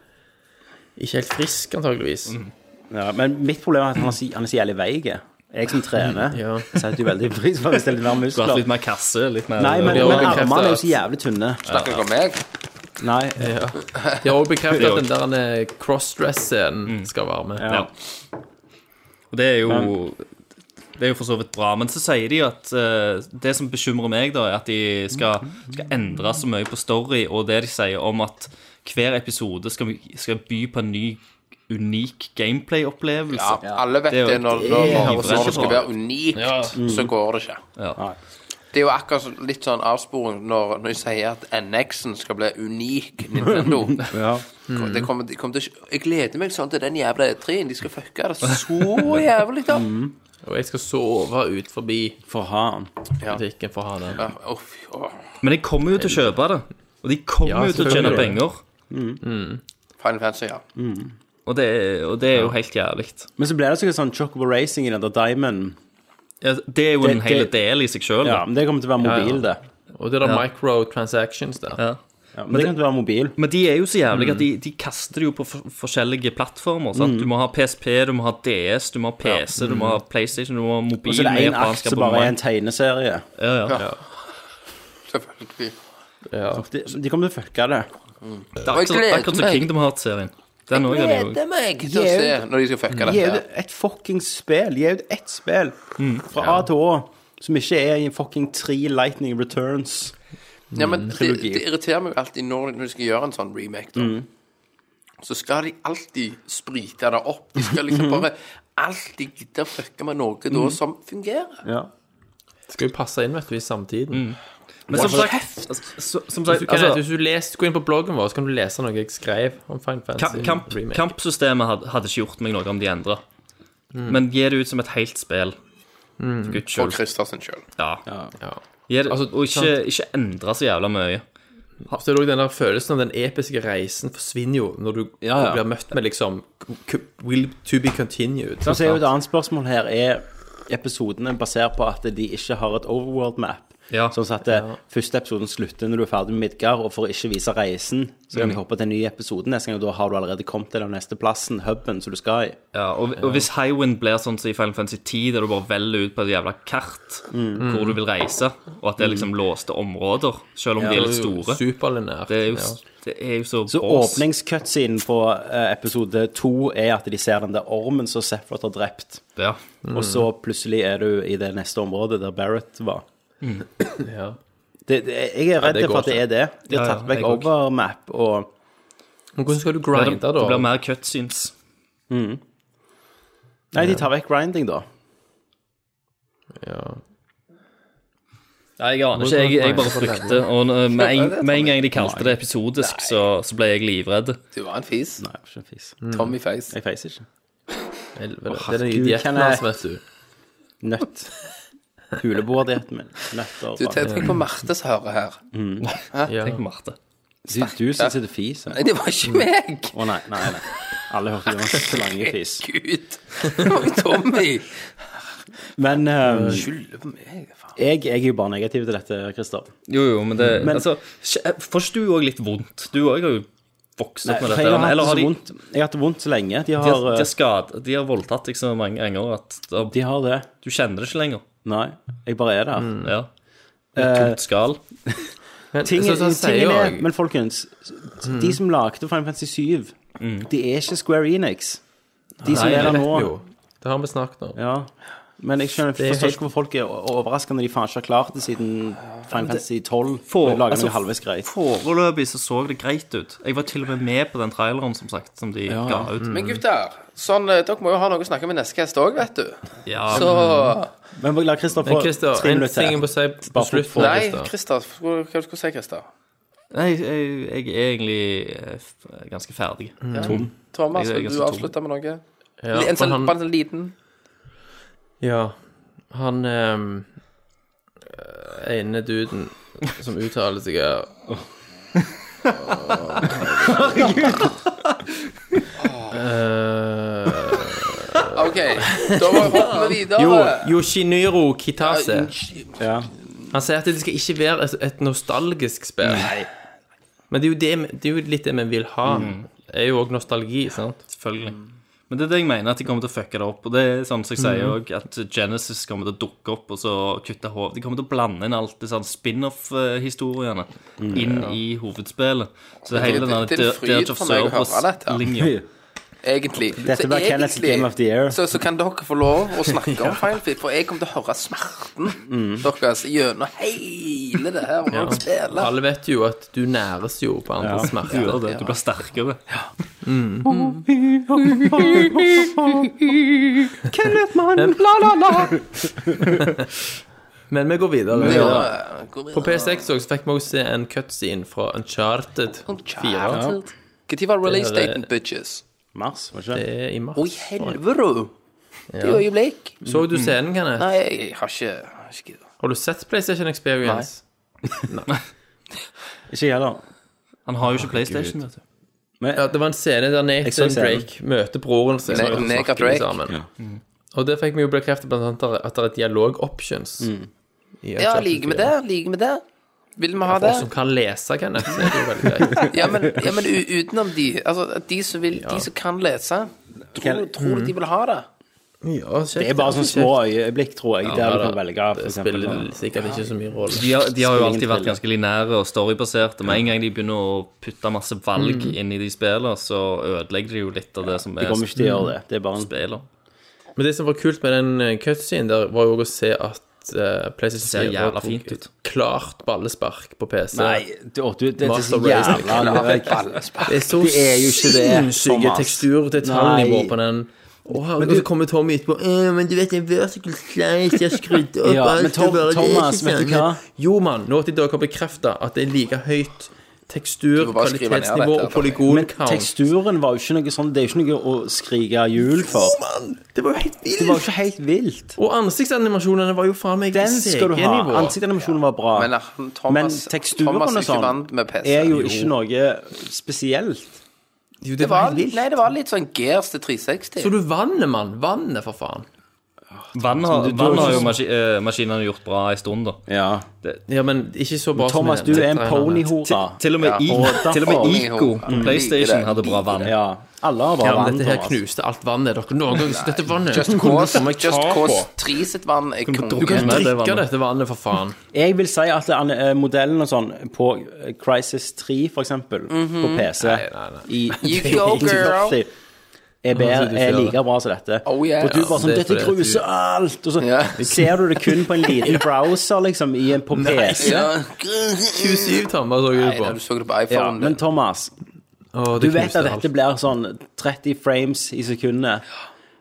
ikke helt frisk, antageligvis. Mm. ja, Men mitt problem er at han er så, han er så jævlig veig. Jeg som trener, Ja. setter jo veldig pris på hvis det er litt mer Vært muskler. litt mer kasse, litt mer Nei, men, Ja, men det bekrefter armene er jo at- så jævlig tynne. Snakker dere om meg? Nei, De har òg bekreftet Det at er Mm. den der eh, crossdress-scenen skal være med. Ja. Og det er jo Det er jo for så vidt bra. Men så sier de at eh, det som bekymrer meg, da, er at de skal, skal endre så mye på story, og det de sier om at hver episode skal, skal by på en ny, unik Ja, gameplay-opplevelse. alle vet Det er det. jo- Når, når, når, det er når det bra. skal være unikt, så går det ikke. Ja. Det er jo akkurat så- litt sånn avsporing når, når jeg sier at NX-en skal bli unik Nintendo. Ja. Det kommer, det kommer til, å- jeg gleder meg sånn til den jævla E3-en. De skal fucke det så jævlig opp. Og jeg skal sove ut forbi For han. butikken for å ha den. Ja, å, fy, å. Men de kommer jo til å kjøpe det. Og de kommer Ja, jo til å tjene selvfølgelig. penger. Final Fantasy, ja. Og det, er- og det er jo helt jævlig. Men så ble det sikkert sånn Chocobo Racing i den der Diamond. Ja, det er jo en Det- hel det- del i seg sjøl. Ja, men det kommer til å være ja. mobil, det. Og det er da Ja. microtransactions der. Ja. Ja, men, det kommer til å være mobil. Men de er jo så jævlige at de, Mm. de kaster det jo på for forskjellige plattformer. Sant? Du må ha PSP, du må ha DS, du må ha PC, du må ha PlayStation, du må ha mobil. Mm. Og så er det med én akt japansk som bare er en abonnement. tegneserie. Ja, ja. Selvfølgelig. De, de kommer til å fucke det. Det er akkurat- det er akkurat som Kingdom Hearts-serien. Den òg er jo Gleder meg til å se når de skal fucke Gi ut dette. et fuckings spill. Gi ut ett spill Mm. fra A til Å som ikke er i fucking tre Lightning Returns. Ja, men det, trilogi. det irriterer meg jo alltid når, når de skal gjøre en sånn remake, da. Så skal de alltid sprite det opp. De skal liksom bare alltid gidde å fucke med noe da som fungerer. Ja. Skal jo passe inn vet du, i samtiden. Men som sagt, altså, så- som Hvis sagt du, kan, altså, hvis du leser, går inn på bloggen vår, så kan du lese noe jeg skrev om Final Ka- Fantasy kamp, Remake. kampsystemet hadde, hadde ikke gjort meg noe om de endra. Mm. Men gi det ut som et helt spill. For Guds For skyld. Christersen sjøl. Ja. Ja. Gi det- Altså, og ikke, ikke endre så jævla mye. Så er det også den der følelsen av den episke reisen forsvinner jo når du Ja, ja. blir møtt med liksom k- Will to be continued. Sånn Og så er jo et annet spørsmål her er episodene basert på at de ikke har et overworld-map. Ja. Sånn at eh, første episoden slutter når du er ferdig med Midgard, og for å ikke vise reisen, så Mm. kan de hoppe til en ny episode neste gang, og da har du allerede kommet til den neste plassen, huben, som du skal i. Ja, og, og hvis Highwind blir sånn som i Final Fantasy 10, der du bare velger ut på et jævla kart Mm. hvor du vil reise, og at det er liksom låste områder, selv om de er litt store Superlinært. Det er jo, det er jo så, Så bås. åpningscutscenen på eh, episode to er at de ser den der ormen som Sefrot har drept. Ja. Og så plutselig er du i det neste området der Barrett var. ja. Det, det, jeg er redd det går for at det er det. De har Ja, ja, tatt vekk jeg også. overmap og Men hvordan skal du Det, grinde, det blir da? mer cutscenes. Nei, de tar vekk grinding, da. Ja. Nei, jeg aner ikke. Jeg, jeg bare frykter. Og eh, med en, med en gang de kalte det episodisk, så, så ble jeg livredd. Du var en fis. Nei, ikke en fis. Tommy Face. Jeg feiser ikke. Helvete. Å, Det er den herregud, idioten kan jeg- hans, vet du. Nøtt. Huleboerdietten min. Nøtter. Du, tenk tenk på Marte som hører her. Ja. Tenk på Marte. du, du som sitter fis. Å Nei, det var ikke meg! nei, nei, nei. Alle hørte det var en lange fis. Gud. Det var jo Tommy. Men eh, Skylder på meg, faen. jeg, jeg er jo bare negativ til dette, Christer. Jo, jo, men det Altså, kje- får ikke du òg litt vondt? Du òg har jo vokst Nei, opp med for dette. jeg har hatt Eller det har så de vondt. Jeg har hatt det vondt så lenge. De De har, har, de har, eh, skad, de har voldtatt deg så mange ganger at da- de har det. du kjenner det ikke lenger. Nei, jeg bare er der. Eh, Ja. Et Eh, tomt skall. Men, Ting, så, så, han sier tingen jo er, men folkens, de som lagde Final Fantasy 7, de er ikke Square Enix. De som Nei, er det der nå. jo Mm. Det har vi snakket om. Ja. Men jeg skjønner, er forstår helt- ikke hvorfor folk er overraska når de faen ikke har klart det siden Final Fantasy 12. For, For- lager altså, noe halvveis greit. Foreløpig så så det greit ut. Jeg var til og med med på den traileren som sagt, som de ga ut. Men gutter, sånn, eh, dere må jo ha noe å snakke med neste gjest òg, vet du. Ja, Så Men la Christer få Men Christer, tre en minutter ting jeg må til. si på Bare slutten. for- Nei, Christer. Christer. Hva hva skulle du si, Christer? Nei, jeg, jeg er egentlig eh, f- ganske ferdig. Mm. Tom. Thomas, Jeg er vil du ganske tom. avslutte med noe? Ja, en for sånn, han- bare en sånn liten Ja. Han ehm, øh, ene duden som uttaler seg her Øh, OK, da må vi hoppe videre. Jo, Yoshiniro Kitase. Ja. Han sier at det skal ikke være et, et nostalgisk spill. Men det er, jo det, vi- det er jo litt det vi vil ha. Det er jo òg nostalgi, sant? Selvfølgelig. Men det er det jeg mener, at de kommer til å fucke det opp. Og det er sånn som jeg Mm. sier òg, at Genesis kommer til å dukke opp og så kutte hov. De kommer til å blande inn alt det sånn spin-off-historiene inn i hovedspillet. Så hele den Mm. det- det er en der fryd Dirge of for meg å høre dette. Service-linja Egentlig. Dette Så var Kenneths egentlig Game of the Year. Så, så kan dere få lov å snakke om Final Fit, for jeg kommer til å høre smerten deres gjennom hele det her når dere spiller. Alle vet jo at du næres jo på andres smerte. gjør det. Du blir sterkere. Men, Men vi går videre. Ja. På PS6 også, så fikk vi også se en cutscene fra Uncharted 4. Sånn Når var Det er- release-daten, bitches? Mars, var ikke det? Det er i mars. Å, i helvete! Det er jo øyeblikk. Så du scenen, Kenneth? Nei, jeg har ikke, jeg har ikke giddet. Har du sett PlayStation Experience? Ikke jeg heller. Han har jo ikke PlayStation, vet du. Ja, det var en scene der så Nathan scenen. Drake møter broren sin. Ne- og så Nega snakker de Drake. sammen. Og det fikk vi jo bekreftet blant annet at det er dialog-options. Mm. Ja, like med det. Like med det. Vil vi ha det? Folk som kan lese, Kenneth, så er det jo veldig greit. Ja, men, ja, men u- utenom de Altså, at de som, vil, de som kan lese, tror, Kan- tror du de vil ha det? Ja, Det er bare sånne små øyeblikk, tror jeg, der du kan velge, for Det eksempel. sånn. spiller sikkert ikke så mye rolle. De har, de har jo Spiller alltid ingen vært rolle. ganske linære og storybaserte. Med en gang de begynner å putte masse valg inn i de spillene, så ødelegger de jo litt av det som De er kommer ikke til å gjøre det. Det er bare en spillet. Men det som var kult med den eh, cutscene der, var jo å se at eh, Ser PlayStation 4 jævla fint tok ut. et klart ballespark på PC. Nei, det, å, du, det er så Master Race. jævla løk. Det er så Det er jo ikke det, sinnssyke Thomas. teksturdetaljer Nei. på den. Å, herregud, så kommer Tommy etterpå. «Øh, Men du vet, en vertical slice, jeg skrudde opp Ja, men alt Tom- og bare, det er ikke Thomas, vet du sånn». hva? Jo, mann. Nå til dere har bekrefta at det er like høyt tekstur, må bare skrive ned dette, kvalitetsnivå og Men Tommy. polygon-count. teksturen var jo ikke noe sånn Det er jo ikke noe å skrike jul for. Mann, det var jo helt Det var jo vilt! ikke helt vilt. Og ansiktsanimasjonene var jo faen meg Den skal du ha. CG-nivå. Ansiktsanimasjonen var bra. Men han, Thomas, Men teksturen Thomas og er ikke sånn vant med PC. er jo ikke noe spesielt. Jo, det var, nei, det var litt sånn Gears til 360. Så du vannet, mann. Vannet, for faen. Vann har, vann har jo maski, eh, maskinene gjort bra en stund, da. Ja. Ja, men ikke så bra Thomas, som du i den er en traileren. ponyhora. Til og med, I, og til og med derfor- Ico på PlayStation hadde bra vann. Ja. Alle har Ja, bare men vann, dette her Thomas. knuste alt vannet dere noen gang. Dette vannet Just kunne Cause, faen meg ta Just Cause på. 3 sitt vann er Du kan konge. drikke det Drikke vannet. dette vannet, for faen. Jeg vil si at an- eh, modellen og sånn på eh, Crisis 3, for eksempel, på PC i- You go, girl. i- er, bedre, du er ser det. like bra som dette. Oh, yeah. For du bare sånn det er 'Dette fordi at gruser alt!' Og så Ja. ser du det kun på en liten browser, liksom, i en, på PC. Ja. 27 tommer så Nei, jeg da på. du så det på Ja, iPhone. men Thomas, Å, du det vet knuste at alt. dette blir sånn 30 frames i sekundet.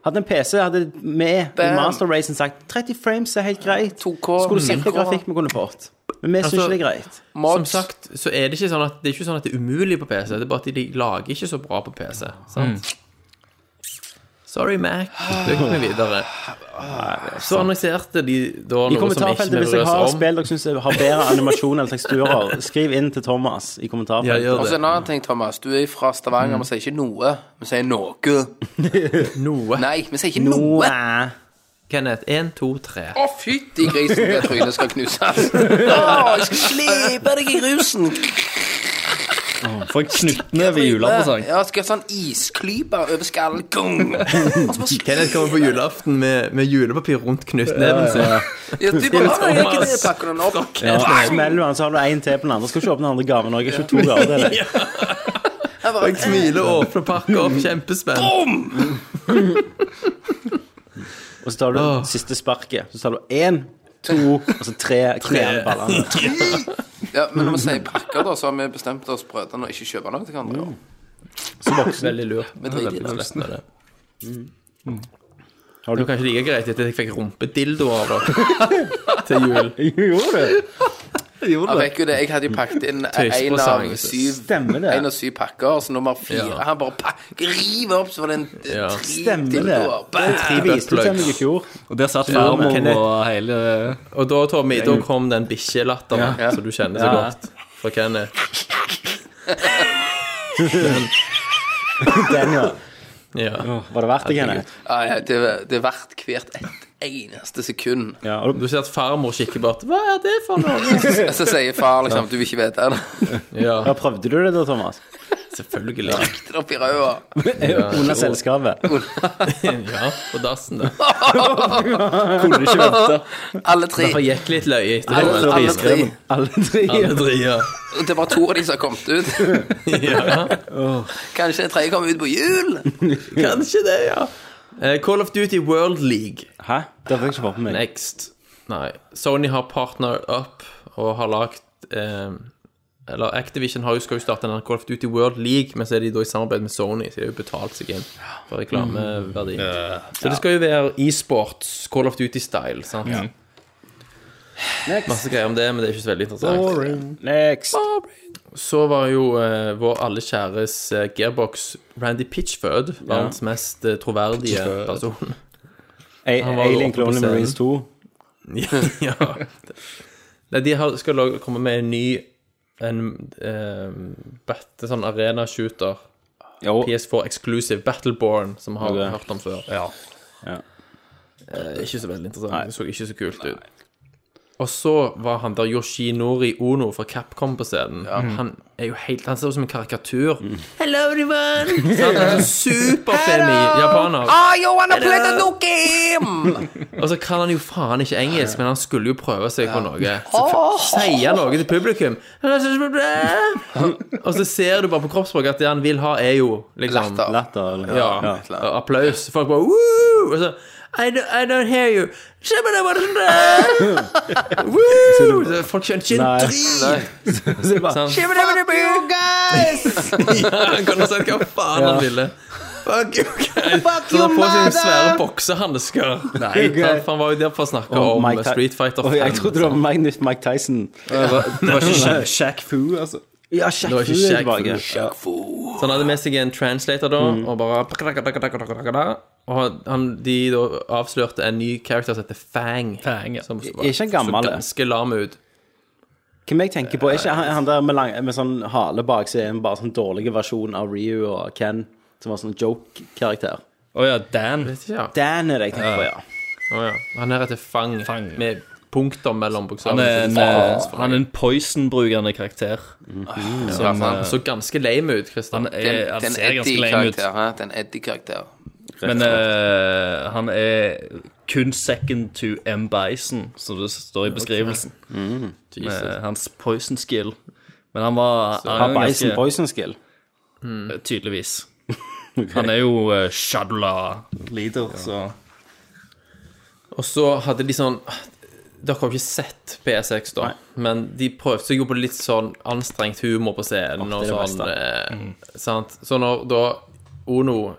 Hadde en PC, hadde vi i Bam. Master Racen sagt 30 frames er helt greit. 2K, Skulle sett 4K. hvilken grafikk vi kunne fått. Men vi syns Altså, ikke det er greit. Som Mods. sagt, så er det ikke sånn at det er ikke sånn at det er umulig på PC. Det er bare at de lager ikke så bra på PC. Sant? Mm. Sorry, Mac. Løp vi videre. Så annonserte de I da noe som ikke kommentarfeltet, vi hvis jeg bryr har oss om. spill dere syns har bedre animasjon eller teksturer, skriv inn til Thomas i Ja, kommentarfeltet. Altså, gjør Og så det. en annen ting, Thomas. Du er fra Stavanger. Vi sier ikke noe, vi sier noe. Noe. Nei, vi sier ikke noe. Noe. Kenneth, 1, 2, 3. Å, fytti grisen, det trynet skal knuses. Å, jeg skal slipe deg i rusen. For en knyttneve i julepresang. Ja, skal jeg ha sånn isklype over skallen. Gung. Og så bare Kenneth kommer på julaften med, med julepapir rundt knyttneven sin. Ja, du bare, «Å, jeg gidder ikke pakke den opp. Ja. Smeller du den, så har du én til på den andre. Skal ikke åpne den andre gaven òg. Jeg har ikke to gaver til deg. Jeg Og jeg bare, smiler og åpner pakka opp, kjempespent. Og så tar du siste sparket. Så tar du én, to, og så tre kneballene. ja, men når vi sier pakker, da, så har vi bestemt oss brødrene å ikke kjøpe noe til hverandre. Mm. Veldig lurt. Vi driter i det. Med det. Mm. Har Det var du kanskje like greit etter at jeg fikk rumpedildo av dere til jul. Gjorde du? Jeg vet jo det, jeg hadde jo pakket inn en av Tøyspresang, Jesus. syv Stemmer det. En av syv pakker, så nummer fire Ja. Han bare pak, river opp, så var det en Ja. Stemmer det. De viste det til meg i fjor. Og der satt Ja, men farmor Kenneth- og hele Og da, Tommy, da kom den bikkjelatteren som du kjenner så Ja. godt fra Kenneth. Den, ja. Ja. Var det verdt det, Kenneth? Ja, det, det er verdt hvert et eneste sekund. Ja, og Du ser at farmor kikker bort. Hva er det for noe? Så sier far liksom du vil ikke vite det. da Ja, prøvde du det da, Thomas? selvfølgelig. Riktig det opp i røda. Under selskapet. Ja, på dassen, det. Kunne du ikke vente? Alle tre. Det gikk litt løye etter Alle, det. alle tre. Alle tre. Alle tre, ja. Det er bare to av de som har kommet ut. ja. Kanskje en tredje kommer ut på jul? Kanskje det, ja. Eh, Call of Duty World League Hæ? Det fikk jeg ikke fått med meg. next. Nei. Sony har partner up og har lagt eh, Eller Activision har jo, skal jo starte en Call of Duty World League, men så er de da i samarbeid med Sony, så de har jo betalt seg inn for reklameverdi. Så det skal jo være e-sports, Call of Duty-style. sant? Masse greier om det, men det er ikke så veldig interessant. Next. Så var jo eh, vår alle kjæres eh, gearbox Randy Pitchford, verdens mest eh, troverdige person. A Han var jo Alien oppe på Clone scenen. Marines 2. ja. Nei, de har, skal lage, komme med en ny en eh, bat- sånn arena shooter. Jo. PS4 exclusive Battleborn, som har Ok. hørt om før. Ja. Eh, ikke så veldig interessant. Det så ikke så kult ut. Og så var han der Yoshinori Ono fra Capcom på scenen. Han er jo helt, han ser ut som en karikatur. Hello everyone. Så han er en superfemi japaner. Are Ah, you wanna play the new game? Og så Altså, kan han jo faen ikke engelsk, men han skulle jo prøve seg på noe. Så f- sier noe til publikum. Og så ser du bare på kroppsspråket at det han vil ha, er jo liksom Latter. Latter, eller? Ja. Ja. Og applaus. Folk bare Woo! Og så I don't, I don't hear you. Woo! Så Folk skjønte ikke en Nei. drit. Så det bare- Sant? Han kunne sagt hva faen han ville. Fuck you, guys. Så han får sine svære boksehansker. Nei, Ok. sant, for han var jo der for å snakke Og om Mike Ty- Street Fighter Oi, 5. jeg trodde det var Mike, Mike Tyson. det var ikke Shaq. Shaq Fu, altså. Ja, Shaq Det var Fu ikke er Shaq tilbake. Fu. Ja. Så han hadde med seg en translator da, Mm. og bare Og han, de da avslørte en ny character som heter Fang. Fang, ja. Som var- Er ikke han gammel, Så det? ganske lam ut. Hvem jeg tenker på, er ikke han, han der med, lang, med sånn hale bak, så er han bare sånn dårlig versjon av Ryu og Ken, som var sånn joke-karakter. Å ja, Dan. Vet ikke, ja. Dan er det jeg tenker på, ja. Å, ja. Han her heter Fang, Fang. med punkter mellom Han bokstavene. er en, eh, han er en poison-brukende karakter. Som, Han eh, så ganske lame ut, Kristian. han, er, han Den ser ganske lame ut, Eddie-karakter. hæ? Den Eddie-karakter. men eh, han er kun second to M. Bison, som det står i beskrivelsen. Mm, Med hans poison skill. Men han var Har han er Bison ganske- Poison Skill. Tydeligvis. Han er jo uh, Shadula-leader, så Og så hadde de sånn Dere har jo ikke sett PS6, da, men de prøvde seg jo på litt sånn anstrengt humor på scenen. det er det og Mm. sånn, eh, sant? Så når da Ono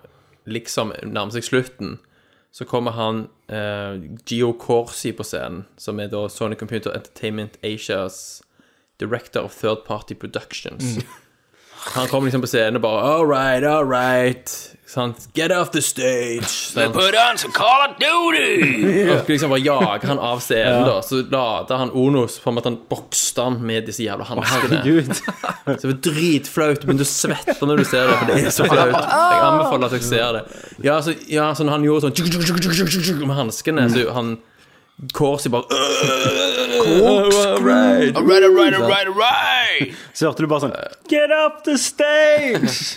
liksom nærmer seg slutten, så kommer han eh, Gio Corsi på scenen, som er da Sony Computer Entertainment Asias director of third party productions. Mm. Han kommer liksom på scenen og bare All right, all right. Sant? Get off the stage. Sant? Put on some Call of Duty! Og skulle liksom bare jage han av scenen, da. Så lader han Onos på en måte han bokste han med disse jævla hanskene. Gud. Så det var dritflaut, men du svetter når du ser det, for det er så flaut. Jeg anbefaler at dere ser det. Ja, så, ja, så når han gjorde sånn tjuk, tjuk, tjuk, tjuk, tjuk, tjuk, med hanskene, så han Corsi bare «Øh, Corkscrew. All right, all right, all right, all right! Så hørte du bare sånn Get up the stage!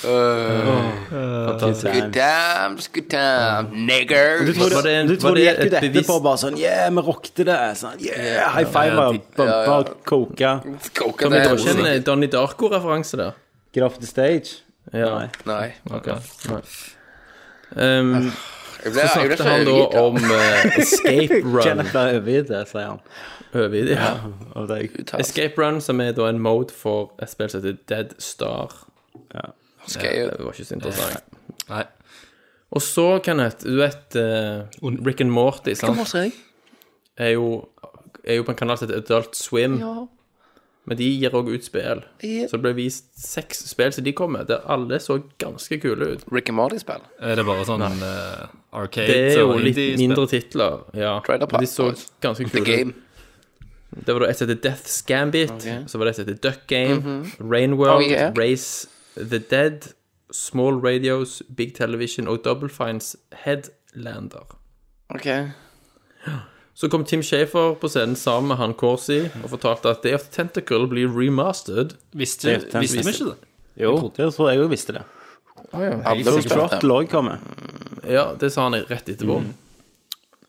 Uh, Good times, good times, niggers. Var var det, en- Du var tror de det gikk ut et bevis etterpå og bare sånn Yeah, vi rockte det! Sånn, yeah, High fiver, bumpa, koka. Koker Det var ikke det. en eh, Donnie Darko-referanse der. Get off the stage. Ja. Nei. Nei. Okay. Um, Jeg ble- så jeg ble snakket så han da høylytt, da. om eh, Escape Run. Kenneth er overgitt, sier han. Over i det. Ja. Og det er Escape Run, som er da en mode for et spill som heter Dead Star. Skal jeg- Det var ikke så interessant. Nei. Eh, Og så, Kenneth, du vet eh, Rick and Morty, sant? Er jo, er jo på en kanal som heter Adult Swim. Men de gir òg ut spill. Så det ble vist seks spill som de kom med, der alle så ganske kule ut. Rick and Morty-spill. er det bare sånn eh, arcade Det er jo og litt indie-spill. mindre titler. Ja, Trailer men de så Park Boys. ganske The kule Game. ut. Det var da et som heter Death Scambit, så var det et som heter Duck Game, Rain World, Oh, yeah. Race the Dead, Small Radios, Big Television og Double Fines Headlander. Ok. Så kom Tim Shafer på scenen sammen med han Corsi og fortalte at Day of the Tentacle blir remastered. Visste, Det er visste vi ikke det? Jo, det tror jeg jo visste det. Alle som spilte. Trottle òg kommer. Ja, det sa han rett etterpå. Mhm.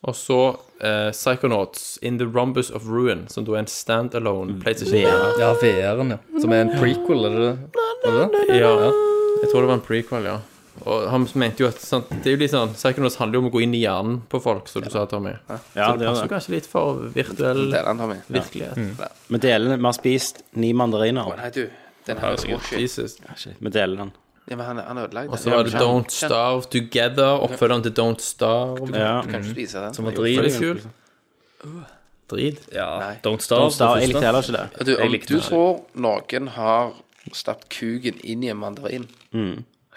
Og så eh, Psychonauts In The Rumbus of Ruin, som da er en standalone PlayStation. Ja, VR-en, ja. Som er en prequel, er det det? Er det det? Ja, jeg tror det var en prequel, ja. Og han mente jo at sant, Det er jo litt sånn Psychonauts handler jo om å gå inn i hjernen på folk, som du sa, Tommy. Ja, det Så er det. kanskje litt for virtuell Det er den, Tommy. virkelighet. Vi deler den. Vi har spist ni mandariner. Nei, du. Den her er Oh, Jesus. Vi deler den. Ja, men han, han ødela det. Og så var det Don't Starve Together, oppfølgeren til Don't Starve. Ja. Kan ikke spise den. Som var Det er drit. litt kult. Drit. liksom. Ja, Nei. Don't Starve. Da, jeg det likte første. heller ikke det. Ja, Du, om likte du den. tror noen har stappet kuken inn i en mandarin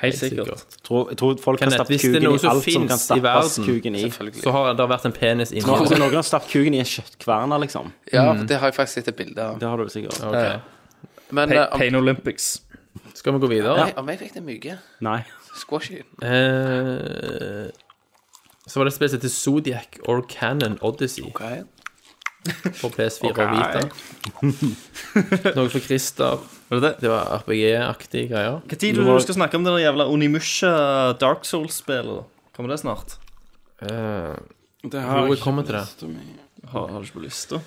Helt sikkert. Jeg tror, jeg tror folk har Kenneth, stappet hvis det er kuken i noe alt som som finnes kan i stappes verden, kuken i. Selvfølgelig. Så har det vært en penis inni. Jeg tror noen har stappet kuken i en kjøttkverner, liksom. Ja, for det har jeg faktisk sett et bilde av. Det har du sikkert. Ok. Men Pa- eh, om, Pain Olympics. Skal vi gå videre? nei, om jeg fikk det myke Nei. Squashy. Eh, så var det et spill som heter Zodiac or Cannon Odyssey på PS4 og Vita. Noe for Christer. Var det det? Det var RPG-aktige greier. Hva tid du skal snakke om det der jævla Onimusha Dark Souls-spillet? Kommer det snart? Eh, Det har jeg kommer til det. Har, har du ikke på lysta?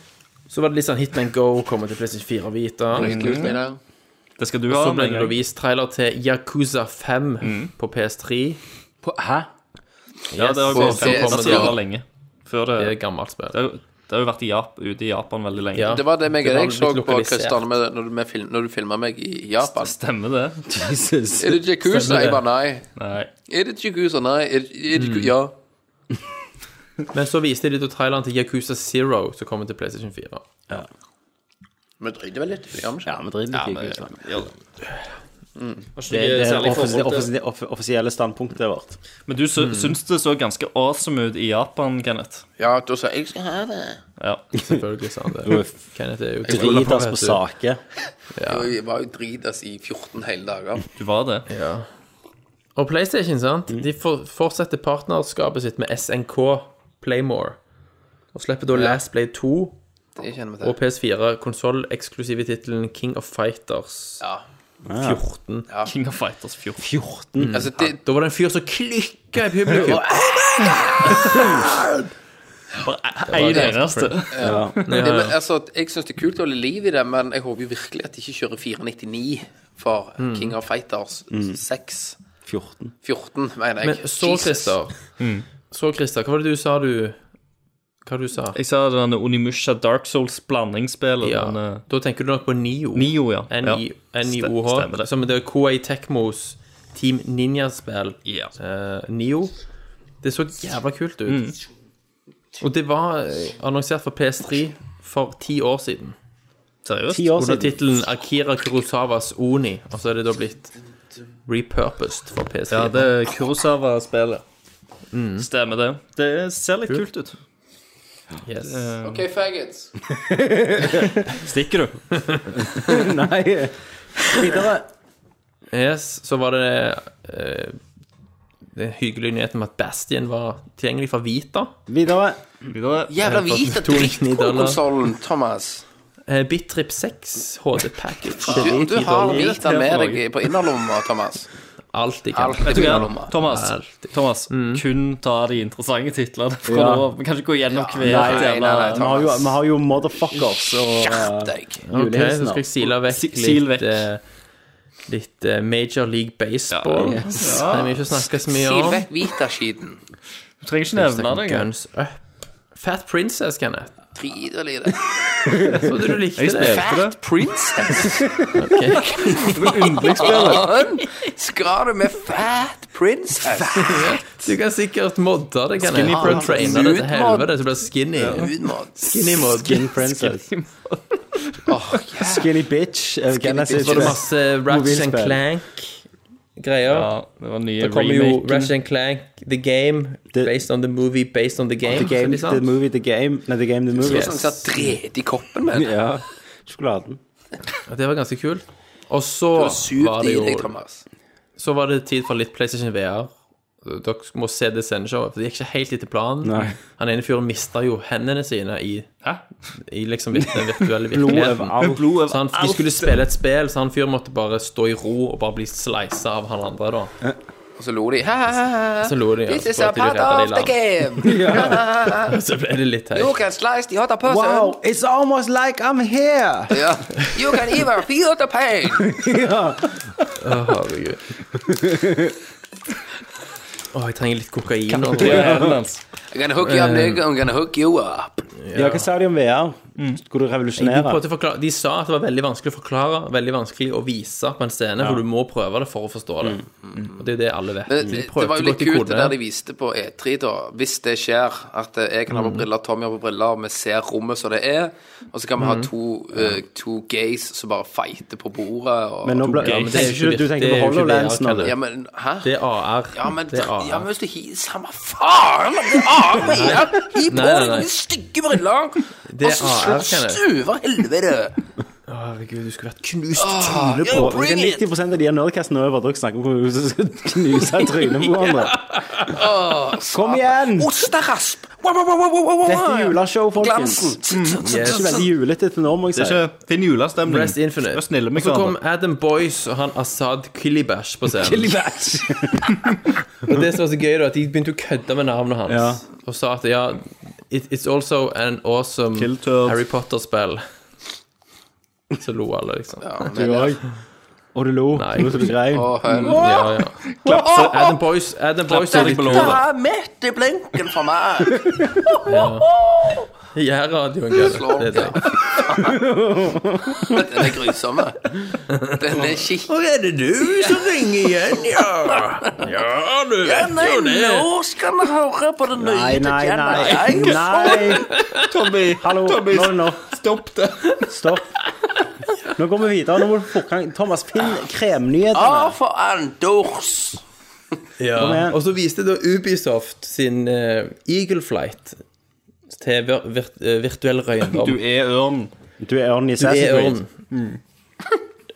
Så var det litt sånn Hit and Go kommer til PlayStation 4 og Vita. Kult, det der. Det skal du ha. Så ble med en det gang. vist trailer til Yakuza 5 på PS3. Hæ? Ja, det har Yes, gått så fem kommer det- år lenge. Før det, Det er et gammelt spill. det, har jo- det har jo vært i Jap, ute i Japan veldig lenge. Ja. Det var det meg og Det var deg så blitt på lokalisert. Kristian når, du- vi film- når du filma meg i Japan. Stemmer det? Jesus. Er det Jacuzza? Stemmer det. Jeg bare nei. Nei. Er det Jacuzza? Nei. Er det, er det, ja. Men så viste de da traileren til Yakuza Zero, som kommer til PlayStation 4. Vi driter vel litt i det. gjør vi ikke? Ja, vi driter ikke i kuken. Ja. Det det er det offis- offis- off- offisielle standpunktet vårt. Men du sy syns det så ganske awesome ut i Japan, Kenneth. Ja, da sa jeg jeg skal ha det. Ja. Selvfølgelig sa han det. Kenneth er jo Dritas på sake. Og Jeg var jo dritas i 14 hele dager. Du var det. Og PlayStation, sant? De for, fortsetter partnerskapet sitt med SNK Playmore. Og slipper da Last Play 2 Det kjenner vi og til. PS4 konsolleksklusive tittelen King of Fighters Ja. 14. King of Fighters 14. 14. Altså, det, Da var det en fyr som klikka i publikum. Bare én det. eneste. Ja, det, ja. altså, jeg syns det er kult å holde liv i det, men jeg håper jo virkelig at de ikke kjører 499 for Mm. King of Fighters 6. 14. 14, mener jeg. Men så, Jesus. Christer Så, Christer, hva var det du sa du Hva var det du sa? Jeg sa den Onimusha Dark Souls-blandingsspillet. Ja, den, eh, da tenker du nok på Nio. Nio, ja. N-I- Ja. NIOH. Stem- Stemmer det. Som det er KA Tekmos Team Ninja-spill. Ja. eh, Nio. Det så jævla kult ut. Og det var eh, annonsert for PS3 for ti år siden. Seriøst? Ti år Under siden. tittelen Akira Kurosawas Oni. Og så er det da blitt repurposed for PS3. Ja, det er Kurosawa-spillet. Stemmer det. Det ser litt kult ut. yes. OK, faggots. Stikker du? Nei. Videre. yes, så var det eh, den hyggelige nyheten om at Bastion var tilgjengelig for Vita. Videre. Videre. Jævla hvit og dritt på dollar. konsollen, Thomas. Eh, Bitrip 6 HD Package. Du, du har hvita irriterende med for deg på innerlomma, Thomas. Alt jeg kan. Alt er Vet du på innerlomma. hva, Thomas, Thomas kun ta de interessante titlene fra Ja. nå av. Vi kan ikke gå gjennom hver nei, nei, jævla nei, Vi har jo, vi har jo motherfuckers og Skjerp deg. Ok, så julehilsener. skal jeg sile vekk Si- litt, sil vekk. eh, litt eh, Major League Baseball. Ja, Det vil vi ikke snakke så mye Sil om. vekk hvitaskiten. Du trenger ikke nevne det engang. Guns Up. Fat Princess, Kenneth. Drit i det. Trodde du likte Jeg det. spilte det. Faen! Skal du med Fat Princess? Du kan sikkert modde det, Kenneth. Skinny Ah, Princess. traine det til Nude mod. helvete, så blir det skinny. Hudmat. Skinny mod. Skin Princess. Åh, ja. Skinny bitch. eh, Genesis. Så var det masse Ratchet and Mobilspill. Clank-greier. Ja, det var nye Det kommer jo remake. Ratchet and Clank, The Game, Det- based on the movie, based on the game. The game, Ikke sant? the movie, the game. Nei, the game, the movie. Sånn som dret i koppen min. Ja. Sjokoladen. Og det var ganske kult. Og så var Sug det i jo deg, Thomas. Så var det tid for litt PlayStation VR. Dere må se det sendeshowet, for det gikk ikke helt etter planen. Nei. Han ene fyren mista jo hendene sine i, Hæ? i liksom vir- den virtuelle Blod virkeligheten. overalt. Blod Så han, over de alt. skulle spille et spill, så han fyren måtte bare stå i ro og bare bli sleisa av han andre, da. Og så lo de. Ha, ha, ha. Så lo de. This og is så a prøvde de å part redde of de the i land. game. Så ble det litt You teit. can slice the other person. Wow, it's almost like I'm here! Ja. You can even feel the pain. Å, herregud. Å, jeg trenger litt kokain nå. Det er hendene hans. I'm gonna hook you up, nigga. I'm gonna hook you up. Ja, hva sa de om VR? Skulle du De, revolusjonere? prøvde å forklare, de sa at det var veldig vanskelig å forklare, veldig vanskelig å vise på en scene, for du må prøve det for å forstå det. Og det er jo det alle vet. Det, De det, Mm. prøvde det var å jo gå litt til kult det kode. der de viste på E3, da. Hvis det skjer, at eh, jeg kan ha Mm. på briller, Tommy har på briller, og vi ser rommet som det er, og så kan Mm. vi ha to, eh, to gays som bare fighter på bordet og Men nå ble, ja, men det er jo ikke, du tenker på HoloLens nå. Ja, men hæ? Det er AR. ja, men, det er AR. ja, men hvis du hiver Samme faen! men Det er AR! men ja, Hiv på Nei, nei, deg nei. noen stygge briller! Det Og er så AR, slåss Kenneth. du, for helvete! Å, Herregud, du skulle vært Knust Ah, trynet yeah, på bring Det er 90 av de her nerdcastene over dere snakker om hvordan du skal knuse trynet på hverandre. Kom igjen! Osterasp! Wow, wow, wow, wow, wow, wow. Dette er juleshow, folkens. Glansen. Det er ikke veldig julete til nå, må jeg Det er si. ikke Finn julestemning. Rest Infinite. Vær snille Og med så kom hverandre. Adam Boyce og han Asaad Kilibash på scenen. Batch. Og det som var så gøy, da, at de begynte å kødde med navnet hans. Ja. Og sa at ja, it, it's also an awesome Kill Turd. Harry Potter-spill. Så lo alle, liksom. Ja, Du òg. Og du lo. Nei. Nå som du grein. ja. Så Adam Boyce Adam Boyce er deg litt på kul. låret. da. Ta midt i blinken for meg! Jærradioen, Kenneth. Slå. Det er det. Den er grusomme. Den er skikkelig Og er det du som ringer igjen, ja? Ja, du vet jo det. Nå skal vi høre på den nye Nei, nei, nei. Nei, Nei. Tommy, Hallo. Nå Tommy, er det nok. stopp det. Stopp. Nå går vi videre. Nå må du få gang Thomas, finn kremnyhetene. Ah! Ja, for Anders. Kom Ja. igjen. Og så viste da Ubisoft sin eh, Eagle Flight til vir virt- eh, virtuell røyndom. Du er ørn. Du er ørn i Det er Assassin's Creed. ørn.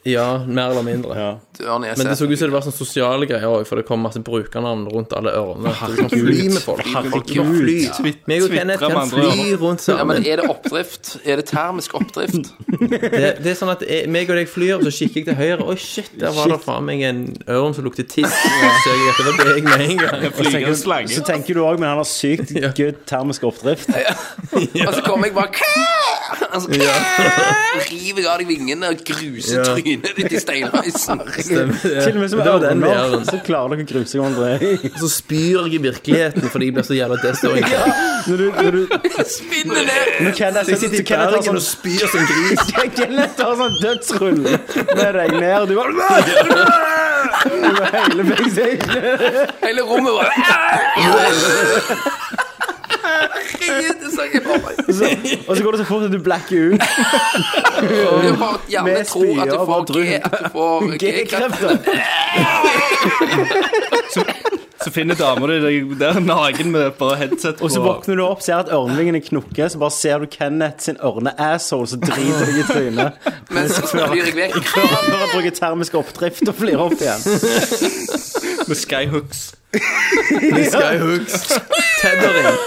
Ja, mer eller mindre. Ja. Døren i Men det så SS. ut som det var sånne sosiale greier òg, for det kom masse brukernavn rundt alle ørene. Så Du kan fly med folk. Herregud. Du kan fly. Twitt- Meg og Kenneth kan twittre med andre fly rundt Ja, sammen. men er det oppdrift? Er det termisk oppdrift? Det, det er sånn at jeg, meg og deg flyr, og så kikker jeg til høyre. Oi, shit, der var det faen meg en ørn som lukter tiss. Og så jeg at det var deg med en gang. Flygende Så slange. tenker du òg, men han har sykt good termisk oppdrift. Og så kommer jeg bare «Kæ!» Og så «Kæ!» river jeg av deg vingene og gruser trynet ditt i steinreisen. Til og med som Det var den vi er, ørner, den. så klarer dere å gruse hverandre. Så spyr jeg i virkeligheten fordi jeg blir så jævla desorientert. Når du, når du, Spinner ned! når Kenneth, Så jeg sitter i Kenneth har Bergen sånn og spyr som gris. Kenneth har sånn dødsrull med deg ned, og du bare Over hele backstage. Hele rommet bare Herregud, det så jeg på meg. Og så- Og så går det så fort at du blacker ut. Du bare gjerne Med tror at spyor du og får drøm. G, at du får G-kreft. G-krefter. Så finner damer deg der naken med bare headset på. Og så våkner du opp, ser at ørnevingene knukker, så bare ser du Kenneth sin ørne-asshole som driter deg i trynet. Men så flyr jeg vekk. Før før han bruker termisk oppdrift og flirer opp igjen. med skyhooks. Skyhooks. Tethering.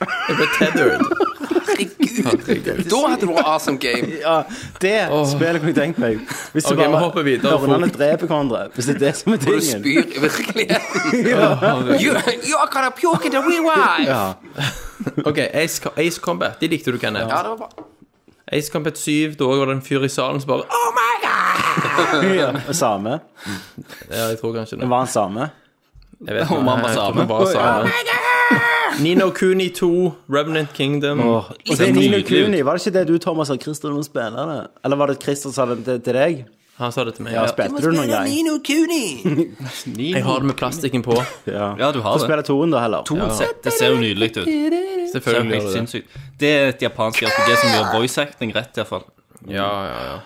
Jeg ble tethered. Herregud. Da hadde det vært awesome game. Ja, det spillet kunne jeg tenkt meg. Hvis det Ok, vi bare hopper videre. ørnene dreper hverandre. Hvis det er det som er Hvor du tingen. spyr i virkeligheten. You, you are gonna puke in the real life. Ja. Ok, Ace, Co- Ace Combat. De likte du, Kenneth. Ja, det var bra. Ace Combat 7, da var det en fyr i salen som bare "Ah!" «Åh!» Oh my god! Ja. Same. Ja, jeg tror kanskje det. Var han same? Jeg vet Om han var Jeg tror same. han var same. Nino Kuni 2, Remnant Kingdom. Og liksom. det er Nino nydelig ut. Kuni. Var det ikke det du, Thomas, sa Christer du må spille det? Eller var det Christer sa det til, til deg? Han sa det til meg. Ja, spilte du noen gang? Nino Kuni. Jeg har det med plastikken på. Ja, Ja, du har Få det. spille toen, da, heller. Toen ser- Det ser jo nydelig ut. Det ser jo Selvfølgelig. helt gjør det. sinnssykt. Det er et japansk RPG som gjør voice acting rett, iallfall. Ja, ja, ja.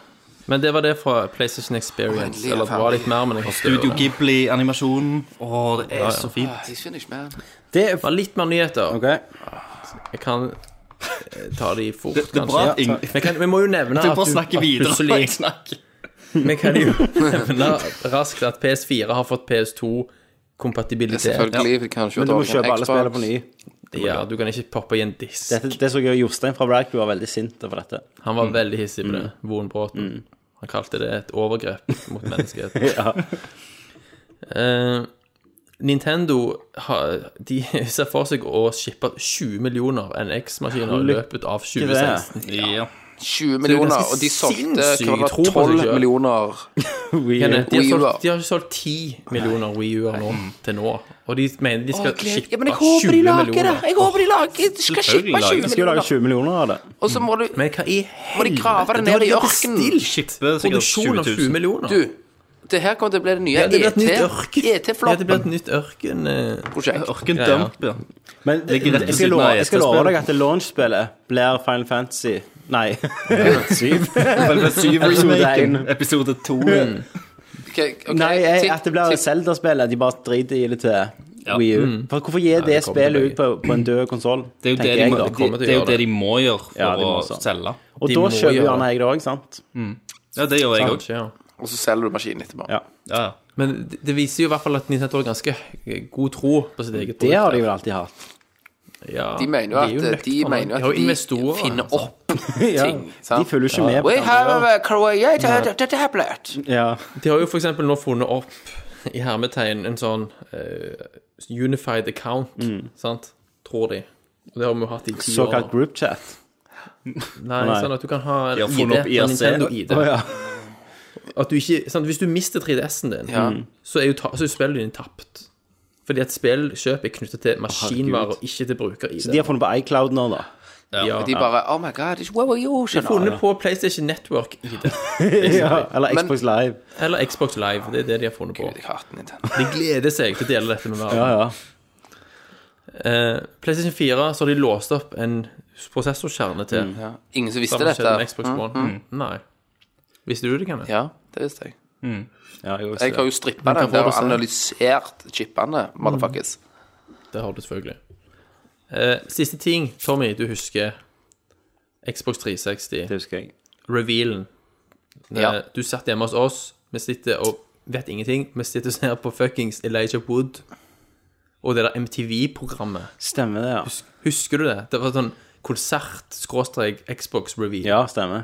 Men det var det fra PlayStation Experience. Endelig, Eller det var litt mer, men jeg husker Studio det. Ghibli-animasjonen. Å, det er så fint. Jeg skjønner ikke mer. Det Det var litt mer nyheter. OK. Jeg kan eh, ta de fort, Det, det er bra kanskje. at ingen Men jeg kan, vi må jo nevne Du at bare du- snakker at videre. plutselig- Jeg snakker. Vi kan jo nevne raskt at PS4 har fått PS2-kompatibilitet. Selvfølgelig. Vi kan ikke Men du må kjøpe alle spillene på ny. Ja, du kan ikke poppe i en disk. Dette, det så jeg Jostein fra Rack var veldig sint over dette. Han mm. var veldig hissig på det. Voen Bråten. Han kalte det et overgrep mot menneskeheten. Eh, Nintendo har, de ser for seg å shippe 20 millioner NX-maskiner i løpet av 2016. Ja. 20 millioner, ganske og de solgte sinnssykt hva var det, tro på seg 12 selv. millioner Wii U. Kenneth, eh, de, har Wii U, solgt, da. de har ikke solgt 10 millioner Wii U-er nå, til nå. Og de mener de skal shippe Ja, men jeg 20 håper de lager det! millioner. Jeg håper de lager de skal Selvfølgelig shippe lager de. 20 Vi skal jo lage millioner. 20 millioner av det. Og så må du, Men hva i må de grave det ned i ørkenen. Skipper sikkert Produksjon av 20 000. 20 millioner. Du, det her kommer til å bli det nye E ja, det blir et nytt ørken. Ja, det blir et ET-flopp-prosjekt. nytt ørken. eh. Ørken Ja, ja. dump, ja. Men Ligger rett ved jeg skal, siden love, av jeg skal love ET-spillet. deg at det launch-spillet blir Final Fantasy Nei. Syv. Episode Episode én. 1. Episode 2. Nei, jeg, at det blir Zelda-spillet. De bare driter i det til Ja. Wii U. For hvorfor gi det kommer til spillet begge. ut på, på en død konsoll? Det er jo det de, må, de, kommer til å det er jo gjøre det det. de må gjøre for Ja, de må å også. selge. Og de da må kjøper jo gjøre gjerne jeg det òg, sant? Ja, det gjør jeg òg. Kanskje, ja. Og så selger du maskinen etterpå. Ja. Ja. ja. Men det- det viser jo i hvert fall at Nintendo har ganske god tro på sitt eget Det har de vel alltid hatt. Ja, De mener jo er at de, nøkterne. mener har jo jo at de investorer, finner altså. opp Ja. ting. De sant? følger jo ikke med på We det. have a created a tablet. Mm, Ja. De har jo for eksempel nå funnet opp i hermetegn en sånn eh, unified account, Mm. sant? Tror de. Og det har vi jo hatt i ti år. Såkalt nå. groupchat. Nei, Nei. sånn at du kan ha en har funnet ID, opp IRC. en Nintendo ID. Å ja. At du ikke, sant? Hvis du mister 3DS-en din, Ja. så er jo ta, så er spillet din tapt. Fordi at spillkjøp er knyttet til maskinvarer, ikke til bruker-ID. De har funnet på iCloud nå, da. ja. De bare Oh my God, it's what were you? De har skjønner du?» funnet på PlayStation Network-ID. Ja. Eller Men- Xbox Live. Eller Xbox Live. Det er det de har funnet på. Gud, jeg hater Nintendo. De gleder seg til å dele dette med verden. Ja, ja. Eh, PlayStation 4 så har de låst opp en prosessorkjerne til. Mm, Ingen som visste Samme skjedde med dette. Mm, Xbox One. Mm. Nei. Visste du det, Kenneth? Ja, det visste jeg. ja jeg Jeg har jo strippa den får der du og se? analysert chipene, motherfuckers. Det har du selvfølgelig. Eh, siste ting, Tommy, du husker Xbox 360, Det husker jeg. revealen. Eh, Ja. Du satt hjemme hos oss, vi sitter og vet ingenting. Vi sitter og ser på fuckings Elijah Wood og det der MTV-programmet. Stemmer det, ja. Husker du det? Det var sånn konsert-Xbox-reveal. Ja, stemmer.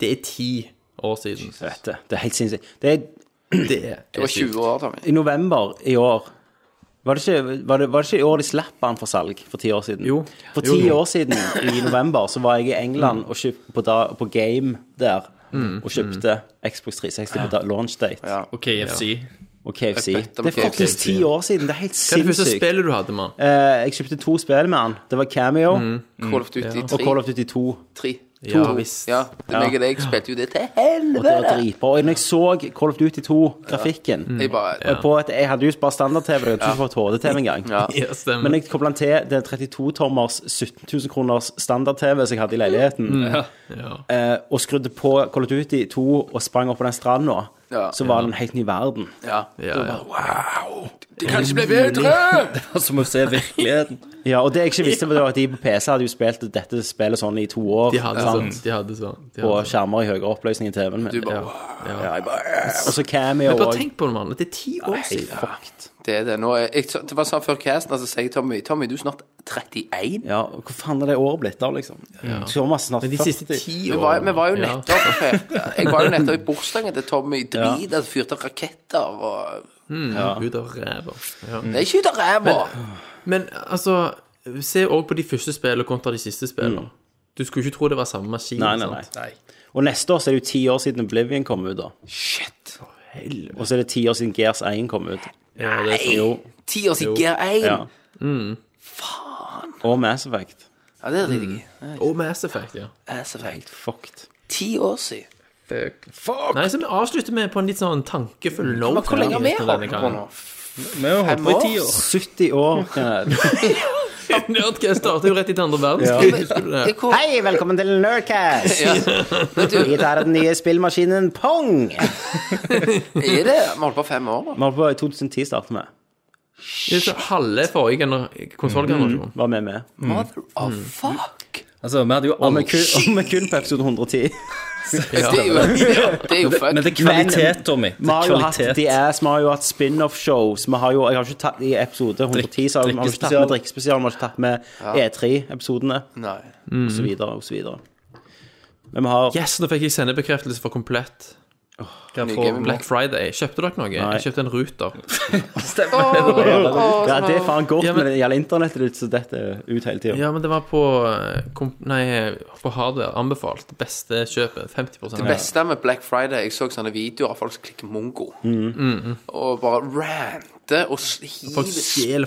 Det er ti år siden. Vet det. Det er helt sinnssykt. Det er Det er, Du var 20 år, Tommy. i november i år var det, ikke, var, det, var det ikke i år de slapp han for salg, for ti år siden? Jo. For Jo, ti jo. år siden, i november, så var jeg i England og kjøpte på, da, på Game der. Mm. Og kjøpte Xbox 360 på da, launch date Ja. Og KFC. og KFC. Jeg bet om Det er KFC. faktisk ti år siden. Det er helt Hva er det første sinnssykt. spillet du hadde, mann? Eh, jeg kjøpte to spill med han. Det var Cameo Mm. Call of Duty og Call 3. of Duty 2. Og Tre. Ja, visst. Ja, det er meg og deg spilte jo det til det var helvete. dritbra. Og når jeg så Call of Duty 2-grafikken Mm. Jeg bare på et, Jeg hadde jo bare standard-TV, jeg hadde ikke fått HD-TV engang. Ja. Ja, stemmer. Men jeg koblet den til den 32-tommers 17 000 kroners standard-TV som jeg hadde i leiligheten, Mm. eh, og skrudde på Call of Duty 2 og sprang opp på den stranda, Ja. så var det en helt ny verden. Ja. ja, ja. Wow! Det kan ikke bli bedre! Altså, må vi se virkeligheten. Ja, Og det jeg ikke visste, var at de på PC hadde jo spilt dette spillet sånn i to år. De hadde sant? sånn. De hadde sånn. De På hadde sånn. skjermer i høyere oppløsning i TV-en min. Du bare wow. Ja, jeg bare, og så cameo Men bare òg. tenk på det, mann. Det er ti år siden. Fucked. Det er det. Nå, er- jeg, det var sånn før casten, altså sier jeg Tommy Tommy, du er snart 31. Ja, hvor faen er det året blitt av, liksom? Thomas er snart Men de siste 40. ti Vi årene var, vi var jo Ja. nettopp Jeg var jo nettopp i bursdagen til Tommy. Drit, altså fyrte raketter og Ut av ræva. Ja. Det er ikke ut av ræva! Men altså, se òg på de første spillene kontra de siste spillene. Du skulle ikke tro det var samme maskin. Mm. Nei, nei, Sant? nei. Og neste år så er det jo ti år siden Oblivion kom ut, da. Shit. Og så er det ti år siden Gears 1 kom ut. Ja, det er sånn. Jo. Ti år siden Ja. GR1. Ja. Mm. Og Mass Effect. det er riktig. Og Mass Effect, ja. Ass effect. Fucked. Ti år siden. Nei, så vi avslutter med på en litt sånn tankefull note. Men hvor lenge har vi denne holdt på gangen. nå? Vi har holdt på i ti 70 år. år. Kenneth. Nerdcast startet jo rett etter andre verdenskrig. husker du det? Det er hvor- Hei, velkommen til Nerdcast! Ja. Men du, Dette er den nye spillmaskinen Pong. Vi er det Vi holdt på fem år, da. holdt på i 2010 startet med. Det er så halve forrige gener- konsollgenerasjon. Var med med. Mother of fuck. Altså, vi hadde jo Og vi aldri kun, og vi kun på episode 110. Det er jo, ja, det er jo fuck. Men det er kvalitet, Tommy. Det Vi har er jo hatt kvalitet. The Ass, vi har jo hatt spin-off-shows. Vi har jo, jeg har ikke tatt I episode 110 så har vi har vi ikke tatt med drikkespesialen, vi har ikke tatt med E E3-episodene Nei. Mhm. osv. osv. Men vi har Yes, nå fikk jeg sendebekreftelse for komplett. Hva Nye for Gameboy. Black Friday? Kjøpte dere noe? Nei. Jeg kjøpte en ruter. Ja, det er faen godt, Ja, men- men det gjelder internettet ditt, så dette er ut hele tida. Ja, men det var på eh, komp Nei, på hardware. Anbefalt. Beste kjøpet. 50 Det beste med Black Friday Jeg så sånne videoer av folk som klikker mongo. Og bare ranter og s- Folk hiver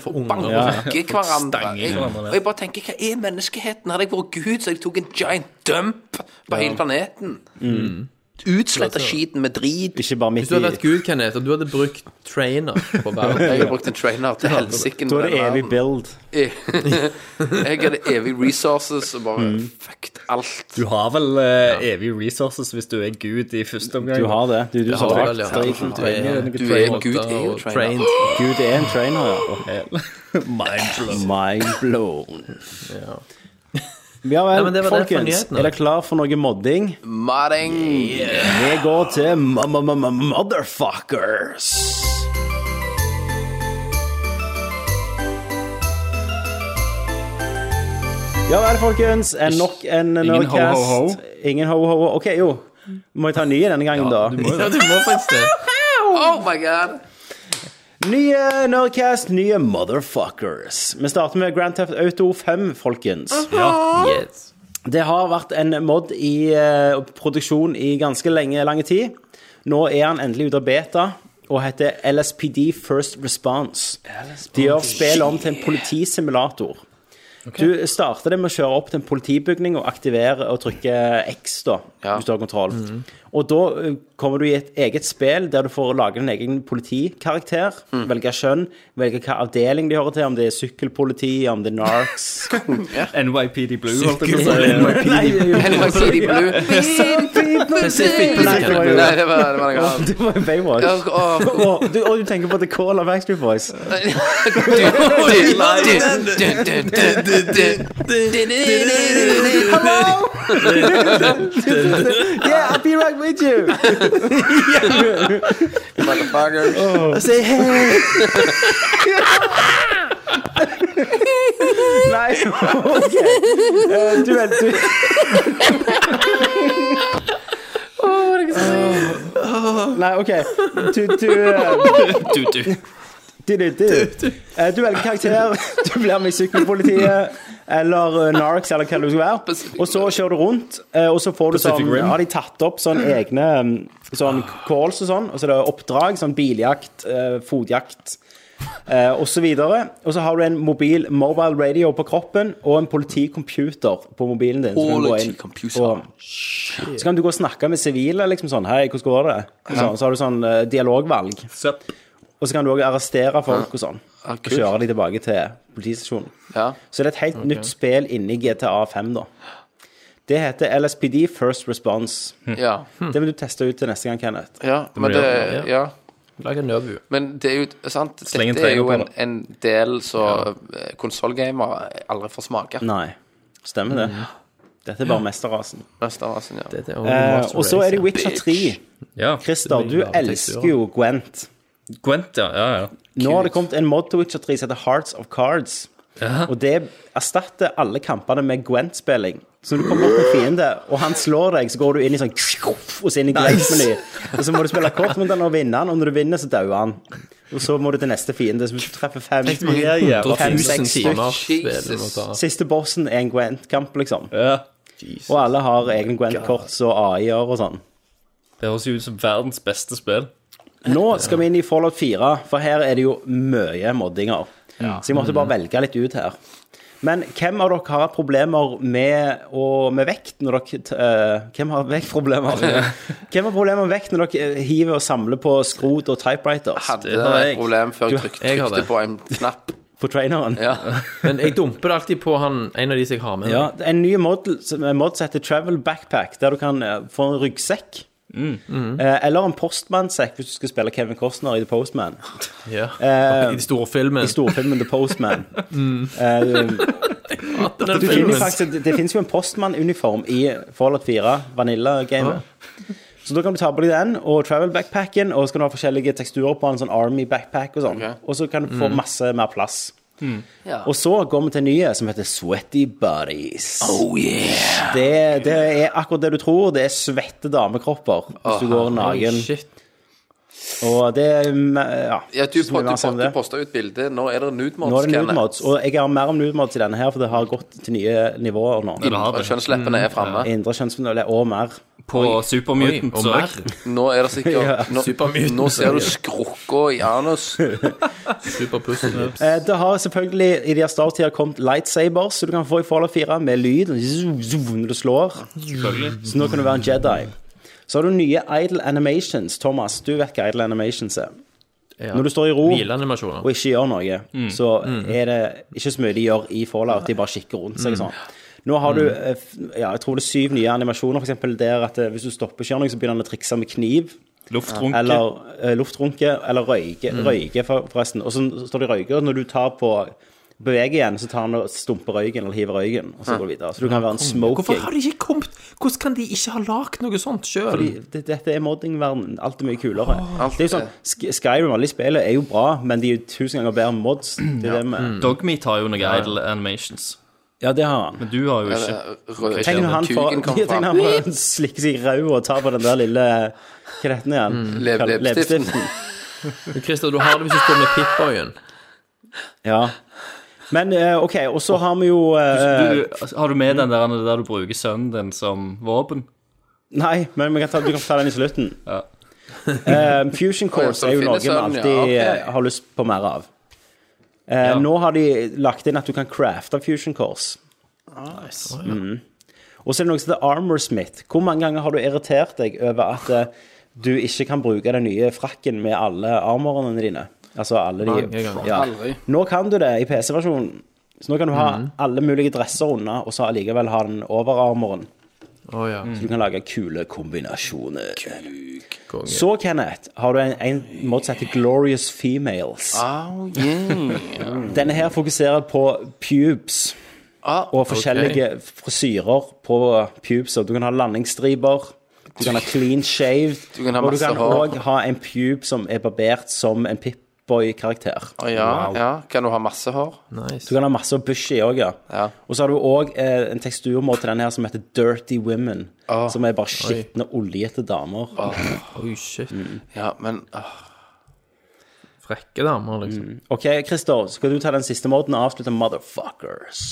stjeler for unger. banker hverandre. Stanger Jeg, hverandre. og jeg bare tenker, hva er menneskeheten? Hadde jeg vært Gud, så jeg tok en giant dump på hele planeten. Utsletta skiten med drit. Ikke bare midt Hvis du i. hadde vært Gud, Kenneth, og du hadde brukt trainer på Jeg verden har brukt en trainer til helsike. Da er det evig build. Jeg hadde evig resources og bare fucked alt. Du har vel eh, evige resources hvis du er gud i første omgang. Du har det. Det er du som har lagd Du trenger noen Du er trainer. Gud er jo trainer. Gud det er en trainer, ja. Mindblown. Mind blown. Ja Nei, vel, men det var det for folkens. nyhetene. Er dere klar for noe modding? Madding. Vi går til m- m- m- m- motherfuckers. Ja vel, folkens. En nok en ho-ho-ho. Nerdcast. Ingen ho-ho-ho. OK, jo. Må jeg ta en ny denne gangen, da? Ja, du må faktisk det. Oh my god. Nye Nerdcast, nye motherfuckers. Vi starter med Grand Theft Auto 5, folkens. Yes. Det har vært en mod i eh, produksjon i ganske lenge, lang tid. Nå er han endelig ute av beta og heter LSPD First Response. De gjør spillet om til en politisimulator. Du starter det med å kjøre opp til en politibygning og aktivere og trykke X, da, hvis du har kontroll. Og da eh, kommer du i et eget spill der du får lage din egen politikarakter. Velge kjønn, velge hva avdeling de hører til, om det er sykkelpoliti, om det er narcs NYPD Blue, holdt jeg på å si. NYPD Blue. Pacific Blue. Nei, det var jo- Nei, det var det var noe annet. Det var jo Baywatch. Ja, og- Og du, og du tenker på The Call of Backstreet Boys. Yeah, I'll be right with you! Motherfucker. I say hey! Nei, ok. Eh, Du vet, du Nei, OK. Du, du eh, Du, du. Du, du, du. Eh, du velger karakter, du blir med i sykkelpolitiet, eller eh, Narcs, eller hva det skal være. Og så kjører du rundt, eh, og så får du sånn, har de tatt opp sånn egne mm, sånn calls og sånn, og så er det oppdrag, sånn biljakt, eh, fotjakt, eh, og så videre. Og så har du en mobil mobile radio på kroppen, og en politicomputer på mobilen din. Så kan du gå inn Politicomputer. og- Så kan du gå og snakke med sivile, liksom sånn, hei, hvordan går det? Og Så, så har du sånn eh, dialogvalg. Sup. Og så kan du òg arrestere folk og sånn. Ah, Og kult. kjøre de tilbake til politistasjonen. Ja. Så det er et helt nytt spill inni GTA5, da. Det heter LSPD First Response. Ja. Hm, Det vil du teste ut til neste gang, Kenneth. ja. Men det Ja. Lag en Nøbu. Men det er jo sant Sleng en Dette er jo trener en, på en del som ja. konsollgamere aldri får smake. Nei. Stemmer det? Dette er bare mesterrasen. Mest av oss, ja. Det er Eh, og så er det Witcher 3. Ja. Christer, du bare elsker jo Gwent. Gwent, ja. ja, ja. Nå har det kommet en mod til Witcher 3 som heter Hearts of Cards. Og det erstatter alle kampene med Gwent-spilling. Så når du kommer opp med fiende, og han slår deg, så går du inn i sånn Og så inn i Gwent-meny. Og så må du spille kort mot han og vinne han, og når du vinner, så dauer han. Og så må du til neste fiende, som du treffer fem. Fem, seks 1000 stykk. timer spill du må ta. Siste bossen er en Gwent-kamp, liksom. Og alle har egne Gwent-kort og AI-er og sånn. Det høres jo ut som verdens beste spill. Nå skal vi inn i Fallout 4, for her er det jo mye moddinger. Så jeg måtte bare velge litt ut her. Men hvem av dere har problemer med, og med vekt når dere t- eh, Hvem har vektproblemer? Hvem har problemer med vekt når dere eh, hiver og samler på skrot og typewriters Hadde har jeg. et problem før jeg tryk, jeg har trykte det. på en knapp. på traineren? Ja. Men jeg dumper det alltid på han, en av de som jeg har med. Ja, det er en ny mod, en mod som heter Travel Backpack, der du kan eh, få en ryggsekk. Mm. Eh, Eller en postmannsekk, hvis du skal spille Kevin Costner i The Postman. Ja. Eh, I de store filmen. I storfilmen The Postman. Eh, Du finner jo faktisk, det, det finnes jo en postmannuniform i Fallout 4, Vanilla-gamet. Så da kan du ta på deg den og travel backpacken, og så kan du ha forskjellige teksturer på den, sånn Army backpack og sånn. Og så kan du få masse mer plass. Ja. Og så går vi til en ny som heter Sweaty Buddies. Oh yeah! Det, det er akkurat det du tror. Det er svette damekropper hvis du går naken. Shit. Og det er, mm, Ja, Ja, du, så mye du, mer å si om du, det. posta ut bilde. Nå er det nudemods. Nå er det nudemods, og jeg har mer om nudemods i denne her, for det har gått til nye nivåer nå. Vil du ha Og det? kjønnsleppene er framme. Indre kjønnsmodell og mer. På Supermutant og så mer. Nå er det Ja. sikkert Nå, nå ser du skrukka i anus. Superpussel. Eh, Det har selvfølgelig i de her starttida kommet lightsabers, så du kan få i Fallout 4 med lyd zoom, zoom, når du slår. Så nå kan du være en Jedi. Så har du nye idle animations. Thomas, du vet hva idle animations er. Når du står i ro Hvileanimasjoner. og ikke gjør noe, så er det ikke så mye de gjør i Fallout. De bare kikker rundt seg og sånn. Nå har du eh, f- ja, jeg tror det er syv nye animasjoner, f.eks. der at eh, hvis du stopper ikke gjør noe, så begynner han å trikse med kniv. Luftrunke. Eller eh, luftrunke, eller røyke, røyke for, forresten. Og så står det røyker, og når du tar på beveger igjen, så tar han og stumper røyken, eller hiver røyken, og så går det videre. Så du kan være en Hvorfor smoking. har de ikke kommet Hvordan kan de ikke ha lagd noe sånt sjøl? Det- Dette er moddingverdenen. Alt er mye kulere. alt det er jo sånn, Sk- Skyrim, alle de spillene, er jo bra, men de er jo tusen ganger bedre enn mods. Det er det med. Dogmeat har jo noen idle animations. Ja, det har han. Men du har jo ikke Røde Tenk når han får tugen tenk Eh, kommer når fram. han får slikke seg i ræva og tar på den der lille Hva er dette igjen? Lep- Kall- leppestiften. Christer, du har det hvis du står med Pip-Boyen. Ja. Men eh, OK, og så har vi jo eh, du, Har du med den der, den der du bruker sønnen din som våpen? Nei, men vi kan ta, du kan ta den i slutten. Ja. Eh, Fusion Course så er jo det noe finnes vi den, ja, alltid ok. eh, har lyst på mer av. Eh, Nå har de lagt inn at du kan crafte Fusion Course. Mm. Og så er det noe som heter Armor Smith. Hvor mange ganger har du irritert deg over at eh, du ikke kan bruke den nye frakken med alle armorene dine? Altså alle de Mange ganger. Ja. Aldri. Nå kan du det i PC-versjonen. Så nå kan du ha alle mulige dresser unna, og så allikevel ha den overarmoren. Å ja. Mm. Du kan lage kule kombinasjoner. Så, Kenneth, har du en, en mod som heter Glorious Females. Oh, yeah. Denne her fokuserer på pubes Ah, og forskjellige frisyrer på pubes. Og Du kan ha landingsstriper, du kan ha clean shaved, Du kan ha og du masse kan hår. òg ha en pube som er barbert som en Pipboy-karakter. Å, ja, ja. Kan du ha masse hår? Du kan ha masse bushy òg, ja. Ja. Og så har du òg eh, en teksturmål til den her som heter Dirty Women. Som er bare skitne, oljete damer. Oi, shit. Ja, men ah, Frekke damer, liksom. Ok, Christer, skal du ta den siste måten og avslutte Motherfuckers?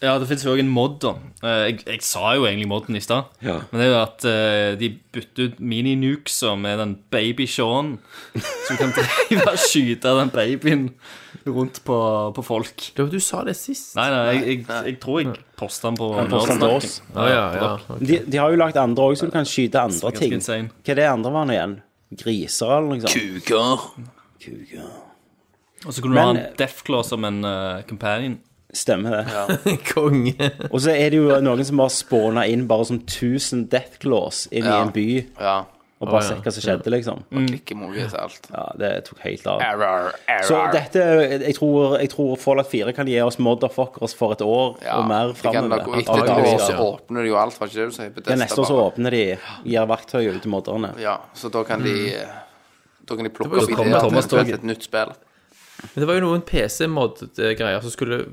Ja, det fins jo òg en mod, da. Eh, Jeg, jeg sa jo egentlig modden i stad. Men det er jo at eh, de bytter ut mini-nukeser med den baby Sean. Som kan drive og skyte den babyen rundt på, på folk. Det var du sa det sist. Nei, nei, jeg, jeg, jeg tror jeg posta den på postet den til Nerdsnakken. oss. Å ja, ja. ok. De, de har jo lagt andre òg, så du kan skyte andre ganske ting. insane. Hva er det andre var nå igjen? Griser eller noe sånt? Kuker. Kuker. Og så kunne du ha Men- en Deathclaw som en eh, companion. Stemmer det. Konge. Og så er det jo noen som bare spåna inn bare som 1000 deathclaws inn i Ja. Mm. en by, Ja. og bare Å, ja. sett hva som skjedde, liksom. Klikke mogis alt. Ja, det tok helt av. Error, error. Så dette Jeg tror, jeg tror Fallout 4 kan gi oss motherfuckers for et år ja, og mer det kan da gå- framover. Etter et Antageligvis, år så ja. åpner de jo alt, var ikke det du sa? Bethesda Ja, neste år så bare- åpner de, gir verktøy ut til modderne. Ja, så da kan de Mm. eh, Da kan de plukke var jo opp kommet ideer til Thomas eventuelt Torget. et nytt spill. Men det var jo noen PC-mod-greier som skulle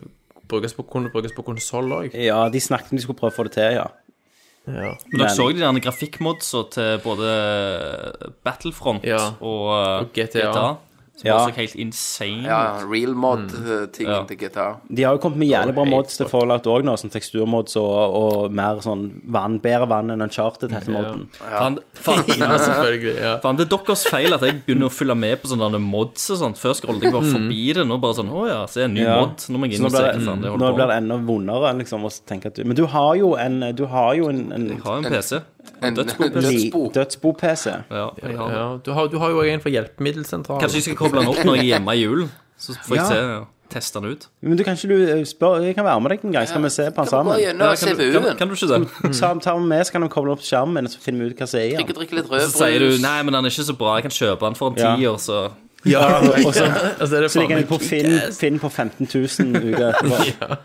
brukes på, kunne brukes på konsoll òg. Ja, de snakket om de skulle prøve å få det til, ja. Ja. Men dere Men- så de der grafikkmodsa til både Battlefront Ja. og, eh, Og GTA. Som Ja. bare så helt insane Ja, ut. real mod-tingen Ja. til GTA. De har jo kommet med jævlig bra helt mods til Fallout òg nå, som teksturmods og, og mer sånn vann, bedre vann enn Uncharted heter modden. Faen, faen, altså, Ja, selvfølgelig. Ja. faen, det er deres feil at jeg begynner å følge med på sånne der mods og sånt. Før scrollet jeg bare forbi det, nå bare sånn Å ja, se en ny Ja. mod. Nå må jeg Så inn nå og se blir hva det, faen det nå holder på blir det med. enda vondere liksom, å tenke at du Men du har jo en, du har jo en, en Jeg har jo en PC. En Dødsbo-PC. li- dødsbo. dødsbo-PC. Ja, jeg har det. Ja, du, har, du har jo òg en fra Hjelpemiddelsentralen. Kanskje jeg skal koble den opp når jeg er hjemme i julen. Så får jeg se ja, teste den ut. Men du kan ikke du spørre Jeg kan være med deg en gang, skal vi se på den sammen? Ja, Gjennom kan, du, kan, CPU-en. kan du ikke det? Så tar vi med, så kan vi koble opp skjermen, og så finner vi ut hva som er i den. Drikke litt Så sier du rødbrus. nei, men den er ikke så bra, jeg kan kjøpe den for en Ja. tier, så Ja, og så Altså, er det så ligger faen den meg på Finn, Finn på 15 000 uker etterpå.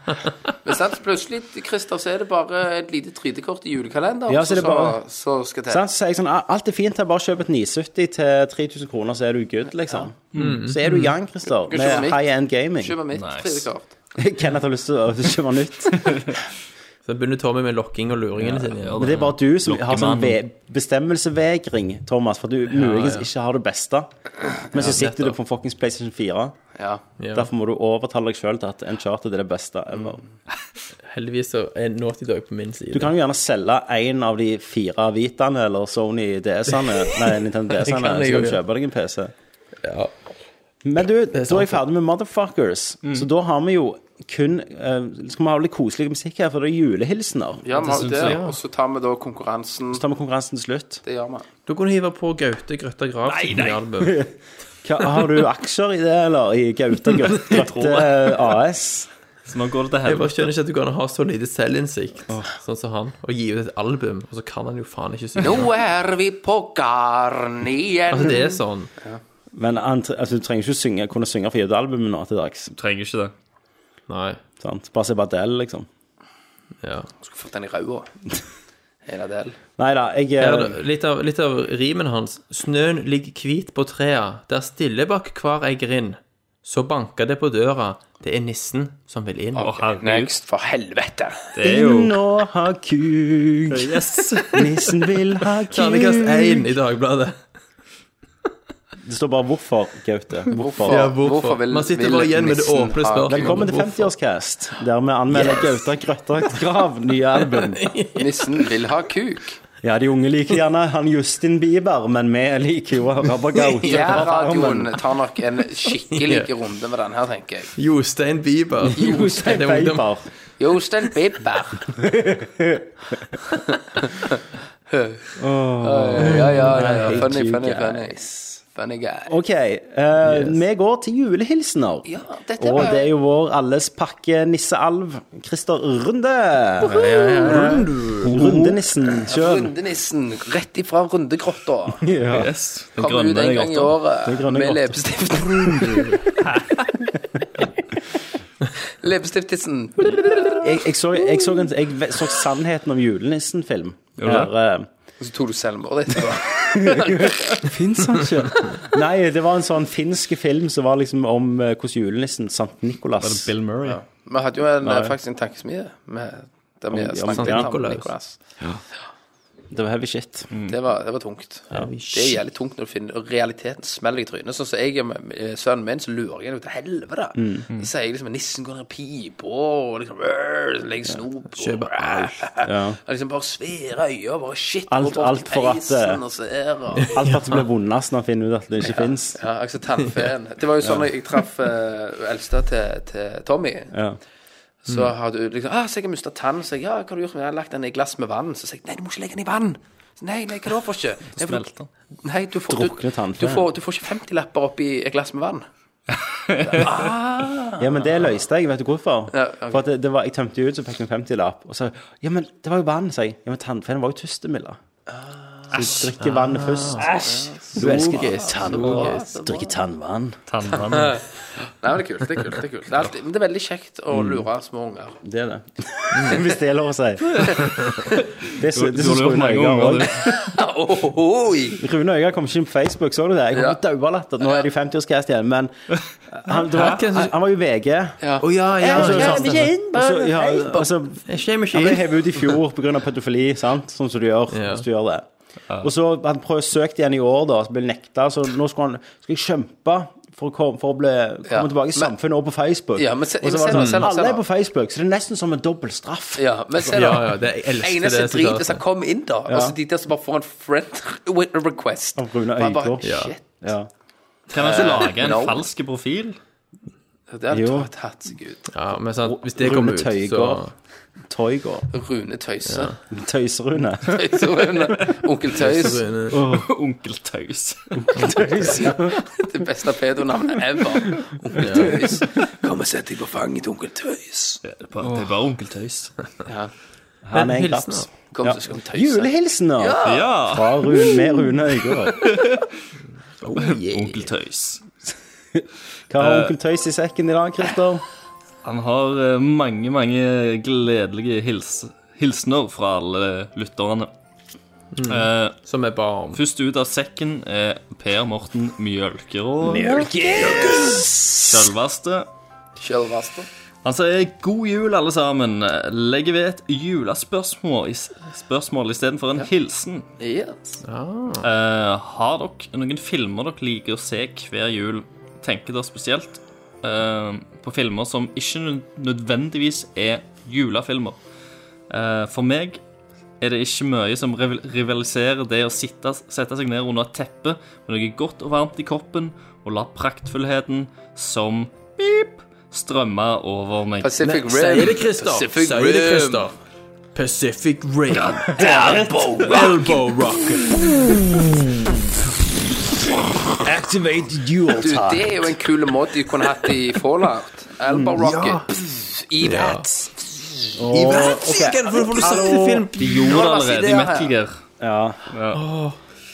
Men sant, plutselig, Christer, så er det bare et lite 3D-kort i julekalenderen Ja, så er det bare- så, så skal til. Sant? Så sier jeg sånn, "Ah, alt er fint, jeg bare kjøp et 970 til 3000 kroner, så er du good, liksom. Mm. Så er du young, Christer, Du kan med kjøpe mitt. high end gaming. Kjøp meg mitt Nice. 3D-kort. Kenneth har lyst til å kjøpe nytt. Så begynner Tommy med lokking og luringene sine. Ja, Men det er bare du som har sånn Lokkemannen. ve bestemmelsevegring, Thomas, for du muligens ikke har det beste. Men så sitter du på en fuckings PlayStation 4. Ja. Ja. Derfor må du overtale deg sjøl til at Uncharted er det beste ever. Heldigvis så er Naughty Dog på min Du side. kan jo gjerne selge en av de fire Vitaene eller Sony DS-ene, nei, Nintendo Det kan DS-ene, så jeg kan du jo kjøpe deg en PC. Ja. Men du, da er sant, Mm. jeg ferdig med Motherfuckers. Så da har vi jo kun eh, Skal vi ha litt koselig musikk her, for det er julehilsener. ja, vi har jo synes det. jeg, ja. Og så tar vi da konkurransen. Så tar vi konkurransen til slutt. Det gjør vi. Du kunne hive på Gaute Grøtta Grav sitt nye album. Hva, har du aksjer i det, eller? I Gaute Grøt- Grøtte eh, AS? Så nå går det til Jeg bare helvete. skjønner ikke at du kan ha så lite selvinnsikt, sånn som han, og gi ut et album, og så kan han jo faen ikke synge. Nå er vi på garn igjen. Altså, det er sånn. Men han, tre- altså, du trenger ikke å synge, kunne synge for gitt albumet nå til dags. Trenger ikke det. Nei. Sant? Bare se Badel, liksom. Ja. Skulle fått den i ræva. En av del. Nei da, jeg Her eh, er det- Litt, av, litt av rimen hans. Snøen ligger hvit på trea, der stille bak hver ei grind. Så banker det på døra, det er nissen som vil inn. Å, herregud. Next, for helvete. Det er jo Nå har kuk, Yes. nissen vil ha Terningkast kuk. én i Dagbladet. Det står bare 'hvorfor', Gaute. Hvorfor? Ja, hvorfor? vil- Man sitter vil bare igjen med det nissen åpne ha- spørsmålet. Velkommen til 50-årscast, der vi anmelder Gaute Grøtta Grav nye album. Nissen vil ha kuk. Ja, de unge liker gjerne han Justin Bieber, men vi liker jo Rabba Gaute. Ja, på radioen farmen. tar nok en skikkelig runde med den her, tenker jeg. Jostein Bieber. Jostein Det er ungdom. Bieber. Jostein Bieber. Eh, ja, ja, ja, ja. Funny, you funny, funny. guys. Funny guy. OK, eh, vi går til julehilsener. Ja, dette Og var det er jo vår alles pakke nissealv, Christer Runde. Rundenissen sjøl. Rundenissen rett ifra rundegrotta. Ja. yes. Den Kommer ut en grønne gang i grotta. Den året grønne med grotta. leppestift. Leppestifttissen. Jeg, jeg, så, jeg, så en, jeg så Sannheten om julenissen-film. Gjorde du Der, eh, Og så tok du selvmord etterpå. Fins han ikke? Nei, det var en sånn finsk film som var liksom om eh, hvordan julenissen Sankt Nikolas Bill Murray. Vi hadde jo en, eh, faktisk en tankesmie med der vi om snakket Sankt om Nikolaus. Nicolas. Det var heavy shit. Det var, det var tungt. Det er jævlig tungt når du finner og realiteten smeller deg i trynet. Sånn som jeg og m- eh, sønnen min, så lurer jeg henne til helvete. Mm. Så sier jeg liksom nissen går ned i pipa og liksom øh, legger snop og Kjøper alt. Ja. Og liksom bare svære øyne og bare shit Alt- går bort alt til for at, peisen eh, og ser, og- Alt at det blir vondest når han finner ut at det ikke finnes fins. Ja, altså tannfeen. Det var jo sånn jeg traff uh, eldste til, til Tommy. Ja. Så har du liksom ah, 'Så jeg har mista tann.' Så jeg, 'Ja, hva har du gjort med den?' 'Jeg har lagt den i glass med vann.' Så sier jeg 'Nei, du må ikke legge den i vann.' Så, nei, nei, hva da, for ikke? Nei, for du- smelter den. Nei, du får, Drukner du, tannfeen. du får, du får ikke 50-lapper oppi et glass med vann. ja, men det løste jeg. Vet du hvorfor? Ja, ok. For at det, det var, jeg tømte jo ut, så fikk jeg en 50-lapp. Og så Ja, men det var jo vann, sa jeg. Ja, men tannfeen var jo tystemilla. Så du drikker vannet først. Du elsker tannvann. Drikker tannvann. Tannvann. Nei, men det er kult. Det er kult, det er kult. Det er, alltid, men det er veldig kjekt å lure små unger. Det er det. Hvis det er lov å si. Det er så- det er Du så har lurt Rune mange Øygard ganger, også. du. Ohoi! Rune Øygard kom ikke inn på Facebook, så du det? Jeg kom til daulatter. Nå er det jo 50-årscast igjen, men han, det var, han, han var jo VG. Ja. Å ja, altså, sånn- ja. Og så- ja, og så- ja, og så- Jeg kommer ikke Han ble inn. hevet ut i fjor pga. pedofili, sant? sånn som du gjør Ja. hvis du gjør det. Og så Han prøvde å søke igjen i år, da, så ble nekta. Så nå skal han skal jeg kjempe for å komme, for å bli, Ja. komme tilbake i samfunnet og på Facebook. Ja, men se- og så men var se nå, det se sånn, nå, se Alle er nå. på Facebook, så det er nesten som en dobbel straff. Ja, men se, da. Ja, ja, det, jeg elsker Eneste det. drit sitatet. hvis han kom inn, da. Og så de der som bare får en friend request. Av Rune Bare- bare, Øygård. Shit. Ja. Kan man ikke lage en No. falsk profil? Det hadde Jo. tatt tatt seg ut. Ja, men sant, hvis det Rune kommer ut, så Tøygård. Toygård. Rune Tøyse. Tøyserune. Tøyserune. Onkel Tøys. Onkel Taus. Det beste pedonavnet ever. Onkel Tøys. Kom og sett deg på fanget til onkel Tøys. Det er bare, det er bare Onkel Taus. Ja. Han er en hilsen, klaps. Kom, Ja. så skal vi tøyse. Julehilsener Ja! Oh, fra Rune, med Rune Øygård. Onkel Taus. Hva har onkel Tøys i sekken i dag, Christer? Han har eh, mange, mange gledelige hils hilsener fra alle lytterne. Eh, Som er barn. først ut av sekken er Per Morten Mjølkeråd. Selveste. Sjølvaste. Han sier 'God jul, alle sammen'. Legger ved et julespørsmål i s- spørsmål istedenfor en hilsen. Yes. Eh, har dere noen filmer dere liker å se hver jul? Tenker dere spesielt eh, på filmer som ikke nød- nødvendigvis er julefilmer? Eh, for meg er det ikke mye som rival- rivaliserer det å sitte, sette seg ned under et teppe med noe godt og varmt i kroppen og la praktfullheten som pip strømme over meg. Pacific Sier det, Rim. Christer. Pacific Sier det, Rim. Christer. Pacific Rim. Elbow Elbow rock. Activate dual Du, det er jo en kul måte de kunne hatt i Fallout. Elbow Mm. Rocket. Pff, I that. De gjorde det allerede i Metal Gear. Ja.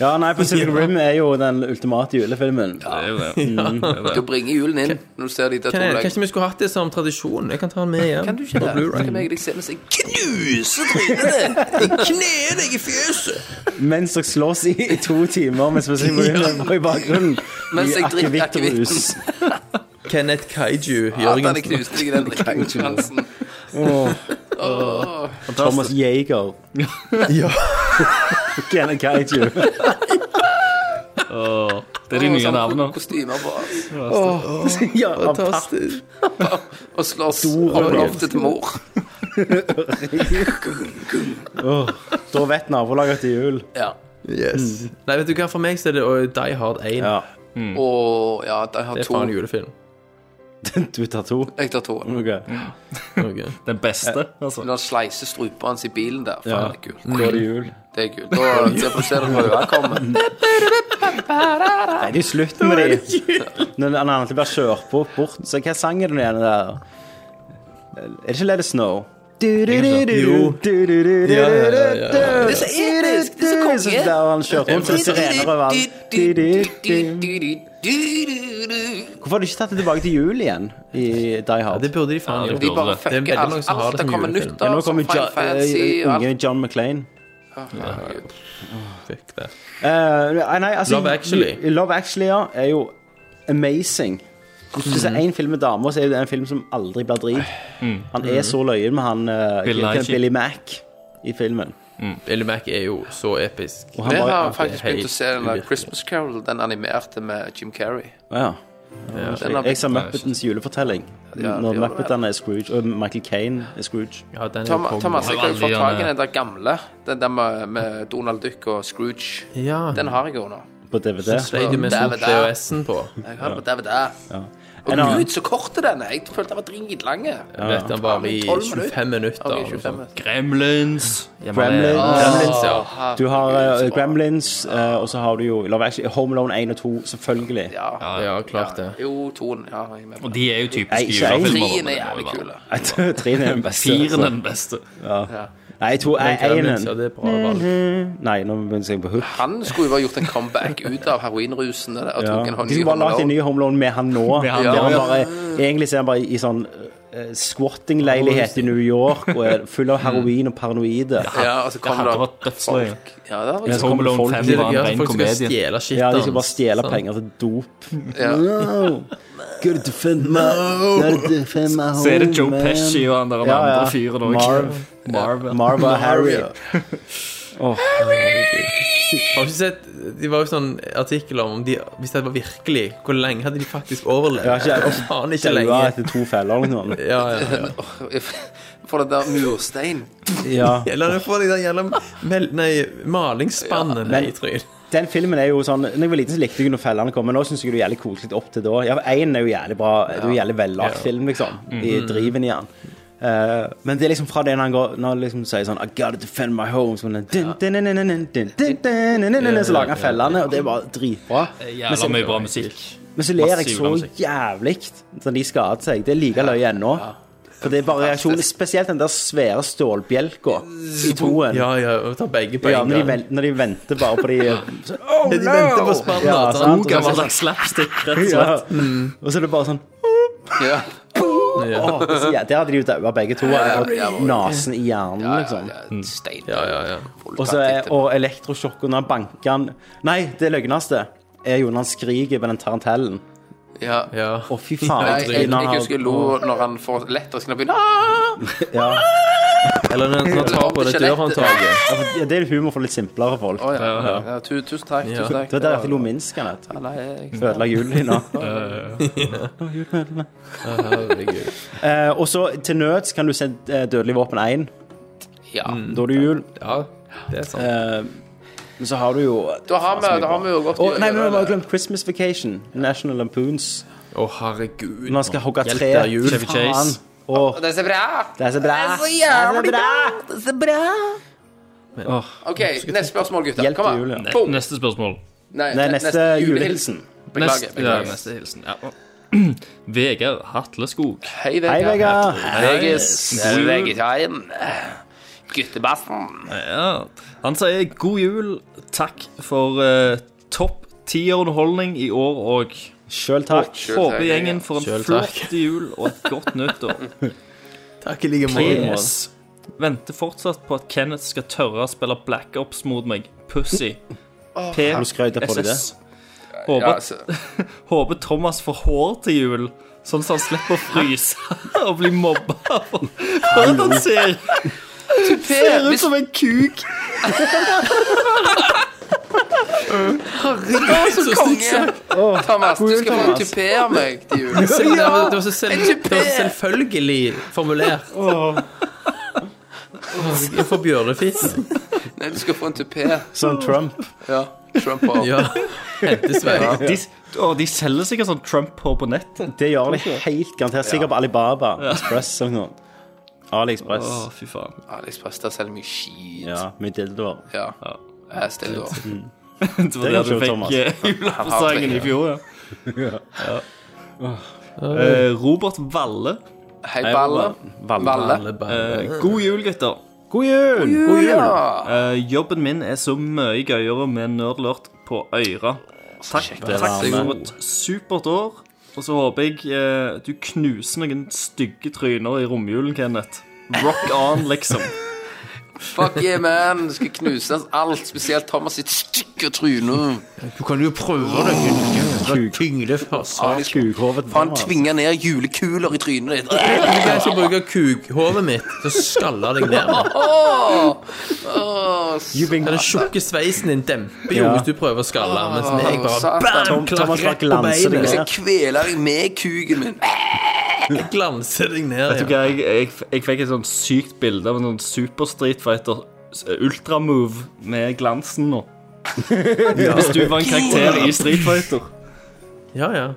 ja, nei, Pacific Rim er jo den ultimate julefilmen. Det er jo det. Det er Du det. bringer julen inn når du ser de der to Kan jeg- legene. Kanskje vi skulle hatt det som tradisjon? Jeg kan ta den med hjem. Kan du ikke det? Blu-ray. Kan jeg deg se mens jeg Knuser trynet ditt! Jeg kner deg i fjøset! Mens dere slåss i, i to timer mens Pacific Rim er i bakgrunnen. Mens I jeg drikker akevitt og akevitten. rus. Kenneth Kaiju At han er Jørgensen. knust deg i den drikkingen. Thomas Jager. Ja. Kenneth Kaiju. Åh, det er de nye navnene. sånn Kostymer på oss. Ja, av papp. Fantastisk. Og slåss om loftet til mor. Da vet nabolaget til jul. Ja. Yes. Mm. Nei, vet du hva, for meg så er det å Die Hard 1. Ja. Og ja, de har Mm. Det er to. faen en julefilm. Du tar to. Jeg tar to. Ok. Okay. Den beste, altså. Når han sleiser strupa hans i bilen der. Faen, Ja. det er kult. Da er det jul. Det er kult. Da ser du ser du røde komme. Nei, det er slutt med de. Når han alltid blir kjørt på bort. Så hva sang er den igjen der? Er det ikke Let It Snow? Jo. Ja, ja, ja, ja. Det er så episk, det er så konge. Der han kjørte rundt som sirener over alt. Hvorfor har de ikke tatt det tilbake til jul igjen i Die Ja, Hard? det burde de faen Ja, gjøre. det De bare Det er fucker veldig mange alt. som har det Alt det som kommer julefilm. nytt Men av. nå Som kommer jo Final Fantasy og alt. unge John McClane. Herregud. Fuck det. Eh, nei, altså, Love Actually. Love Actually, ja, er jo amazing. Hvis du Mm. ser én film med damer, så er det en film som aldri blir drit. Han er så løyen med han eh, Bill Billy, Nighy. Mac i filmen. Billy Mac er jo så episk. Og Vi han var, har faktisk helt begynt å se den der uvirkelig. Christmas Carol, den animerte med Jim Carrey. ja. Den har Jeg blitt sa Muppetens julefortelling. Ja, når det gjør Muppetene er Scrooge, og Michael Kane er Scrooge. Ja, den er jo Thomas, kongen. Thomas, jeg har jo fått tak i Alle eh, den der gamle. Den der med, med Donald Duck og Scrooge. Ja. Den har jeg jo nå. På DVD. Sleit jo med Der, sånn der. VHS-en på. Jeg har den på DVD. Og En annen- gud, så kort er den! Jeg følte den var dritlang. Vet den var i Tolv minutter. 25 minutter. Ok, eller noe 25 sånt. minutter. Gremlins. Ja, men det- Gremlins. Ah. Gremlins, ja. Du har eh, Gremlins, eh, og så har du jo Love Actually, Home Alone 1 og 2, selvfølgelig. Ja, Ja, klart det. Jo, toen. Ja, jeg er med. på Og det. de er jo typiske Nei, ikke en. julefilmer. Trien er jævlig kule. Trine er den beste. altså. Firen er den beste. Nei, to, Men Gremlins, ja, enen. det er bra valg. Mm. Nei, nå begynner jeg på hook. Han skulle jo ha gjort en comeback ut av heroinrusen og og tok en Ja. hånd De i skulle bare lagt en hånden. ny Home Alone med han nå. Med han der nå, han ja. bare, egentlig ser han bare i sånn eh, squatting-leilighet i New York og er full av heroin og paranoide. Ja, og så Det kom det hadde vært dødsløye. Ja, det var Mens Home Alone folk- 5 Det er var gøy en at ren folk skal komedie. stjele shit Ja, de skal hans. bare stjele Sånn. penger til dop. ja. No. Gotta defend my, gotta defend my home, Så er det Joe man. Pesci og han der Ja, ja. andre fyren òg. Marv. Marv. ja. Marv og Harry. Har du ikke sett Det var jo sånn artikler om de, Hvis det var virkelig, hvor lenge hadde de faktisk overlevd? Ja, ikke- Det var faen ikke lenge. Daua etter to feller eller noe. Ja, ja, ja. For det der murstein. Ja. Eller du får de der gjennom mel nei, malingsspannet med i trynet. Den filmen er jo sånn Når jeg var liten, så likte jeg jo når fellene kom, men nå syns jeg det er jævlig koselig opp til da. Ja, Én er jo jævlig bra. Det er jo jævlig vellagt film, liksom. I driven i den. Eh, men det er liksom fra det når han går Når han liksom sier sånn I gotta defend my home Så, dun, dun, dun, dun, dun, dun, dun, dun, dun, dun, dun, så lager han fellene, og det er bare dritbra. Men Jævla så, mye bra musikk. men så ler jeg massiv så musikk. jævlig når de skader seg. Det er like løye ennå. For det er bare reaksjoner. Spesielt den der svære stålbjelka i toen. Ja, ja, og tar begge på Ja, en når de, gang. ven- når de venter bare på de Oh, De venter på spannet, Ja, sant? sant? Gammel slags slapstick, rett og slett. Ja. Og så er det bare sånn Mm. Ja. Åh, så ja, Der hadde de jo daua begge to. Og ja, ja. nasen i hjernen, Ja, ja, liksom. ja, stein. Ja, ja, ja. Og, så er, og elektrosjokk under banken Nei, det løgneste er jo når han skriker på den tarantellen. ja. ja. Å, fy faen. Nei, jeg, jeg, når han- husker jeg lo når han får elektrisk knapp begynner Ja. Eller når sånn når han tar på det dørhåndtaket. Ja, for det er humor for litt simplere folk. Å ja. ja. tu- Tusen takk. Tusen takk. Det var derfor jeg lo minst, Kenneth. Ja, Nei, jeg, Ødela julen din nå. Herregud. Eh, og så til nøds kan du se eh, Dødelig våpen 1. Mm. ja. Da er det jul. Ja, det er sant. Eh, men så har du jo Å, Da har vi, da har vi jo gått nei, men vi har bare glemt Christmas Vacation. National Lampoons. Å, herregud. Når han skal hogge Hjelp, tre. det er jul. Chevy Chase. Faen. Åh, Det er så bra! det er så bra. Det er så Det er jævlig bra. Det er så bra. OK, neste spørsmål, gutter. Hjelp Kom til jul, ja. an. Boom. Neste spørsmål. Nei, Det er neste julehilsen. Beklager. Neste, ja, beklager. neste hilsen. Ja. Vegard Hatleskog. Hei, Hei, Vegard. Vegard. Vegis. Hei. Vegetarien. Guttebassen. Ja. Han sier god jul. Takk for eh, topp ti-underholdning i år òg. Sjøl takk. Sjøl Håper takk, gjengen får en Sjøl takk. flott jul og et godt nyttår. Takk i like PS. Venter fortsatt på at Kenneth skal tørre å spille Black Ops mot meg. Pussy. P. Har du skrøyta på deg det? SS. Håper, Ja, altså, håper Thomas får hår til jul, sånn at han slipper å fryse og bli mobba for for at han ser, ser ut som en kuk. så konge! Thomas, du skal få en tupé av meg til jul. Det var, det var så selv, En det tupé. var så selvfølgelig formulert. For bjørnefisen. Nei, du skal få en tupé. Sånn Trump. Ja. Trump og Ja. Hentesvei. De, å, de selger sikkert sånn Trump-hår på nettet. Det gjør de helt garantert. Sikkert på Alibaba Express eller noe. AliExpress. Å, fy faen. Alex Pasta selger mye skit. Ja, mye dildoer. Ja. Jeg stiller opp. Det kan var det du skjønne, Thomas. fikk eh, julepresangen i fjor, ja. ja. Eh, Robert Valle. Hei, Balle. Valle. Alle bare- Eh, god jul, gutter. God jul! Ja. Eh, jobben min er så mye gøyere med nerdlurt på øra. Takk, takk for et supert år. Og så håper jeg eh, du knuser noen stygge tryner i romjulen, Kenneth. Rock on, liksom. Fuck yeah, man. Du skal knuse alt, spesielt Thomas sitt stykke tryne. Du kan jo prøve det. Gunnar. Tyngde først. Kukhovet. Faen, tvinge ned julekuler i trynet ditt. Jeg skal bruke kukhovet mitt til å skalle deg ned. Åh, You been- Den tjukke sveisen din demper jo Ja. hvis du prøver å skalle, mens jeg bare Satan. Tom, Thomas rett bare på glanser deg beinet. liksom. Jeg skal ned. kvele deg med kuken min. glanser deg ned. Vet du Ja. hva, jeg, jeg, jeg fikk et sånn sykt bilde av en sånn Super Street Fighter s- Ultramove med glansen nå. Hvis du var en karakter i Street Fighter. ja, ja.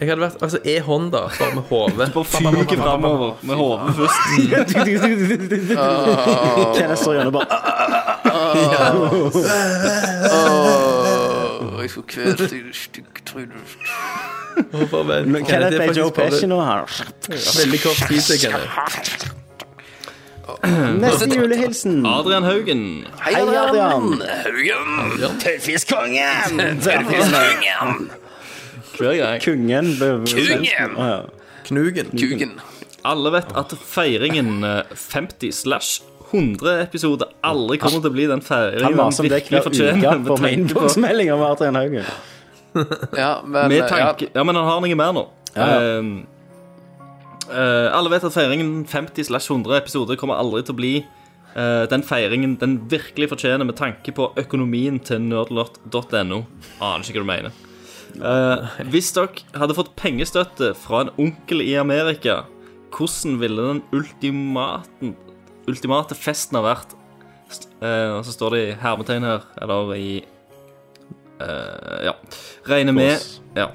Jeg hadde vært altså, E-Honda, bare med hodet. Bare fyker framover med hodet først. Kenneth står gjennom bare Åh, jeg skulle kvele deg, du stygge tryne. Kenneth er Joe Pesci nå her. Veldig kort tid til, Kenneth. Neste julehilsen. Adrian Haugen. Hei, Hei, Adrian. Haugen. Tøffiskongen! Haugen. Hver gang. Kungen. ble- Kungen. Å, ja. Knugen. Kuken. Alle vet at feiringen eh, 50 slash 100 episode aldri kommer til å bli den feiringen Han var som det virkelig hver uke på min fortjener. Med tanke på, innboksmelding om Adrian Haugen. Ja, men med ja, tanke, ja, men han har noe mer nå. Ehm, eh, alle vet at feiringen 50 slash 100 episode kommer aldri til å bli eh, den feiringen den virkelig fortjener med tanke på økonomien til nerdlot.no. Aner ikke hva du mener. Eh, hvis dere hadde fått pengestøtte fra en onkel i Amerika, hvordan ville den ultimaten, ultimate festen ha vært? St- eh, Og så står det i hermetegn her, eller i eh, Ja. Regner med ja.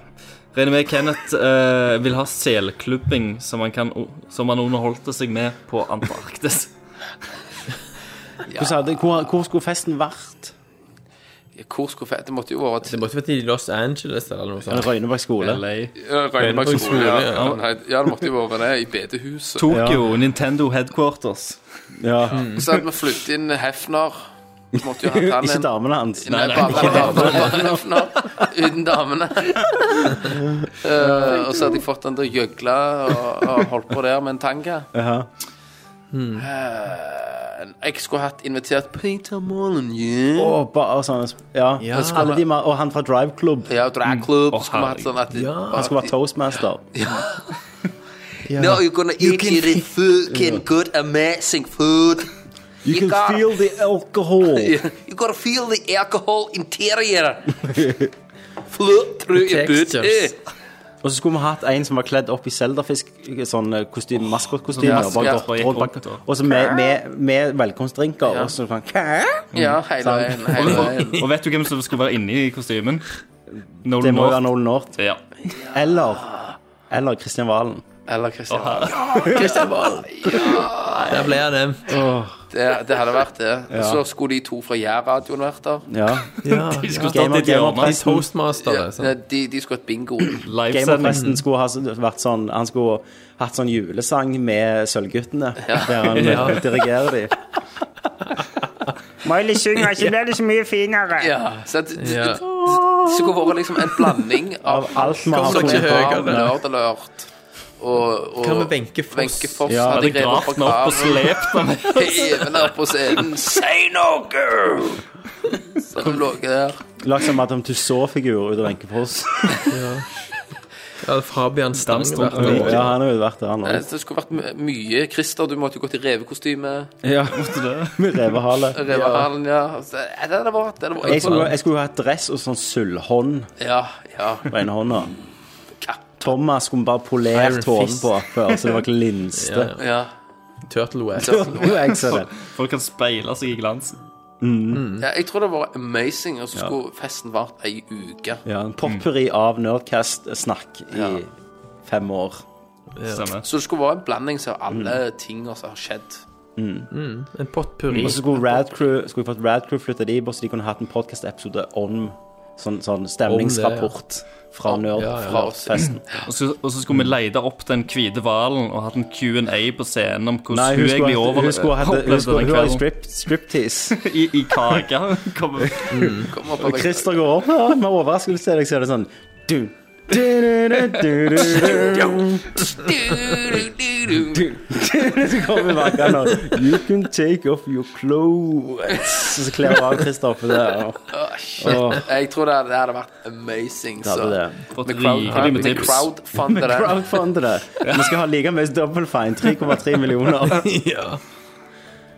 Regner med Kenneth eh, vil ha selklubbing som han, kan, o- som han underholdte seg med på Antarktis. Hvordan hadde- Hvor, hvor skulle festen vært? ja, Hvor skulle fe- Det måtte jo være Det til måtte vært i Los Angeles eller noe sånt. Røyneberg skole. Ja, Røyneberg Røyneberg skole. Ja, skole, ja, nei, ja, det måtte jo være det, i bedehuset. Tokyo, Nintendo Headquarters. Ja. Så hadde vi flyttet inn Hefner. Måtte jo ha Ikke han inn. damene hans. Nei, bare, bare, bare, bare Hefner. Uten damene. Eh, og så hadde jeg fått han til å gjøgle og, og holdt på der med en tanga. Jaha. Eh, jeg skulle hatt invitert Peter Molyneux. Og, bare, og, sånne, ja. Alle de, ma- og han fra Drive Club. Ja, og dragklubb. Å, skulle vi hatt sånn at de, Han skulle være toastmaster. No, you're gonna eat really fucking good, amazing food. You can got- feel the alcohol. You gotta feel the alcohol interior. Flow through your Eh. Textures. booty. Og så skulle vi hatt en som var kledd opp i Zelda-fisk, sånn eh, kostyme, maskotkostyme. Ja, og bare ja, gått bare gikk rundt bak- rundt og- Og så med, med, med velkomstdrinker. Og så sånn Hæ? Ja, hele veien. Hele veien. Og vet du hvem som skulle være inni kostymen? Det Nolan må jo være North. Nolan North. Ja. Eller Eller Kristian Valen. Eller Kristian Der ble jeg nevnt. Det, det hadde vært det. Og Så skulle de to fra Jærradioen vært der. Ja. Ja. De Game skulle stått i of- et Game of hjørne. Pressen- Toastmaster. Nei, Sånn. De, de skulle hatt bingo. Game of Livesending. Presten skulle ha s- vært sånn Han skulle hatt sånn julesang med Sølvguttene, der han eh, dirigerer de. Miley synger, ikke blir det så mye finere. Ja, så det, det, det, det skulle vært liksom en blanding av Av alt vi har Kom dere funnet høyere. på. Grav, Nerd Alert og, og Hva med Wenche Foss? Wenche Foss Ja, Hadde hadde jeg revet gravd den opp og slept den. Even her på scenen. Say no, girl! Så hun lå der. Lagt som Madame Tussauds-figur ut av Wenche Foss. Ja, Fabian Stang. Danstrømpe. vært der. Ja, han har jo vært der, han Eh, òg. Det skulle vært my- mye. Christer, du måtte jo gått i revekostyme. Ja. Med revehale. Revehallen, ja. Så, eh, Det hadde vært det hadde Jeg vært- skulle, jeg skulle jo hatt dress og sånn sølvhånd Ja, ja. på ene hånda. Thomas skulle bare polert Iron hodet fist. på før, så det var ikke linste. ja. Turtle Wax. Jo, jeg ser det. Folk kan speile seg i glansen. Ja, jeg tror det hadde vært amazing, og så skulle festen vart ei uke. Ja, en potpurri av Nerdcast-snakk i Ja. fem år. Stemmer. Så det skulle være en blanding av alle Mm. tinga som har skjedd. En potpurri. Og så skulle Rad Crew skulle fått Rad Crew flytta dit bort, så de kunne hatt en podcast-episode om sånn, sånn stemningsrapport fra Fra oss. Nerdfesten. Og så, og så Mm. skulle vi lete opp den hvite hvalen og hatt en Q&A på scenen om hvordan Nei, hun, hun skulle egentlig ha- over, hun skulle ha hatt- hun opplevde skulle- den hun hadde kvelden. strip- striptease. I, i kake. Kommer Kom opp og Christer går opp ja, med overraskelse til deg, så er det sånn du, du, du, du, du, du, du. Så kommer vakkeren og You can take off your clothes. Og så kler hun av Christer på det. og- Åh, shit. Åh. Jeg tror det, det hadde vært amazing. Ja, Så. det er det. fått Vi crowd- rikelig med vi tips. crowdfunder det. Crowdfunde det. Vi skal ha like mye double fine. 3,3 millioner. Ja.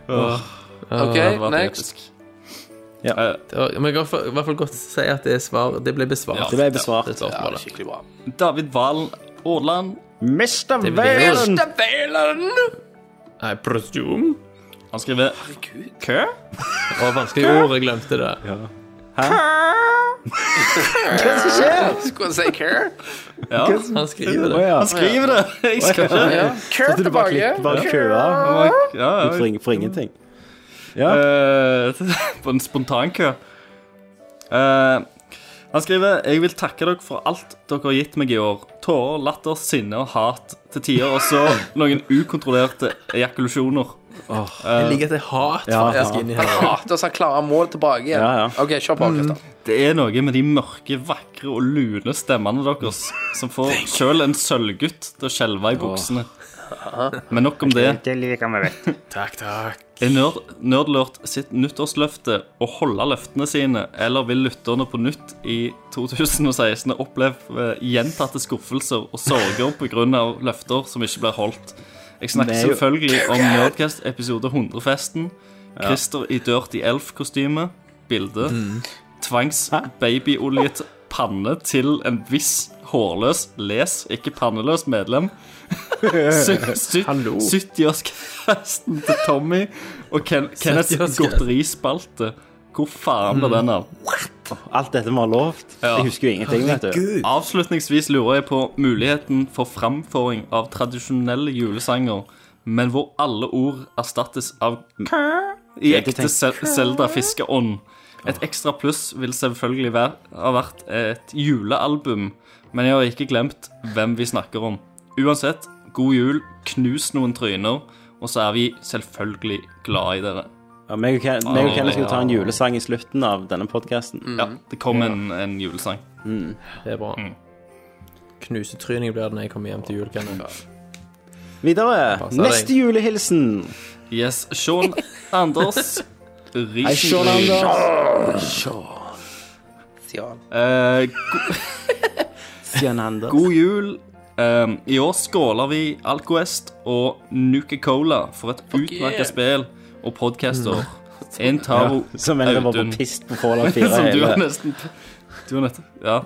OK, Det hadde vært next. episk. Det var, men jeg kan for- i hvert fall godt si at det, er svar, det ble besvart. Det ble besvart. Det er Ja, spørsmålet. skikkelig bra. David Valen Aarland. Mr. Det blir- Valen! Mr. Valen! I presume. Han skriver Kø? Å, vanskelig ord. Jeg glemte det. Skulle jeg si care? Ja, Han skriver Å det. ja. han skriver det. Jeg skal ikke Ja. Care Du bare klikker tilbake. bare køer ja, ja. for, ing- for ingenting. Ja. Eh, På en spontankø. Eh, han skriver Jeg vil takke dere for alt dere har gitt meg i år. Tårer, latter, sinne og hat til tider. Og så noen ukontrollerte ejakulasjoner. Jeg liker at det er hat Ja, faktisk ja. inni Han her. hater å se klare mål tilbake igjen. Ja, Mm. ja. OK, kjør på, Christer. Det er noe med de mørke, vakre og lune stemmene deres som får sjøl en sølvgutt til å skjelve i buksene. Men nok om det. Det liker vi, vet du. Takk, takk. Er nerd, Nerdlurt sitt nyttårsløfte å holde løftene sine, eller vil lytterne på nytt i 2016 oppleve eh, gjentatte skuffelser og sorger pga. løfter som ikke blir holdt? Jeg snakker Det er jo- selvfølgelig om Nerdcast episode 100-festen. Christer i Dirty Elf-kostyme. Bilde. Tvangs-babyoljet panne til en viss hårløs, les ikke panneløs medlem. Sy- sy- 70-årsfesten til Tommy og Ken Kenneths 70-årsfest. godterispalte. Hvor faen ble den av? Alt dette vi har lovt. Jeg husker jo ingenting, vet du. Gud. Avslutningsvis lurer jeg på muligheten for framføring av tradisjonelle julesanger, men hvor alle ord erstattes av i ikke ekte tenkt- Zelda-fiskeånd. Et ekstra pluss vil selvfølgelig være, ha vært et julealbum, men jeg har ikke glemt hvem vi snakker om. Uansett, god jul, knus noen tryner, og så er vi selvfølgelig glad i dere. Ja, meg og Ken- meg og Kenneth skal ta en julesang i slutten av denne podkasten. Ja, det kom en, en julesang. Det er bra. Knusetryning blir det når jeg kommer hjem til jul. Kenneth. Videre. Passer deg. Neste julehilsen. Yes, Sean Anders Risen. Hei, Sean Anders. Eh, Sean Anders. God jul. Ehm, I år skåler vi Alcoest og Nuka Cola for et utmerket yeah. spill og podcaster. En taro Som en var på Audun. pist på Fallout 4. Som du har hele- nesten Du har nettopp Ja.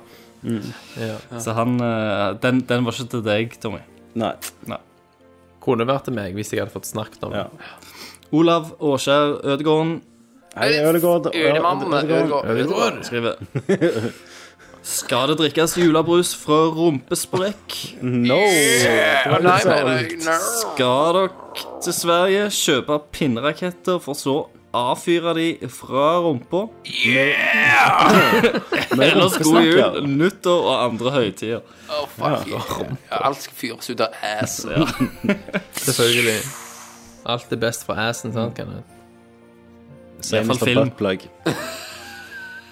Ja. Så han eh, den, den var ikke til deg, Tommy. Nei. Kunne vært til meg hvis jeg hadde fått snakket om det. Ja. Olav Åskjær Ødegården Hei, Ødegaard. Ødemann. Ødegård. Ødegård. skriver Skal det drikkes julebrus fra rumpesprekk? No. Å, Nei, mener jeg. Nei. Skal dere til Sverige kjøpe pinneraketter for så avfyre de fra rumpa? Yeah! Ellers god jul, nyttår og andre høytider. Å, Oh, fuck yeah. Ja, Alt skal fyres ut av assen. Selvfølgelig. Alt er best for assen, sant, Kenneth? I hvert fall film.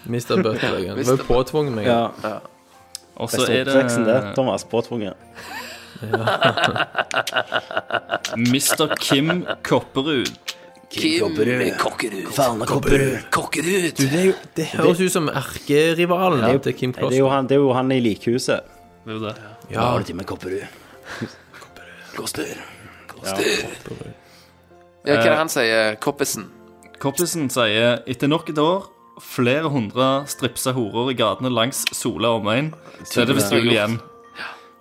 Mr. Butler. Gunn. Du var jo påtvunget meg. Ja. Og så Beste er oppveksten, det. det Thomas. Påtvunget. Mr. Kim Kopperud. Kim Kokkerud. Eh. Kokkerud. Det, er jo, det høres ut som erkerivalen Det er jo- til Kim Det er jo Kloss. han, det er jo han i likhuset. Det er jo det. Ja, Koster. Koster. Ja, hva er det han sier? Koppesen. Koppisen sier etter nok et år flere hundre stripsa horer i gatene langs Sola og omegn, så er det visst jul igjen.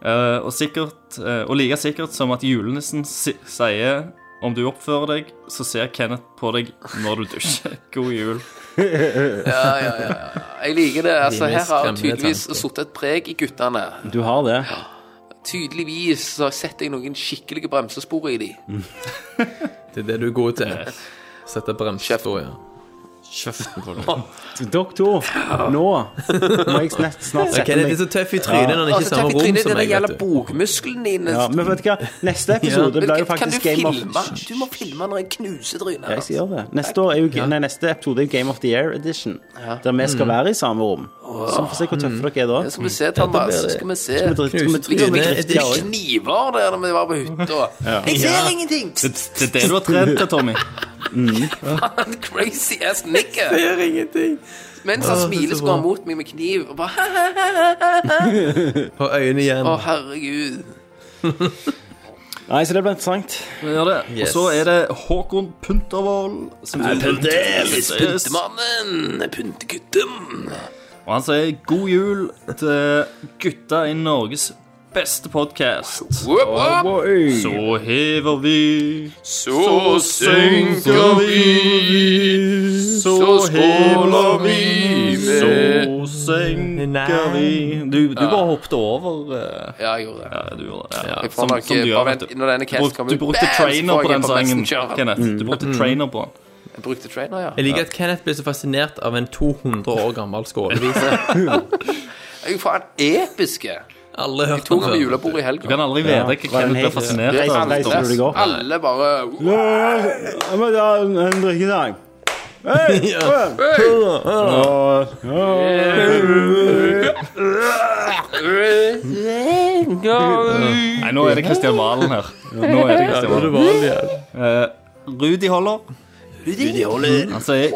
Eh, og, sikkert, eh, og like sikkert som at julenissen si sier om du oppfører deg, så ser Kenneth på deg når du dusjer. God jul. Ja, ja, ja. Jeg liker det. Altså, Dine her har skremmende tydeligvis tanker. sittet et preg i guttene. Du har det. Tydeligvis så setter jeg noen skikkelige bremsespor i de. det er det du er god til. Sette bremsespor, ja. Doktor, nå må jeg snart, snart Ja, sette Kenneth er meg så tøff i trynet når han ikke er i Altså, samme takk i rom trynet, som det meg. gjelder vet du. bokmusklene dine. ja, Men vet du hva, neste episode Men blir jo kan du faktisk Game of filme? Du må filme når jeg knuser trynet. Jeg skal gjøre det. Neste, år er jo, nei, neste episode er jo Game of the Year Edition, der vi Mm. skal være i samme rom. Så vi får se hvor tøffe dere er da. Ja, Skal vi se, Thomas. Skal vi se. Vi drikker med Vi trynet. Trynet er drifter kniver der når vi var på hytta. Jeg ser ingenting! Det, det er det du har trent til, Tommy. Crazy ass nicker. Jeg ser ingenting. Mens han smiler, så går han mot meg med kniv og bare «Haha, Og øynene igjen. Å, herregud. Nei, så det blir interessant. Vi gjør det. Og så er det Håkon Puntervold. som- Yes. Pyntemannen. Pyntegutten. Og han sier god jul til gutta i Norges beste podkast. Whoop, whoop. Så hever vi Så synker vi, så skåler vi, så senker vi Du, du bare hoppet over eh, Ja, jeg gjorde det. Ja, du gjorde det. Ja, Jeg får nok, eh, bare vent når Du denne casten brukte, kommer du ut, brukte bam, så trainer får jeg på den på sangen, Messenger. Kenneth. Du brukte trainer på den. Jeg brukte trainer, ja. Jeg liker at Kenneth blir så fascinert av en 200 år gammel skålevise. Jeg er faen episke. Alle hørte Tok på den før. julebordet i Du helga. kan aldri vite hva var den Kenneth blir helt- fascinert Reis- av. reiser du deg opp? Alle bare Ja, men da, en drikkesang. Nei, nå er det Kristian Valen her. Nå er det Kristian Valen. Eh, Rudi Holler. Han sier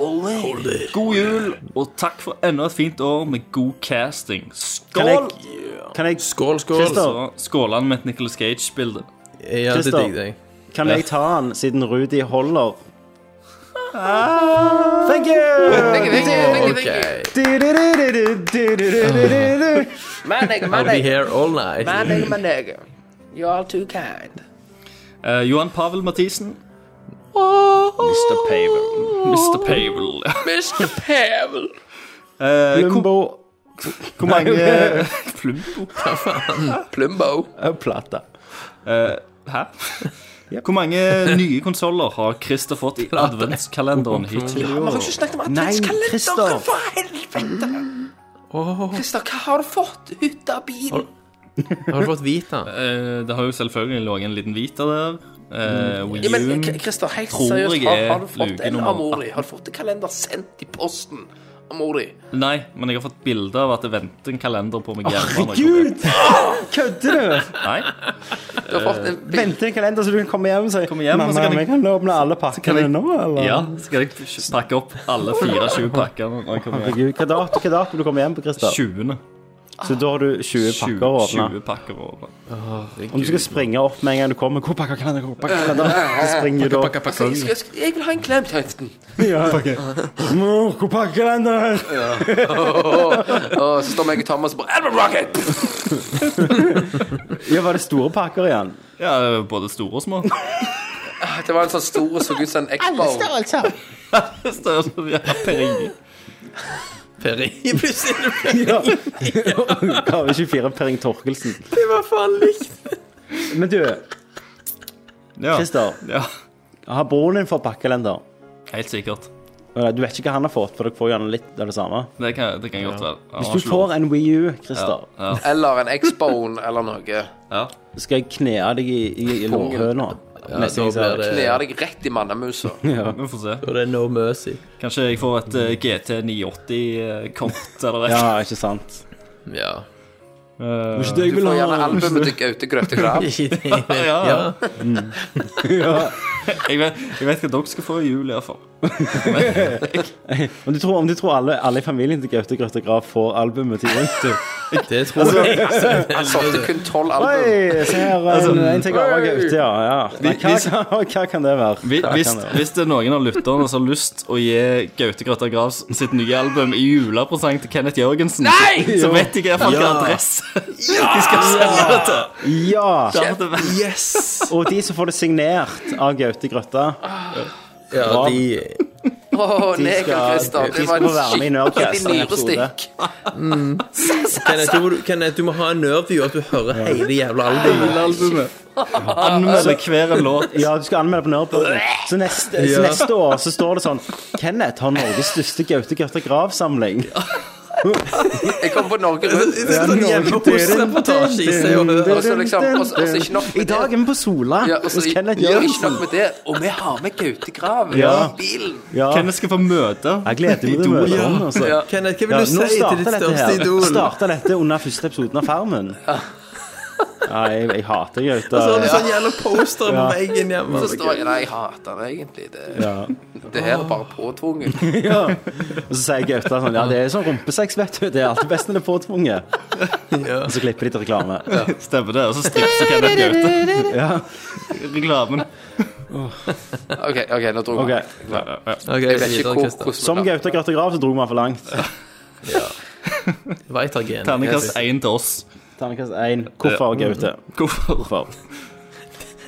god jul og takk for enda et fint år med god casting. Kan jeg, Skål! kan jeg, Skål, skål. Christer, Så skåler han med et Nicolas Cage-bilde. Ja, det Christer. digger jeg. kan jeg ta den, siden Rudi holder? Thank you! OK. Du-du-du-du-du-du-du-du-du. Maneg, I'll be maneg, here all night. maneg, maneg. You're all too kind. Eh, Johan Pavel Mathisen. Mr. Paver. Mr. Pavel. Mr. Pavel. Eh, hvor, Plumbo hvor mange Plumbo? Plumbo. og plata. Eh, hæ? Hvor mange nye konsoller har Christer fått i adventskalenderen hittil? i Vi år? har ikke snakket om Nei, adventskalender! Christer. For helvete! Christer, hva har du fått ut av bilen? Har du fått vite? Eh, Det har jo selvfølgelig ligget en liten Vita der. Eh, Wii Ja, men U-en. K- Christer, helt tror seriøst, jeg har, er har du fått luke en nummer av mor di? Har du fått en kalender sendt i posten av mor di? Nei, men jeg har fått bilde av at det venter en kalender på meg hjemme. når jeg kommer hjem. Gud! Kødder du? Nei, Du Eh, har fått en bil- Vente en kalender så du kan komme hjem og si Kom hjem, og så Mamma, kan jeg- vi kan åpne alle pakkene jeg- nå, eller? ja, skal jeg pakke opp alle 24 pakkene når jeg kommer hjem? Herregud, hva dato, hva dato du kommer hjem på, Christer? 20. Så da har du 20 20, pakker å åpne. 20 pakker å åpne. Om du skal springe opp med en gang du kommer Hvor pakker kalender, hvor pakker kalender? Så springer du opp. Altså, jeg, skal, jeg skal- jeg vil ha en klem til høften. Ja. Mor, hvor pakker kalender? Og så står meg og Thomas og bare Elmer Rocket! Ja, var det store pakker igjen? Ja, både store og små. Det var en sånn stor og så ut som en Expo. Større, ja, penger. Peri plutselig. Ja. Gave 24 Perring Torkelsen. Det var faen likt. Men du, Ja. Christer, ja, har broren din fått pakkekalender? helt sikkert. Eller, Du vet ikke hva han har fått, for dere får jo gjerne litt av det samme. Det kan, det kan godt være. Ja, Hvis han du har ikke lov. får en Wii U, Christer, ja, Eller en Expo-en eller noe. ja. skal jeg kne deg i, i, i lårhøna. Neste gang jeg da ser blir deg. det- Kler deg rett i mannamusa. Vi får se. Og det er no mercy. Kanskje jeg får et eh, GT 980-kort eh, eller et Ja, ikke sant? Ja. Eh, Ikke det jeg Du får gjerne sånn- albumet til Gaute Grøtte Grav. ja. Ja. Jeg, vet, jeg vet hva dere skal få i jul, iallfall. Om du tror, om du tror alle, alle i familien til Gaute Grøtte Grav får albumet til jul? Det tror jeg. Han solgte kun tolv album. Oi, se her, en, Altså, en til gave av Gaute, ja. ja. Nei, hva, hvis- kan, hva kan det være? Hvis, Hva hvis, kan det være? hvis det er noen av lytterne som har lyst å gi Gaute Grøtta Gravs sitt nye album i julepresang til Kenneth Jørgensen, så så vet jeg iallfall hvilken adresse de skal sende det til. Ja! Det hadde vært Og de som får det signert av Gaute Grøtta, Ja, de Åh, de neger, skal, Christer. de Det skal var en få være med i skikkelig Nerdcast. en episode. nyrestikk. Kenneth, du, må- Kenneth, du må ha en nerveview at du hører hele jævla albumet. julealbumet. Anmelde Altså- hver en låt. Ja, du skal anmelde på Nerdpodden. Så, neste, så Ja. neste år så står det sånn Kenneth har Norges største Gaute Grøtta Grav-samling. Jeg kom på Norge Rundt. Det er sånn hjemme hos-reportasje i Se og Hør. Og så liksom- og så- og så ikke nok med I dag er vi på Sola Ja, og så hos Kenneth gjør ikke nok Jørgensen. med det. Og vi har med Gaute Grav Ja. i bilen. Ja. Kenneth skal få møte Jeg gleder meg til å møte ham. altså. Ja. Kenneth, hva Ja, vil du nå si til ditt starter dette største her. idol? Starter dette under første episoden av Farmen. Ja, jeg, jeg hater Gaute. Og Altså, så har du sånn jævla poster på veggen hjemme. Så står jeg, nei, jeg hater det egentlig. Det, Ja. det her er bare påtvunget. Ja. Og så sier Gaute sånn Ja, det er sånn rumpesex, vet du. Det er alltid best når det er påtvunget. Og så klipper de til reklame. Stemmer det. Og så stripser Kenneth Gaute. Ja. Reklamen. OK, ok, nå dro Ok. vi. Ja, ja, ja. Ok, Jeg vet ikke videre, hvor, Christer. Som hvordan vi Gaute Grøtta Grav så dro vi for langt. Vitagen. Terningkast én til oss. Terningkast 1. Hvorfor Gaute? Hvorfor? Hvorfor?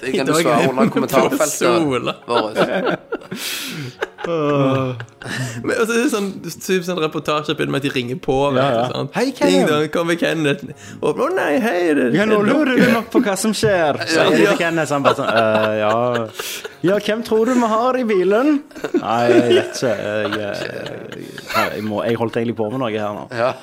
Det kan du svare under kommentarfeltet Sola. vårt. Men altså, det er sånn, typ sånn reportasje begynner med at de ringer på. Ja, ja. Sant? Hei, Kenneth. Ding dong, kommer Kenneth. Og, Å nei, hei, det, Ja, nå lurer du nok på hva som skjer. Så jeg vet ikke henne, så han bare sånn «Øh, ja. ja, hvem tror du vi har i bilen? Nei, jeg vet ikke. Jeg, jeg, jeg, jeg, må, jeg holdt egentlig på med noe her nå. Ja.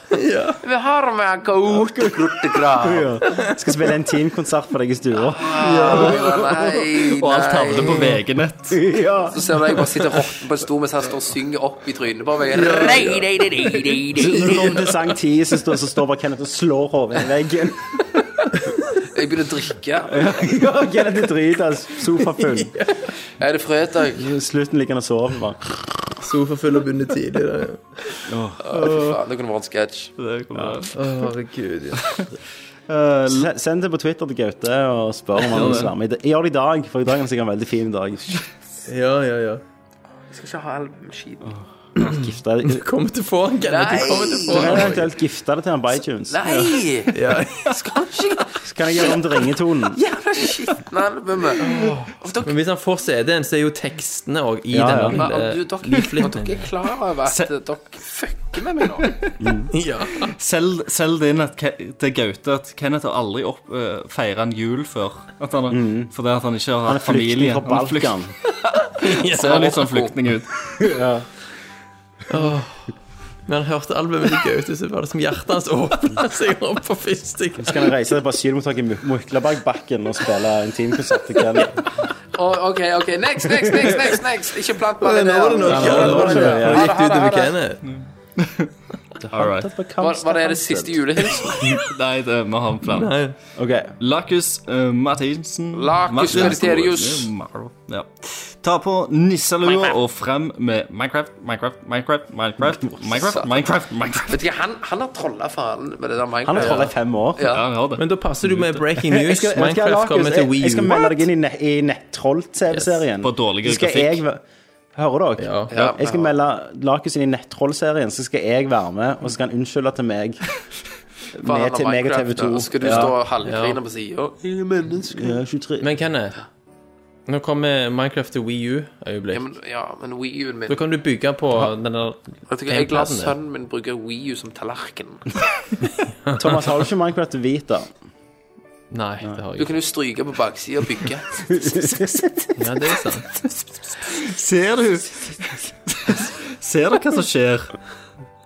Vi har med Gaute Grotte Grav. Ja. Skal spille en teamkonsert for deg i stua. Nei, Og alt havner på nei. VG-nett. Ja. Så ser du jeg bare sitter og rotter på en stol mens han står og synger opp i trynet på meg. Nei, nei, nei, nei, nei, Så Når du nei. kommer Sånn til sang 10, så står, så står bare Kenneth og slår hodet i veggen. Jeg begynner å drikke. Ja, Kenneth er drita. Sofa full. Er det fredag? Slutten ligger han og sover. bare. Sofa full og bundet tidlig. da. Å, fy faen, det kunne vært en sketsj. Det kommer til å- Å, herregud. Ja. Eh, Se- Send det på Twitter til Gaute og spør om han vil være med. Gjør det i dag, for i dag er det sikkert en veldig fin dag. ja, ja, ja. Jeg skal ikke ha album, skit. Gifte deg Kommer til å få den, Kenneth. Du kommer til å få Kan jeg den. eventuelt gifte det til han på iTunes? Nei! Skal ikke Så kan jeg gjøre om til ringetonen. Jævla skitne albumet. Og dere- Men hvis han får CD-en, så er jo tekstene òg i Ja, ja. den Men, og du, lille dere, og dere leafleten. er klar over at dere fucker med meg nå? Selg selg det inn at Ke- til Gaute at Kenneth har aldri opp, eh, feiret en jul før. At han, Fordi at han ikke har Mm. Han hatt er flyktning familie. fra Han er flykt- Balkan. ser litt sånn flyktning ut. Når han hørte albumet til Gaute, så var det som hjertet hans åpna seg opp for første gang. Så kan jeg reise til asylmottaket i Muklabergbakken og spille intimkonsert til Kenneth. Å, OK, OK. Next, next, next. next, next. Ikke plant meg Nå er det noe der. Ja, det var det, ja. Nå gikk det utover Ha det, ha Kenneth. All right. Var, var det det siste julehilsen? Nei, det må ha en plan. Nei. Ok, Lacus eh, Martinsen Lacus Martinsen. Eh, Merterius. Ja. Ta på nisselua og frem med Minecraft, Minecraft, Minecraft, Minecraft, Minecraft, Minecraft, Minecraft. Vet ikke, han, han har trolla faen med det der Han har Minecraft. trollet i fem år. Ja. Ja, jeg har det. Men da passer du med breaking Jeg news. skal, vet du hva, Minecraft Markus, kommer til jeg- Wii jeg skal U. melde deg inn i, net- i nettroll-TV-serien. På dårligere Så skal jeg væ- Hører dere? Ja. Ja. Jeg skal melde Lakus inn i nettroll-serien, så skal jeg være med, og så skal han unnskylde til meg. Faen, Med til han har meg og TV Minecraft, 2. ja. Skal du Ja. stå halvgrina på sida? Ja, 23. Men Kenneth, nå kommer Minecraft til Wii U Ja, øyeblikk. men, ja, men Wii-en min Da kan du bygge på den der Vet du hva, Jeg lar gamepaden din. sønnen min bruke Wii U som tallerken. Thomas, har du ikke Minecraft til hvit, da? Nei, det har Du jeg ikke. kan jo stryke på baksida og bygge. Ja, det er sant. Ser du Ser du hva som skjer?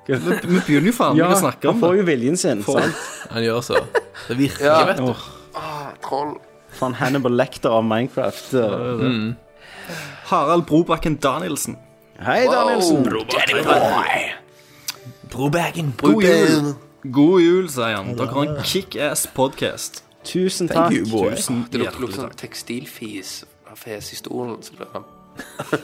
Vi, vi begynner jo faen meg å snakke han om får det. jo viljen sin. sant? Han gjør så. Det virker, Ja. vet du. Ah, Troll. Faen, Hannibal Lecter av Minecraft. Harald Brobakken Danielsen. Hei, Danielsen. Brobacken. God jul, God jul sier han. Dere har en kickass podcast. Tusen takk. you, boy. Tusen Det lukter hjertelig lukter sånn takk. tekstilfis av fes i stolen. Så blir han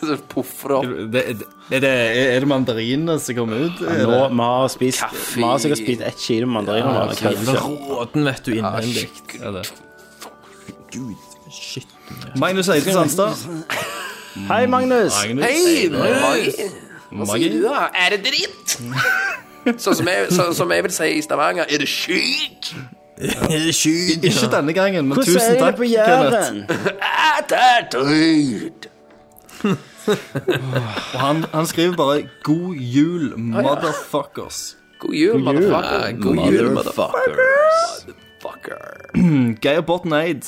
Så puffer det opp. Det, det, er, det, er det mandarinene som kommer ut? Er Nå, det- vi har spist Kaffe. Vi har sikkert spist ett kilo mandariner. nå, det kan vi ikke. Råten, vet du, innvendig. er det. Magnus Eide Sandstad. Hei, Magnus. Magnus Hei, Eide Magi! Hva sier du, Magi. da? Er det dritt? Sånn som, jeg- sånn som jeg vil si i Stavanger, er det skyt? Ikke denne gangen, men Hvordan tusen er det takk, på Kenneth. Jæren? Er Ah, det dritt? Og han, han skriver bare 'God jul, motherfuckers'. God jul, Ah, motherfucker. God jul, motherfucker. Geir Botten Eid.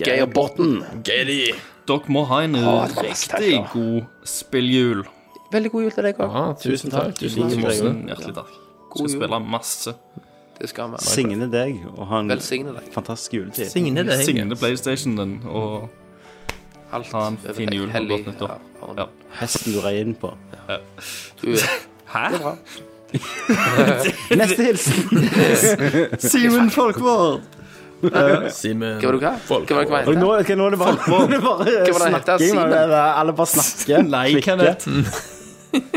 Geir Botten. Dere må ha en riktig god spilljul. Veldig god jul til deg òg. Ja, Ah, tusen takk. Tusen Like takk. måten. Tusen hjertelig takk. God Skal jul. spille masse. Det skal vi. Signe deg og ha en Velsigne deg. fantastisk juletid. Signe det, Signe PlayStation din og Alt ha en over fin jul og hellig godt nyttår. arv. Ja. Hesten du rei inn på. Du, Hæ? Neste hilsen. Simen Folkvord! Simen. Hva var det hva? Hva var det hva Og heter? nå, ok, nå er det bare, nå er det bare Hva var det han heter? snakking. Simen? nå er det- Alle bare snakker. Nei, klikker. Kenneth.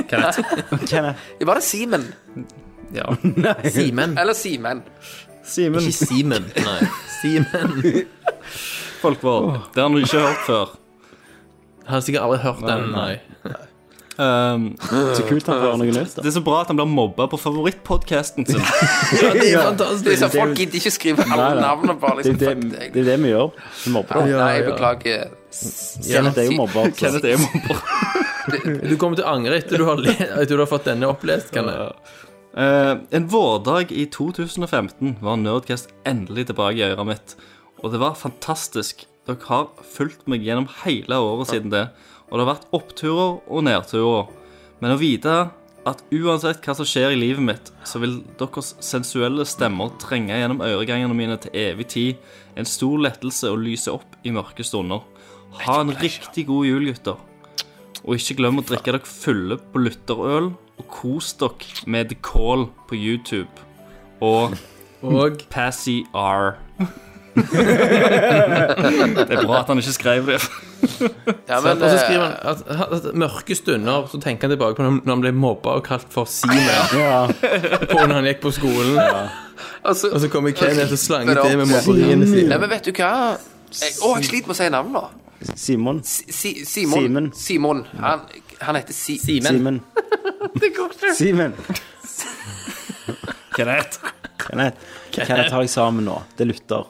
Kenneth. Det var det Simen. Ja. Simen. Eller Simen. Simen Ikke Simen. Nei. Simen. Folkvord. Det har du ikke hørt før. Han har sikkert aldri hørt den, nei. Um, Så kult han får noe nytt. da. det er så bra at han blir mobba på favorittpodkasten sin. Det er Det er fantastisk. så Folk gidder ikke skrive Nei, alle nei. navnene, bare Det liksom. er fuck det, deg. det, er det vi gjør. Vi mobber da. Nei, ja. beklager. Kenneth er jo altså. mobber. så- Kenneth er mobber. Du kommer til å angre etter du har, le- etter du har fått denne opplest, kan jeg. Eh, en vårdag i 2015 var Nerdcast endelig tilbake i øret mitt. Og det var fantastisk. Dere har fulgt meg gjennom hele året siden det. Og det har vært oppturer og nedturer. Men å vite at uansett hva som skjer i livet mitt, så vil deres sensuelle stemmer trenge gjennom øregangene mine til evig tid. En stor lettelse å lyse opp i mørke stunder. Ha en riktig god jul, gutter. Og ikke glem å drikke dere fulle på lytterøl, og kos dere med The Call på YouTube. Og Og Passy R. det er bra at han ikke skrev det. Ja, og men så eh, skriver han at, at mørke stunder Så tenker han tilbake på når han- når han ble mobba og kalt for Simen Ja. på når han gikk på skolen. altså- Og så kommer Kenneth og slanger til med Simen. mobberien sin. Nei, men vet du hva? Jeg, å, jeg sliter med å si navnet nå. Simon. Si, Simon. Simen. Simon. Han, Han heter Si... Simen. Simen. Simen. Kenneth. Kenneth, Kenneth, ta deg sammen nå. Det er Luther.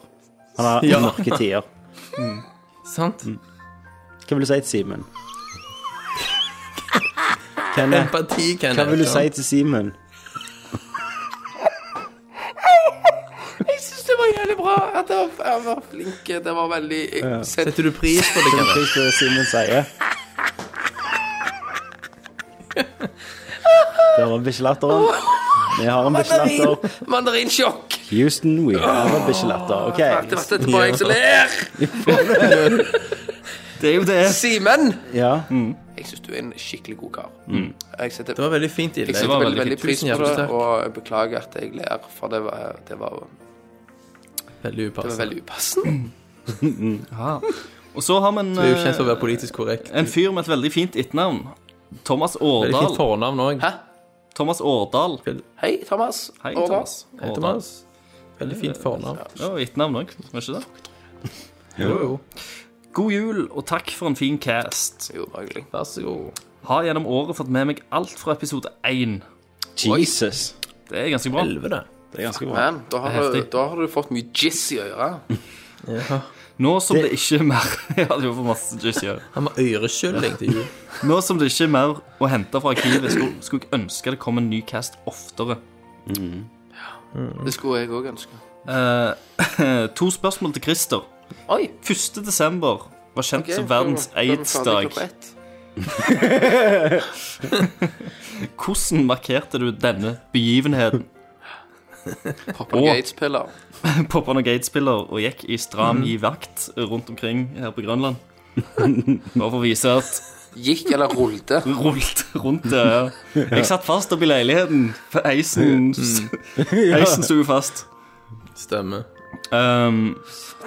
Han har mørke tider. Sant? Hva vil du si til Simen? Kenneth, Empati, Kenneth. hva vil du si til Simen? Jeg syns det var jævlig bra. At jeg var, jeg var flink. Det var veldig jeg, sett, Setter du pris på det, Hva Kenneth? vil du Simen sier? Der var bikkjelatteren. Vi har en bikkjelatter. Mandarinsjokk. Houston, we have a bikkjelatter. Det var OK. dette bare jeg som ler. Det er jo det. Simen. Ja. Jeg syns du er en skikkelig god kar. Jeg setter, Det var veldig fint jeg innlegg. setter var veldig, veldig veldig fint. pris Tusen på hjertelig det, takk. og jeg beklager at jeg ler, for det var, det var, Veldig det var upassende. veldig upassende. Og så har vi en, Du er jo kjent for å eh, være politisk korrekt. en fyr med et veldig fint etternavn. Thomas Veldig fint Årdal. fornavn òg. Hæ? Thomas Årdal. Hei, Thomas. Hei, Årdal. Thomas. Heter Årdal. Thomas. Veldig fint fornavn. Ja, og etternavn òg, var ikke det? Jo, jo. God jul, og takk for en fin cast. Jo, bare hyggelig. Vær så god. Har gjennom året fått med meg alt fra episode én. Jesus. Det er ganske bra. Helvete. Det er ganske bra. Men da har, Det er du, heftig. da har du fått mye jizz i øret. Nå som det ikke er mer Ja, det var masse juicy ja. Han var øreskylling til jul. Nå som det ikke er mer å hente fra arkivet, skulle, skulle jeg ønske det kom en ny cast oftere. Det skulle jeg òg ønske. Eh, to spørsmål til Christer. Oi. 1. desember var kjent ok, som verdens da er vi ferdig aids-dag. klokka ett. Hvordan markerte du denne begivenheten? Popper noen Å. aids-piller. Poppa noen gatespiller og gikk i stram i vakt rundt omkring her på Grønland. Bare for å vise at Gikk eller rullte. rullet rundt det. ja. Jeg satt fast oppi leiligheten. for Heisen Heisen sto jo fast. Stemmer. Um,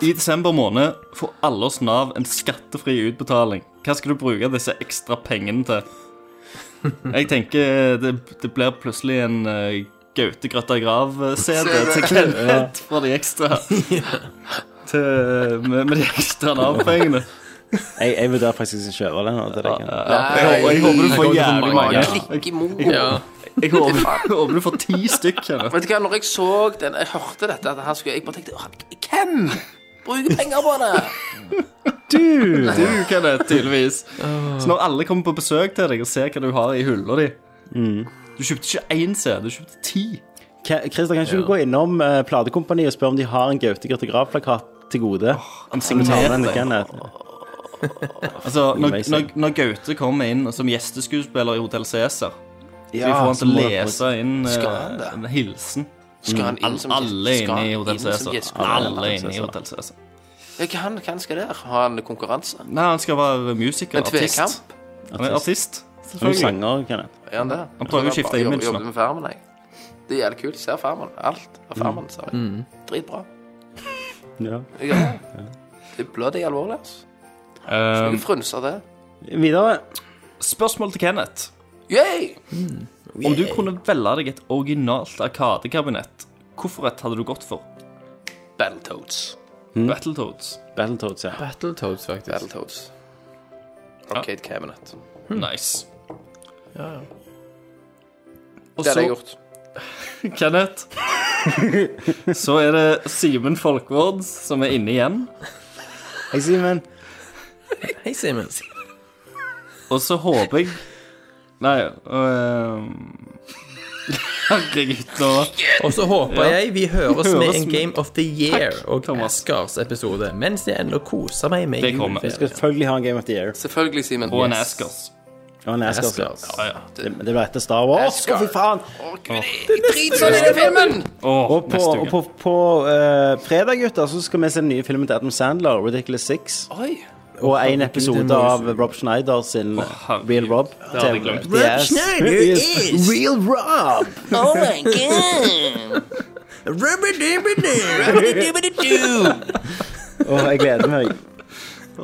I desember måned får alle oss Nav en skattefri utbetaling. Hva skal du bruke disse ekstra pengene til? Jeg tenker det, det blir plutselig en uh, Gaute Grøtta Grav-CD til Kenneth for de ekstra. Til, eh, med, med de ekstra Nav-pengene. Jeg, jeg vurderer faktisk å kjøpe den. nå til deg, Kenneth. Jeg, håper- jeg håper du får jævlig mange. Klikk imot. Jeg håper, jeg håper du får ti stykk, Kenneth. Vet du hva, når jeg så den, jeg hørte dette, at han skulle, jeg bare tenkte «Åh, Hvem bruker penger på det? Mm, Du, Kenneth, tydeligvis. Så når alle kommer på besøk til deg og ser hva du har i hylla di Du kjøpte ikke én CD, du kjøpte ti. Ke- Christer, kan ikke du gå innom uh, platekompaniet og spørre om de har en Gaute Grete Grav-plakat til gode? Han Kan du ta med den til signerte. Kenneth? Altså, når, Amazing. når, når Gaute kommer inn som gjesteskuespiller i Hotell Cæsar, så Ja, vi får han til så å må jeg få- lese inn eh, Skal han det? en hilsen. Skal han inn som Alle skal inne i han Hotell inn som Cæsar. gjest- Alle inne i Hotell Cæsar. Ja, hva han, hva han skal der? Har han konkurranse? Nei, han skal være musiker. En Artist. tvekamp? Han er artist. Han er Selvfølgelig. sanger, Kenneth. Er han det? Han prøver å skifte Jeg image nå. Jobber med Farmen, jeg. Det er jævlig kult. Ser Farmen. Alt av Farmen, ser jeg. Dritbra. Ja. Jeg gjør det. Det er bloody alvorlig, altså. Eh, Jeg frynser det. Videre. spørsmål til Kenneth. Yay! Om du kunne velge deg et originalt arkadekabinett, hvilket hadde du gått for? Battletoads. Mm. Battletoads. Battletoads, ja. Battletoads, faktisk. Battletoads. Arcade Cabinet. Hmm. Nice. Og Det hadde jeg så, gjort. Kenneth Så er det Simen Folkvord som er inne igjen. Hei, Simen. Hei, Simen. Og så håper jeg Nei øh... Herregud, nå Og så håper jeg vi høres med en Game of the Year og Thomas. Oscars-episode mens jeg ennå koser meg med Det kommer. Vi skal juleferien. selvfølgelig ha en Game of the Year. Selvfølgelig, Simen. Og en Askers. Og en Asgard. ja. Oscars. Ja, ja. Det, det blir etter Star Wars. Å, Asgard. fy faen. Drit sånn i den filmen! Åh, Og på, neste og uke. på, på eh, fredag, gutter, så skal vi se den nye filmen til Adam Sandler, Ridiculous Six. Oi. Og en episode av Rob Schneider sin herregud. Real Rob. hadde jeg glemt. Rob Schneider is Real Rob. Oh my god. Rubber-dubber-doo. Åh, jeg gleder meg. Du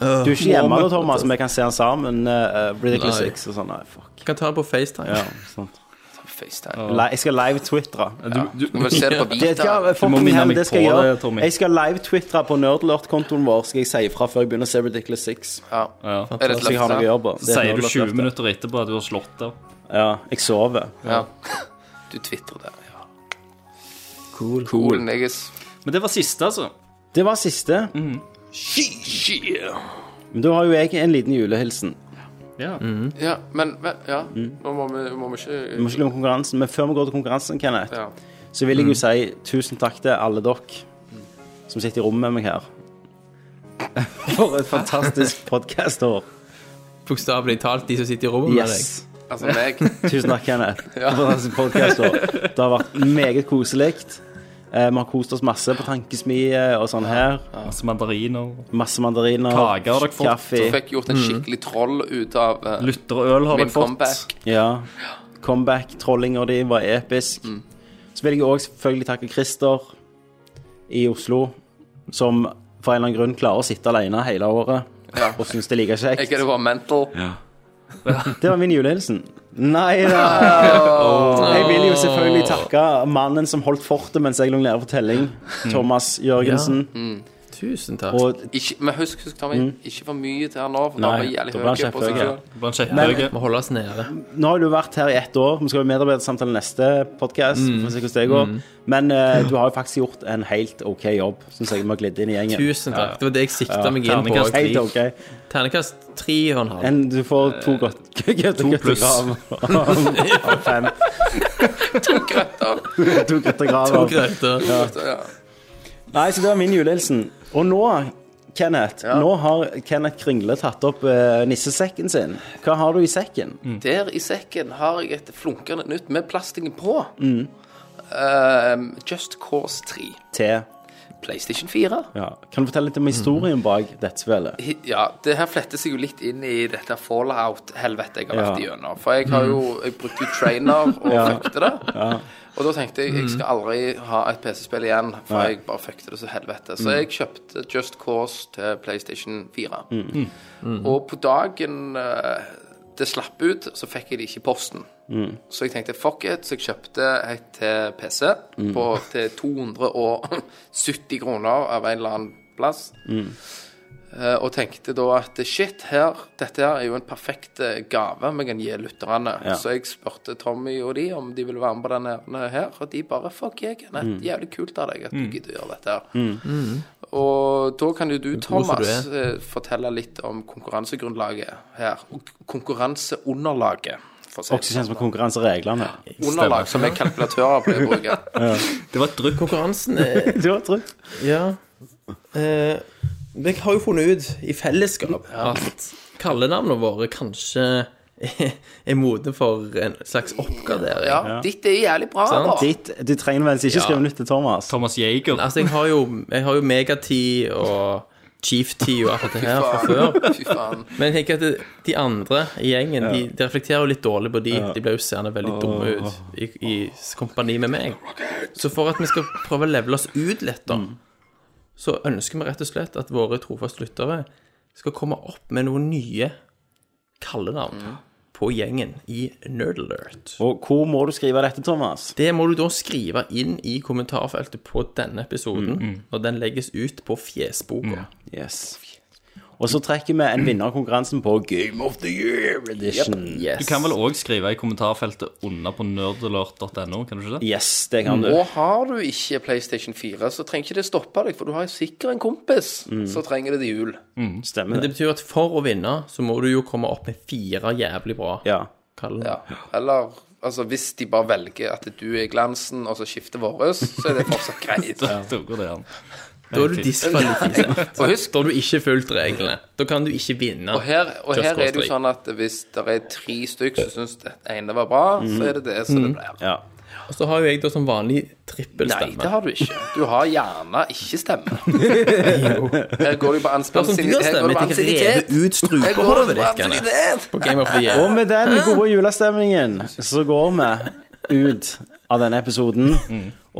er ikke hjemme da, Thomas, men vi kan se han sammen. eh, eh, Ridiculous Nei. Six og sånn. Nei, fuck. Kan ta det på FaceTime. Ja, sant. FaceTime. Li- Jeg skal live-twitre. Du må se det på Det, Vita. skal, Du må fucking minne hell, meg det skal på jeg det, Tommy. gjøre. Jeg skal live-twitre på nerdlert-kontoen vår, skal jeg si ifra før jeg begynner å se Ridiculous Six. Ja. Er det et Så jeg har noe å løfte? gjøre på. Det er et Sier du nerdlert 20 løfte. minutter etterpå at du har slått av? Ja. Jeg sover. Ja. Du twitrer det. Ja. Cool. Cool, niggas. Men det var siste, altså. Det var siste. Men da har jo jeg en liten julehilsen. Ja, men, men Ja, Mm. nå må vi, må vi Vi ikke må ikke glemme konkurransen, men før vi går til konkurransen, Kenneth, ja. så vil jeg jo si tusen takk til alle dere som sitter i rommet med meg her. For et fantastisk podkast-år. Bokstavelig talt, de som sitter i rommet med deg. Yes. Altså meg. Tusen takk, Kenneth. Ja. For fantastisk podkast-år. Det har vært meget koselig. Eh, Vi har kost oss masse på tankesmie og sånn her. Masse Altså mandariner. Masse mandariner, Kaker har dere fått. Så kaffe. fikk gjort en skikkelig troll ut av eh, Lytterøl har min dere fått. comeback. Ja. Comeback-trollinga di var episk. Så vil jeg òg selvfølgelig takke Christer i Oslo, som for en eller annen grunn klarer å sitte alene hele året Ja. og syns det er like Jeg kjekt. er det bare mental. Det var min julehilsen. Nei da! Jeg vil jo selvfølgelig takke mannen som holdt fortet mens jeg lå nede for telling, Thomas Jørgensen. Tusen takk. Og Ikke, men husk, husk Tommy, ikke for mye til han nå, for da Mm. Nei, blir jævlig da blir han høy på seg kjempehøy. selv. Det ble en kjepphøy. må holde oss nede. nå har du vært her i ett år. Vi skal jo medarbeidersamtale neste podkast. Men eh, du har jo faktisk gjort en helt OK jobb, syns jeg vi har glidd inn i gjengen. Tusen takk. Det var det jeg sikta meg inn på. terningkast Helt OK. Ternekast tre og en halv. En, du får to godt To pluss. Av fem. To To grøttegraver. grøter. Så, ja. Nei, så det var min julehilsen. Og nå, Kenneth, nå har Kenneth Kringle tatt opp eh, nissesekken sin. Hva har du i sekken? Der i sekken har jeg et flunkende nytt med plastikken på. Mm. Ehm, Just Cause 3. Te. PlayStation 4. Ja. Kan du fortelle litt om historien bak dette spillet? Hi- Ja, det her fletter seg jo litt inn i dette fallout-helvetet jeg har Ja. vært igjennom. For jeg har jo jeg brukte jo trainer og fuckte det. Og da tenkte jeg jeg skal aldri ha et PC-spill igjen, for jeg bare fuckte det så helvete. Så jeg kjøpte Just Cause til PlayStation 4. Og på dagen eh, det slapp ut, så fikk jeg det ikke i posten. Så jeg tenkte fuck it, så jeg kjøpte et til PC på, til 270 kroner av en eller annen plass. Eh, Og tenkte da at shit, her, dette her er jo en perfekt eh, gave vi kan gi lytterne. Ja. Så jeg spurte Tommy og de om de ville være med på denne her, her, og de bare fuck jeg, Kenneth. Jævlig kult av deg at du gidder å gjøre dette her. Og da kan jo du, Thomas, du eh, fortelle litt om konkurransegrunnlaget her. Og k- Konkurranseunderlaget, for å Også si det. kjent som konkurransereglene. Underlag som er kalkulatører pleier å bruke. Det var et drypp. Konkurransen er Du har trygt. Ja. Eh, vi har jo funnet ut i fellesskap at kallenavnene våre kanskje er er modne for en slags oppgradering. Ja, ditt er jævlig bra, Sant. da. Ditt, du trenger vel ikke skrive nytt til Thomas. Thomas Jager. Altså, jeg har jo, jeg har jo Megati og Chief-Ti og alt dette her fra før. Fy faen. Men jeg tenker at det- de andre i gjengen de, de reflekterer jo litt dårlig på de. De blir jo seende veldig dumme ut i, i kompani med meg. Så for at vi skal prøve å levele oss ut litt, da, så ønsker vi rett og slett at våre trofaste lyttere skal komme opp med noen nye kallenavn på gjengen i Nerd Alert. Og hvor må du skrive dette, Thomas? Det må du da skrive inn i kommentarfeltet på denne episoden, når den legges ut på Fjesboka. Yes. Og så trekker vi en vinner av konkurransen på Game of the Year edition. Yes. Du kan vel òg skrive i kommentarfeltet under på nerdalert.no, kan du ikke det? Yes, det kan du. Og har du ikke PlayStation 4, så trenger ikke det stoppe deg, for du har jo sikkert en kompis Mm. som trenger det til jul. Stemmer Det det. betyr at for å vinne, så må du jo komme opp med fire jævlig bra Ja. kallen. Ja. Eller altså, hvis de bare velger at du er glansen, og så skifter våres, så er det fortsatt greit. Da går det an. Da er du diskvalifisert. Og husk, da har du ikke fulgt reglene. Da kan du ikke vinne. og her, og Just her er det jo Cause sånn at hvis det er tre stykker som syns det ene var bra, Mm. så er det det som det blir. ja. Og så har jo jeg da som vanlig Nei, det trippelstemme. har du ikke. Du har gjerne ikke stemme. Her går det jo på Det er sånn som du har ansiennitet. Her går stemme. Jeg rever ut det på ansiennitet. Her går det strupehodet på ditt. Kenneth, ansiennitet. På Game of the Year. Og med den gode julestemningen så går vi ut av denne episoden.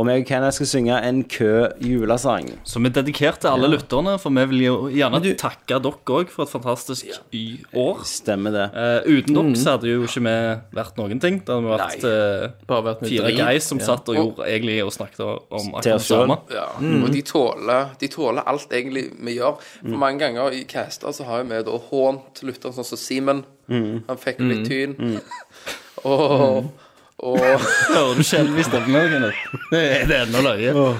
Og meg og Kenneth skal synge en kø julesang. Så vi er dedikert til alle lytterne, for vi vil jo gjerne takke dere òg for et fantastisk y år. Stemmer det. Eh, uten dere så hadde jo ikke vi vært noen ting. Det hadde vi vært eh, Bare vært med fire drit. guys som satt og gjorde egentlig og snakket om akkurat det oss selv. samme. Ja, Mm. og de tåler, de tåler alt egentlig vi gjør. For Mange ganger i caster så har jo vi da hånt lytteren sånn som Simen. Mm. Han fikk jo litt tyn. og, og, Hører du skjelv i stemmen? nå, Kenneth? Det er det ene løye. og,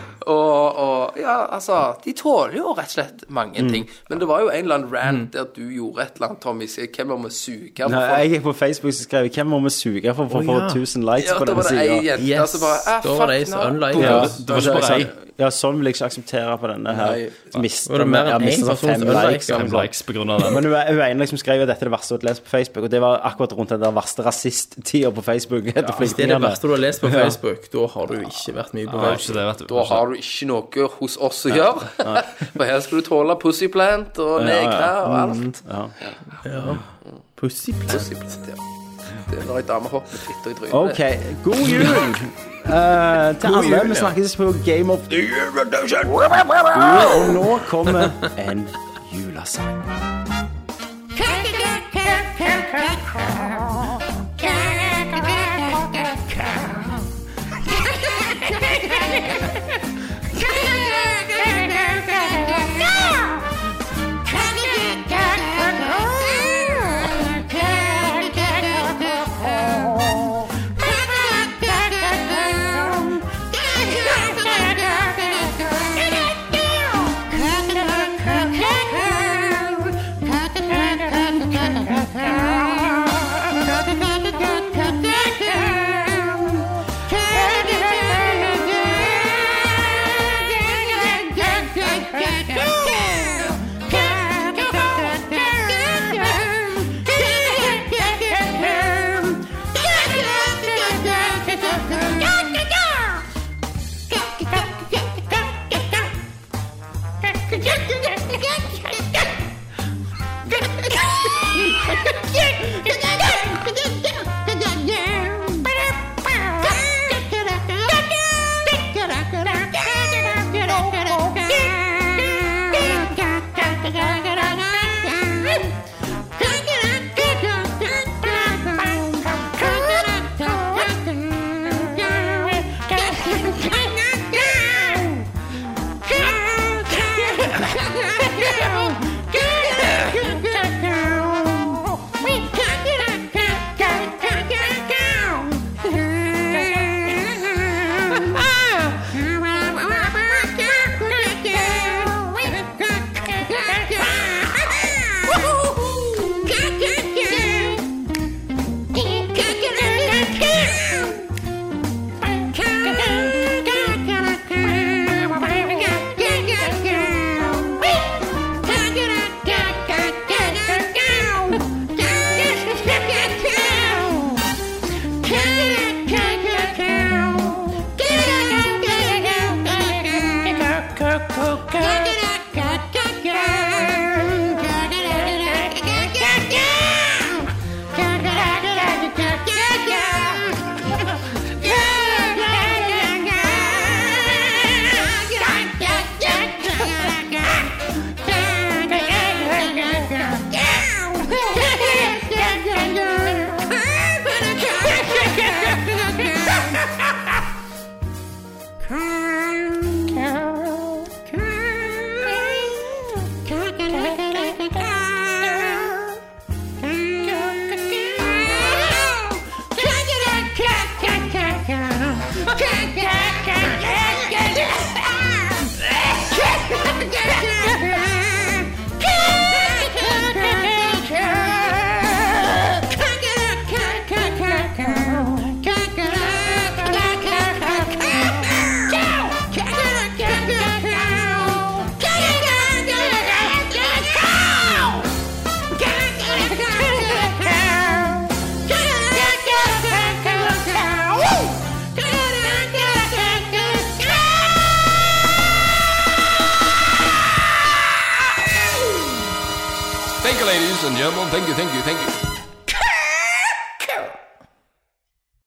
og Ja, altså De tåler jo rett og slett mange Mm. ting. Men det var jo en eller annen rant der du gjorde et eller annet, Tommy. sier, Hvem må vi suge på? Nei, folk?» jeg gikk på Facebook og skrev 'Hvem må vi suge for for å få 1000 likes Ja, på da denne var det ei sida'? jente Yes, Altså, som bare «Ah, da var det fuck ei som no». unliked. Ja, Ja. Det var ikke bare ei. ja, sånn vil jeg ikke akseptere på denne her. Miste, Var det mer ja, enn miste én sånn person fem som ødela likes. eksamen? Fem likes på grunn av den. Men hun hun ene liksom skrev at dette er det verste hun har lest på Facebook, og det var akkurat rundt den der verste rasist-tida på Facebook. etter Hvis altså, det er det flyktningene. verste du har lest på Facebook, da har du ikke vært mye på Det var vei. ikke det, vet du. Da har du ikke noe hos oss å gjøre. For her skal du tåle pussyplant og negre og Mm, Mm. alt. Pussyplant. Pussyplant, ja. Det er når ei dame hopper med fitta i trynet. OK, god jul! Eh, til alle. Vi snakkes på Game of the Year Redemption. Og nå kommer en julesang. Thank you, ladies and gentlemen. Thank you, thank you, thank you.